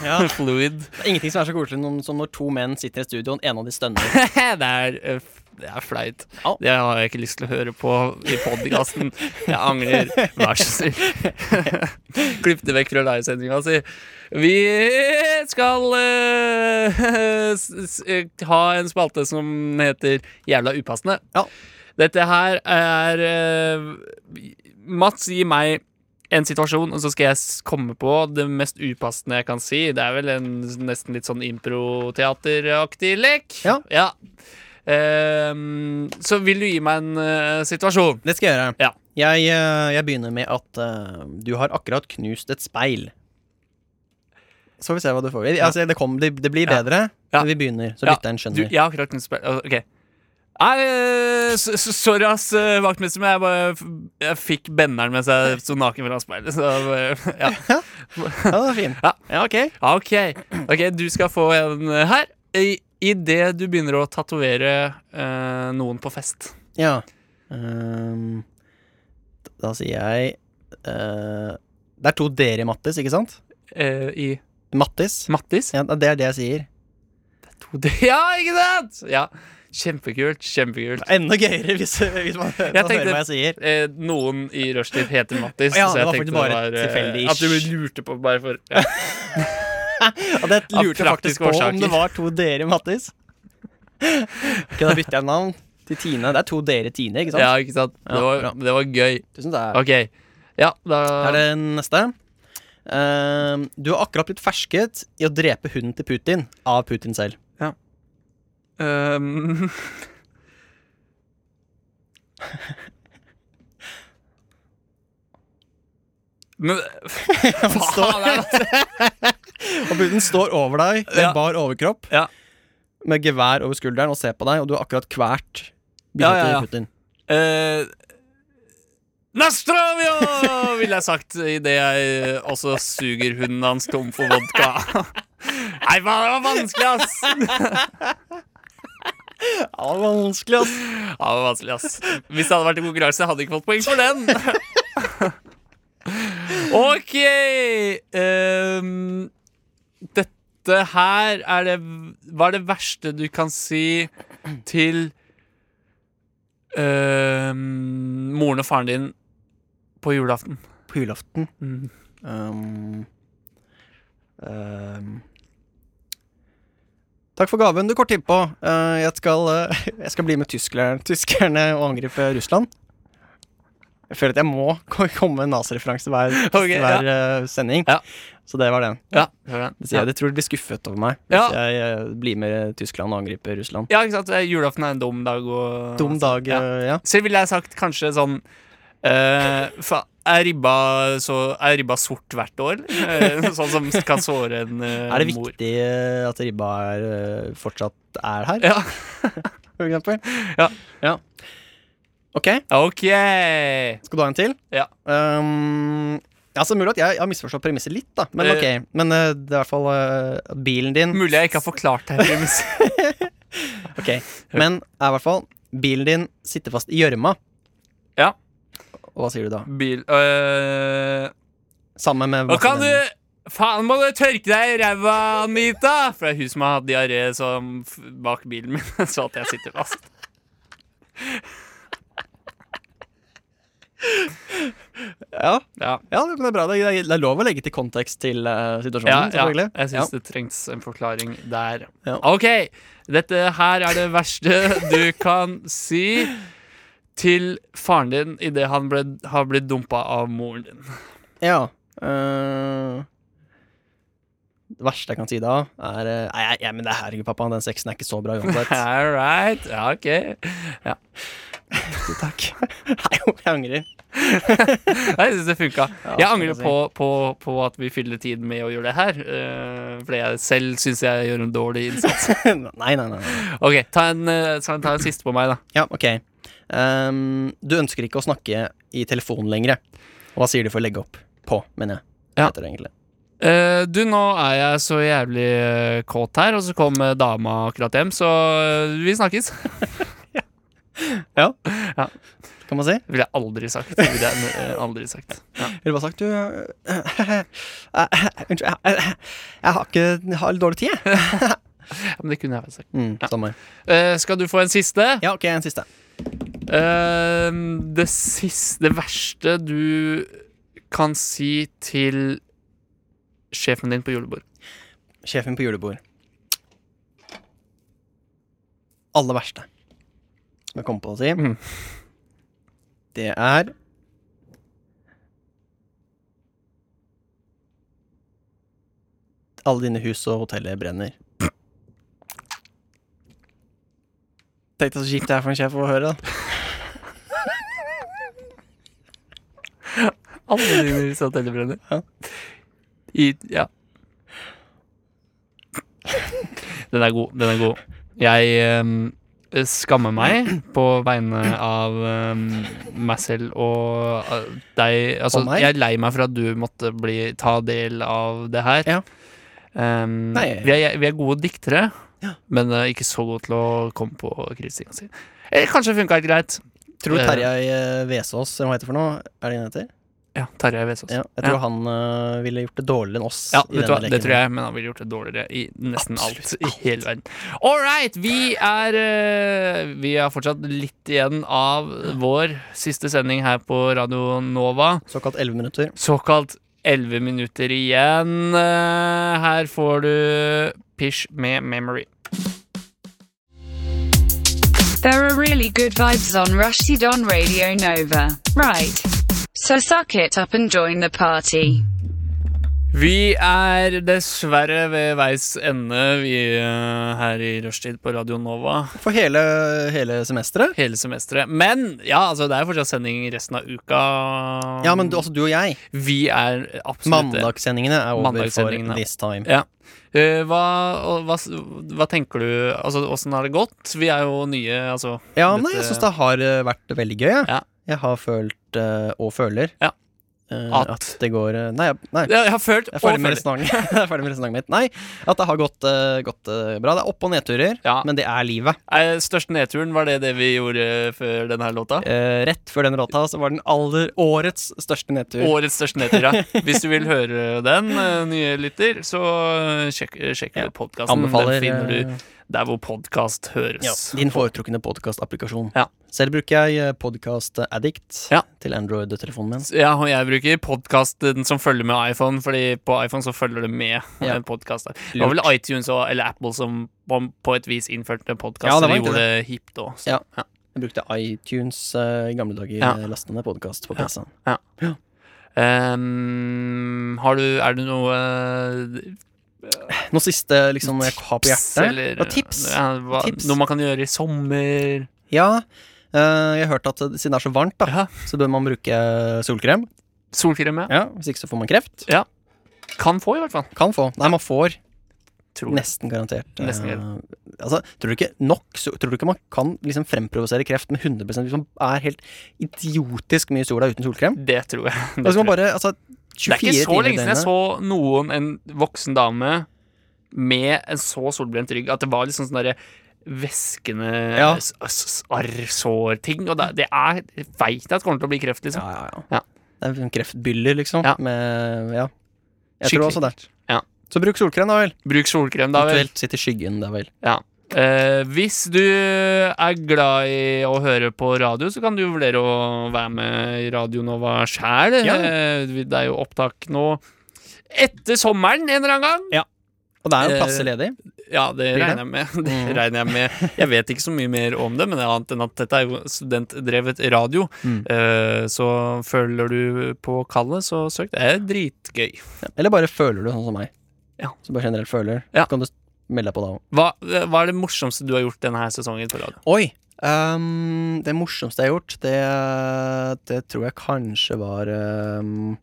Speaker 3: Ja.
Speaker 2: fluid.
Speaker 3: Det er Ingenting som er så koselig som- som når to menn sitter i studio, og en av de stønner.
Speaker 2: det, er, eh, f- det er flaut.
Speaker 3: Au.
Speaker 2: Det har jeg ikke lyst til å høre på i podkasten. Jeg angrer. Vær så snill. Klipp det vekk fra livesendinga si. Vi skal eh, s- s- eh, ha en spalte som heter Jævla upassende.
Speaker 3: Ja.
Speaker 2: Dette her er eh, Mats, gi meg en situasjon, og så skal jeg s- komme på det mest upassende jeg kan si. Det er vel en nesten litt sånn improteateraktig lek.
Speaker 3: Ja.
Speaker 2: Ehm, så vil du gi meg en eh, situasjon?
Speaker 3: Det skal jeg gjøre.
Speaker 2: Ja.
Speaker 3: Jeg, eh, jeg begynner med at eh, du har akkurat knust et speil. Så får vi se hva du får. Vi- Altså, det, kom, det, det blir
Speaker 2: Ja.
Speaker 3: bedre,
Speaker 2: Ja.
Speaker 3: men vi begynner, så
Speaker 2: Ja,
Speaker 3: lytteren
Speaker 2: Du,
Speaker 3: skjønner.
Speaker 2: jeg har akkurat kunnet spille Ok. Nei, eh, s- s- sorry, ass, eh, vaktmester, men jeg bare f- Jeg fikk benderen mens jeg sto naken foran speilet, så eh, ja.
Speaker 3: Ja, det var fin.
Speaker 2: Ja.
Speaker 3: ok.
Speaker 2: Ok, ok, du skal få en eh, her I, i det du begynner å tatuere eh, noen på fest
Speaker 3: Ja. Ehm, da sier jeg eh, Det er to dere i Mattis, ikke sant?
Speaker 2: eh, I
Speaker 3: Mattis.
Speaker 2: Mattis
Speaker 3: Ja, det er det jeg sier.
Speaker 2: To D- Ja, ikke sant? Ja, kjempekult, kjempekult
Speaker 3: Enda gøyere hvis, hvis man man
Speaker 2: tenkte-
Speaker 3: hører hva jeg sier.
Speaker 2: Eh, noen i rushtid heter Mattis
Speaker 3: Ja,
Speaker 2: så
Speaker 3: det
Speaker 2: jeg
Speaker 3: var
Speaker 2: tenkte
Speaker 3: faktisk bare
Speaker 2: det var, eh,
Speaker 3: tilfeldig-ish.
Speaker 2: At du lurte på bare for ja.
Speaker 3: Og det
Speaker 2: Av
Speaker 3: lurte jeg faktisk
Speaker 2: praktiske
Speaker 3: på
Speaker 2: årsaker.
Speaker 3: om det var to dere, Mattis. Ok, da bytter jeg navn til Tine. Det er to dere Tine, ikke sant?
Speaker 2: ja, ikke sant? Det
Speaker 3: Ja,
Speaker 2: var,
Speaker 3: bra.
Speaker 2: det var gøy
Speaker 3: Tusen takk.
Speaker 2: Ok, ja, da
Speaker 3: Er det neste? Ehm, du har akkurat blitt fersket i å drepe hunden til Putin av Putin selv.
Speaker 2: Um, Men
Speaker 3: Han står,
Speaker 2: faen er det?
Speaker 3: og Putin står over deg med
Speaker 2: Ja.
Speaker 3: bar overkropp,
Speaker 2: Ja.
Speaker 3: med gevær over skulderen og ser på deg, og du har akkurat kvært bildet
Speaker 2: Ja, ja, ja.
Speaker 3: til Putin.
Speaker 2: Eh, Nastrovio, ville jeg sagt idet jeg eh, også suger hunden hans tom for vodka. Nei, faen, det var vanskelig, ass!
Speaker 3: Ja, det var vanskelig, ass.
Speaker 2: Ja, det var vanskelig, ass. Hvis det hadde vært en konkurranse, hadde jeg ikke fått poeng for den. OK ehm, Dette her er det Hva er det verste du kan si til ehm, moren og faren din på julaften?
Speaker 3: På julaften
Speaker 2: Mm.
Speaker 3: um, um, Takk for gaven du kort tid på. Eh, jeg, skal, eh, jeg skal bli med tyskerne, tyskerne og angripe Russland. Jeg føler at jeg må ko- komme med en nazireferanse hver,
Speaker 2: Ok, ja.
Speaker 3: hver eh, sending.
Speaker 2: Ja.
Speaker 3: Så det var den.
Speaker 2: Ja, hører den.
Speaker 3: Det sier jeg, de tror de blir skuffet over meg
Speaker 2: Ja.
Speaker 3: hvis jeg eh, blir med Tyskland og angriper Russland.
Speaker 2: ja, ikke sant? Eh, Julaften er en dum dag. Og,
Speaker 3: Dum dag,
Speaker 2: Ja.
Speaker 3: eh, ja.
Speaker 2: Selv ville jeg sagt kanskje sånn eh, fa, er, ribba så, er ribba sort hvert år? eller? Eh, sånn som kan såre en eh,
Speaker 3: Er det
Speaker 2: mor.
Speaker 3: viktig eh, at ribba er, eh, fortsatt er her,
Speaker 2: Ja,
Speaker 3: for eksempel?
Speaker 2: Ja.
Speaker 3: ja. Ok,
Speaker 2: OK!
Speaker 3: skal du ha en til?
Speaker 2: Ja.
Speaker 3: Um, ja, så mulig at jeg har misforstått premisset litt, da. Men ok, men eh, det er i hvert fall eh, bilen din
Speaker 2: Mulig jeg ikke har forklart det. her, Remus.
Speaker 3: Ok, men er i hvert fall bilen din sitter fast i gjørma.
Speaker 2: Ja.
Speaker 3: Og hva sier du da?
Speaker 2: Bil eh,
Speaker 3: Sammen med
Speaker 2: Og
Speaker 3: masse
Speaker 2: kan du
Speaker 3: venner.
Speaker 2: Faen, må du tørke deg i ræva, Anita! For det er hun som har hatt diaré som f- bak bilen min, så at jeg sitter fast.
Speaker 3: Ja,
Speaker 2: Ja,
Speaker 3: ja men det er bra. Det er, det er lov å legge til kontekst til eh,
Speaker 2: ja, ja.
Speaker 3: situasjonen, selvfølgelig.
Speaker 2: jeg syns det trengs en forklaring der.
Speaker 3: Ja.
Speaker 2: OK, dette her er det verste du kan si til faren din idet han ble, har blitt dumpa av moren din.
Speaker 3: Ja. øh, det verste jeg kan si da, er øh, Nei, jeg- jeg- men det er herregud, pappa, den sexen er ikke så bra uansett.
Speaker 2: All right. Ja, OK.
Speaker 3: Takk. Nei, jo, jeg angrer.
Speaker 2: Nei, Jeg syns det funka. Jeg
Speaker 3: skal
Speaker 2: angrer
Speaker 3: jeg si.
Speaker 2: på, på, på at vi fyller tiden med å gjøre det her. eh, fordi jeg selv syns jeg gjør en dårlig innsats.
Speaker 3: Nei, nei, nei. nei.
Speaker 2: OK, ta en, eh, ta en, ta en siste på meg, da.
Speaker 3: Ja, ok. Ehm, du ønsker ikke å snakke i telefon lenger. Hva sier du for å legge opp på, mener jeg.
Speaker 2: Ja.
Speaker 3: Heter det egentlig.
Speaker 2: Eh, du, nå er jeg så jævlig eh, kåt her, og så kom eh, dama akkurat hjem, så eh, vi snakkes.
Speaker 3: Kan man si?
Speaker 2: Det ville jeg aldri sagt. Det ville jeg eh, aldri sagt. Ja.
Speaker 3: Ville bare sagt du øh, Unnskyld, jeg, jeg, jeg har ikke jeg har litt dårlig tid, jeg.
Speaker 2: Men det kunne jeg vel sagt.
Speaker 3: Mm, Stemmer.
Speaker 2: Eh, skal du få en siste?
Speaker 3: Ja, ok, en siste.
Speaker 2: Eh, det siste Det verste du kan si til sjefen din på julebord.
Speaker 3: Sjefen på julebord. Aller verste som jeg kom på å si,
Speaker 2: Mm.
Speaker 3: det er Alle dine hus og hoteller brenner. Tenk deg så kjipt det er for en sjef å høre. da
Speaker 2: Alle dine hus og hotellbrenner.
Speaker 3: Ja.
Speaker 2: I, ja. Den er god. Den er god. Jeg ehm, skammer meg på vegne av ehm, meg selv og eh, deg. Altså,
Speaker 3: Og meg?
Speaker 2: jeg er lei meg for at du måtte bli, ta del av det her.
Speaker 3: Ja.
Speaker 2: Ehm,
Speaker 3: Nei.
Speaker 2: vi, er, vi er gode diktere,
Speaker 3: Ja.
Speaker 2: men eh, ikke så gode til å komme på kritistinga si. Eller kanskje funka helt greit.
Speaker 3: Tror du
Speaker 2: Eh.
Speaker 3: Terjei eh, Vesaas, eller hva heter det for noe? Er det det han heter?
Speaker 2: Ja, Tarjei Vesaas.
Speaker 3: Ja, jeg tror han eh, ville gjort det dårligere enn oss.
Speaker 2: Ja,
Speaker 3: i
Speaker 2: vet du
Speaker 3: denne
Speaker 2: hva, det
Speaker 3: leken.
Speaker 2: tror jeg, men han ville gjort det dårligere i nesten
Speaker 3: Absolutt
Speaker 2: alt i hele verden. All right, vi er eh, Vi har fortsatt litt igjen av vår siste sending her på Radio Nova.
Speaker 3: Såkalt 11 minutter.
Speaker 2: Såkalt 11 minutter igjen. Eh, Her får du Pish med Memory.
Speaker 8: There are really good vibes on Rushdie on Radio Nova, right? So suck it up and join the party.
Speaker 2: Vi er dessverre ved veis ende, vi eh, her i rushtid på Radio Nova.
Speaker 3: For hele, hele semesteret.
Speaker 2: Hele semesteret. Men ja, altså, det er jo fortsatt sending resten av uka.
Speaker 3: Ja, men du, også du og jeg.
Speaker 2: Vi er absolutt det.
Speaker 3: Mandagssendingene er over
Speaker 2: Mandagssendingene.
Speaker 3: for this time.
Speaker 2: Ja. Eh, hva, og hva, s- hva tenker du Altså, åssen har det gått? Vi er jo nye, altså.
Speaker 3: Ja, nei,
Speaker 2: dette-
Speaker 3: jeg syns det har eh, vært veldig gøy. jeg.
Speaker 2: Ja.
Speaker 3: Jeg har følt, eh, og føler,
Speaker 2: Ja.
Speaker 3: eh,
Speaker 2: At-
Speaker 3: at. det går eh, Nei, jeg- nei.
Speaker 2: Ja, Jeg har følt
Speaker 3: Jeg er ferdig
Speaker 2: og føler.
Speaker 3: med resonnementet Jeg er ferdig med resonnementet mitt. Nei, at det har gått, eh, gått eh, bra. Det er opp- og nedturer,
Speaker 2: Ja.
Speaker 3: men det er livet.
Speaker 2: Eh, Største nedturen, var det det vi gjorde før denne her låta?
Speaker 3: Eh, rett før den låta så var den aller årets største nedtur.
Speaker 2: Årets største nedtur, ja. Hvis du vil høre den, eh, nye lytter, så eh, sjekk, eh, sjekk
Speaker 3: Ja.
Speaker 2: ut podkasten. Den
Speaker 3: Anbefaler
Speaker 2: finner
Speaker 3: eh,
Speaker 2: du der hvor podkast høres.
Speaker 3: ja, din foretrukne podkastapplikasjon.
Speaker 2: Ja.
Speaker 3: Selv bruker jeg podkast addict
Speaker 2: Ja.
Speaker 3: til Android-telefonen min.
Speaker 2: Ja, og jeg bruker podkast den som følger med iPhone, fordi på iPhone så følger det med
Speaker 3: Ja.
Speaker 2: en podkast. Det var vel iTunes og, eller Apple som på, på et vis innførte podkast,
Speaker 3: Ja,
Speaker 2: ja,
Speaker 3: det var
Speaker 2: de
Speaker 3: egentlig
Speaker 2: gjorde det hipt òg.
Speaker 3: Ja. Jeg brukte iTunes eh, i gamle dager.
Speaker 2: Ja.
Speaker 3: Ja. Lastende podkast på PC-en.
Speaker 2: Ehm, har du Er det noe eh,
Speaker 3: Noe siste liksom, jeg har på
Speaker 2: tips,
Speaker 3: hjertet?
Speaker 2: eller-
Speaker 3: ja, tips.
Speaker 2: Ja, hva,
Speaker 3: Tips.
Speaker 2: Noe man kan gjøre i sommer?
Speaker 3: Ja, eh, jeg har hørt at eh, siden det er så varmt, da,
Speaker 2: Ja.
Speaker 3: så bør man bruke eh, solkrem.
Speaker 2: Solkrem, ja.
Speaker 3: Ja, Hvis ikke så får man kreft.
Speaker 2: Kan få, i hvert fall.
Speaker 3: Kan få. Nei, man får
Speaker 2: Tror jeg.
Speaker 3: nesten garantert. eh,
Speaker 2: Nesten garantert.
Speaker 3: altså, tror du ikke nok så, Tror du ikke man kan liksom fremprovosere kreft med 100 hvis man er helt idiotisk mye i sola uten solkrem?
Speaker 2: Det tror jeg. Det,
Speaker 3: Da skal
Speaker 2: tror jeg.
Speaker 3: man bare altså, 24
Speaker 2: det er ikke så
Speaker 3: timer i
Speaker 2: lenge siden jeg
Speaker 3: døgnet.
Speaker 2: så noen, en voksen dame, med en så solbrent rygg at det var liksom sånn derre væskende
Speaker 3: Ja.
Speaker 2: s- s- arrsår-ting. Og det, det er Jeg veit at det kommer til å bli kreft, liksom.
Speaker 3: Ja, ja, ja.
Speaker 2: Ja.
Speaker 3: Det er en kreftbyller, liksom.
Speaker 2: Ja.
Speaker 3: Med, ja. Jeg
Speaker 2: Skikkelig
Speaker 3: tror også det.
Speaker 2: Ja.
Speaker 3: Så bruk solkrem, da vel.
Speaker 2: Bruk solkrem, da vel.
Speaker 3: Eventuelt sitt i skyggen, da vel.
Speaker 2: Ja. Eh, hvis du er glad i å høre på radio, så kan du vurdere å være med i Radio Nova sjæl.
Speaker 3: Ja.
Speaker 2: Eh, vi- det er jo opptak nå etter sommeren en eller annen gang.
Speaker 3: Og det er jo
Speaker 2: Eh,
Speaker 3: plasser ledig.
Speaker 2: Ja, det regner
Speaker 3: Blir det? Mm.
Speaker 2: jeg med. Det regner Jeg med Jeg vet ikke så mye mer om det, men det er annet enn at dette er jo studentdrevet radio.
Speaker 3: Mm.
Speaker 2: Eh, Så følger du på kallet, så søk. Det er dritgøy.
Speaker 3: Eller bare føler du sånn som meg.
Speaker 2: Ja.
Speaker 3: Så bare generelt føler.
Speaker 2: Ja.
Speaker 3: Så kan du s- melde deg på da òg.
Speaker 2: Hva, hva er det morsomste du har gjort denne her sesongen på radio?
Speaker 3: Oi! ehm, det morsomste jeg har gjort, det, det tror jeg kanskje var ehm,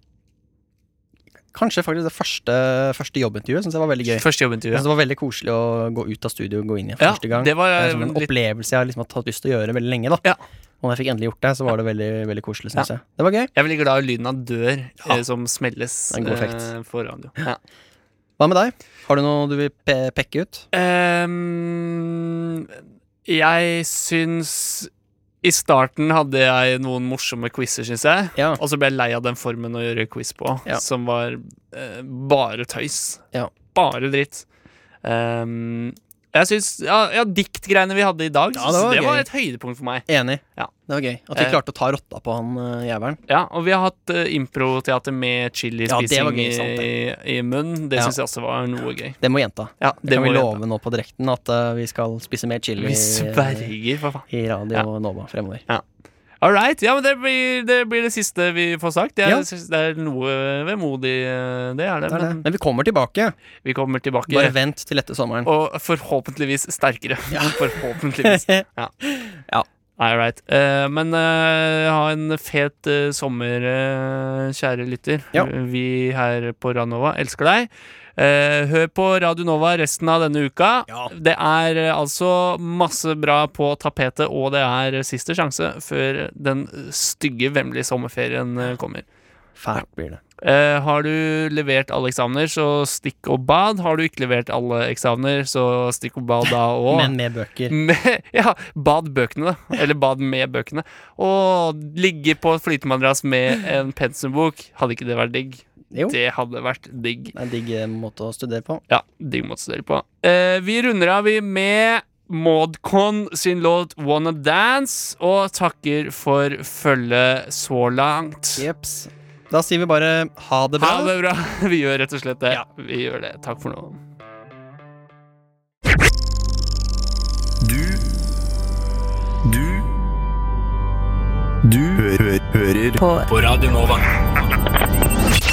Speaker 3: Kanskje faktisk det første, første jobbintervjuet. Syns jeg var veldig gøy.
Speaker 2: Første
Speaker 3: Jeg synes
Speaker 2: jobbintervju.
Speaker 3: det var veldig koselig å gå ut av studio og gå inn igjen for
Speaker 2: Ja,
Speaker 3: første gang.
Speaker 2: det var
Speaker 3: Det er
Speaker 2: eh,
Speaker 3: som en
Speaker 2: litt
Speaker 3: opplevelse jeg har liksom har hatt lyst til å gjøre veldig lenge. da
Speaker 2: Ja.
Speaker 3: Og når jeg fikk endelig gjort det, så var det veldig, veldig koselig, synes jeg. Det var gøy.
Speaker 2: jeg er veldig glad i lyden av dør
Speaker 3: Ja.
Speaker 2: eh, som smelles
Speaker 3: Det er en god effekt.
Speaker 2: eh, på radio. Ja.
Speaker 3: Hva med deg? Har du noe du vil pe pekke ut?
Speaker 2: Ehm, jeg syns I starten hadde jeg noen morsomme quizer, syns jeg.
Speaker 3: Ja.
Speaker 2: Og så ble jeg lei av den formen å gjøre quiz på,
Speaker 3: Ja.
Speaker 2: som var eh, bare tøys.
Speaker 3: Ja.
Speaker 2: Bare dritt. Ehm, jeg syns Ja, ja diktgreiene vi hadde i dag,
Speaker 3: Ja,
Speaker 2: synes,
Speaker 3: det var
Speaker 2: det, var
Speaker 3: gøy.
Speaker 2: et høydepunkt for meg.
Speaker 3: Enig.
Speaker 2: Ja.
Speaker 3: Det var gøy. At vi
Speaker 2: Eh.
Speaker 3: klarte å ta rotta på han uh, jævelen.
Speaker 2: Ja, Og vi har hatt eh, improteater med
Speaker 3: Ja, det
Speaker 2: chilispising
Speaker 3: var gøy, sant
Speaker 2: i, i munnen. Det
Speaker 3: Ja.
Speaker 2: syns jeg også var noe gøy.
Speaker 3: Det må jenta.
Speaker 2: Ja,
Speaker 3: Det kan
Speaker 2: må
Speaker 3: vi
Speaker 2: jeg-
Speaker 3: love nå på direkten, at eh, vi skal spise mer chili
Speaker 2: Vi sverger, for faen.
Speaker 3: i Radio
Speaker 2: Ja.
Speaker 3: Nova fremover.
Speaker 2: All right. Ja, men det blir, det blir det siste vi får sagt. Jeg
Speaker 3: Ja.
Speaker 2: synes det er noe vemodig, eh, det er det.
Speaker 3: Det er det.
Speaker 2: Men
Speaker 3: Men vi kommer tilbake.
Speaker 2: vi kommer tilbake.
Speaker 3: Bare vent til etter sommeren.
Speaker 2: Og forhåpentligvis sterkere. Forhåpentligvis. Ja.
Speaker 3: Ja.
Speaker 2: All right. Eh, men eh, ha en fet eh, sommer, eh, kjære lytter.
Speaker 3: Ja.
Speaker 2: Vi her på Radionova elsker deg. Eh, hør på Radio Nova resten av denne uka.
Speaker 3: Ja.
Speaker 2: Det er eh, altså masse bra på tapetet, og det er siste sjanse før den stygge, vemmelige sommerferien eh, kommer.
Speaker 3: Fælt blir det.
Speaker 2: Eh, har du levert alle eksamener, så stikk og bad. Har du ikke levert alle eksamener, så stikk og bad da òg.
Speaker 3: Men med
Speaker 2: Mm.
Speaker 3: bøker.
Speaker 2: Med, ja, bad bøkene, da. Eller bad med bøkene. Og ligge på et flytemadrass med en pensumbok. Hadde ikke det vært digg?
Speaker 3: Jo. Det
Speaker 2: Det hadde vært digg.
Speaker 3: er en digg eh, måte å studere på.
Speaker 2: Ja, digg måte å studere på. Eh, vi runder av, vi, med Maudcon sin låt 'Wanna Dance', og takker for følget så langt.
Speaker 3: Jeps. Da sier vi bare ha det bra.
Speaker 2: Ha det bra. Vi gjør rett og slett det. Vi gjør det. Takk for nå.
Speaker 1: Du Du Du hø hø hører på. på Radio Nova.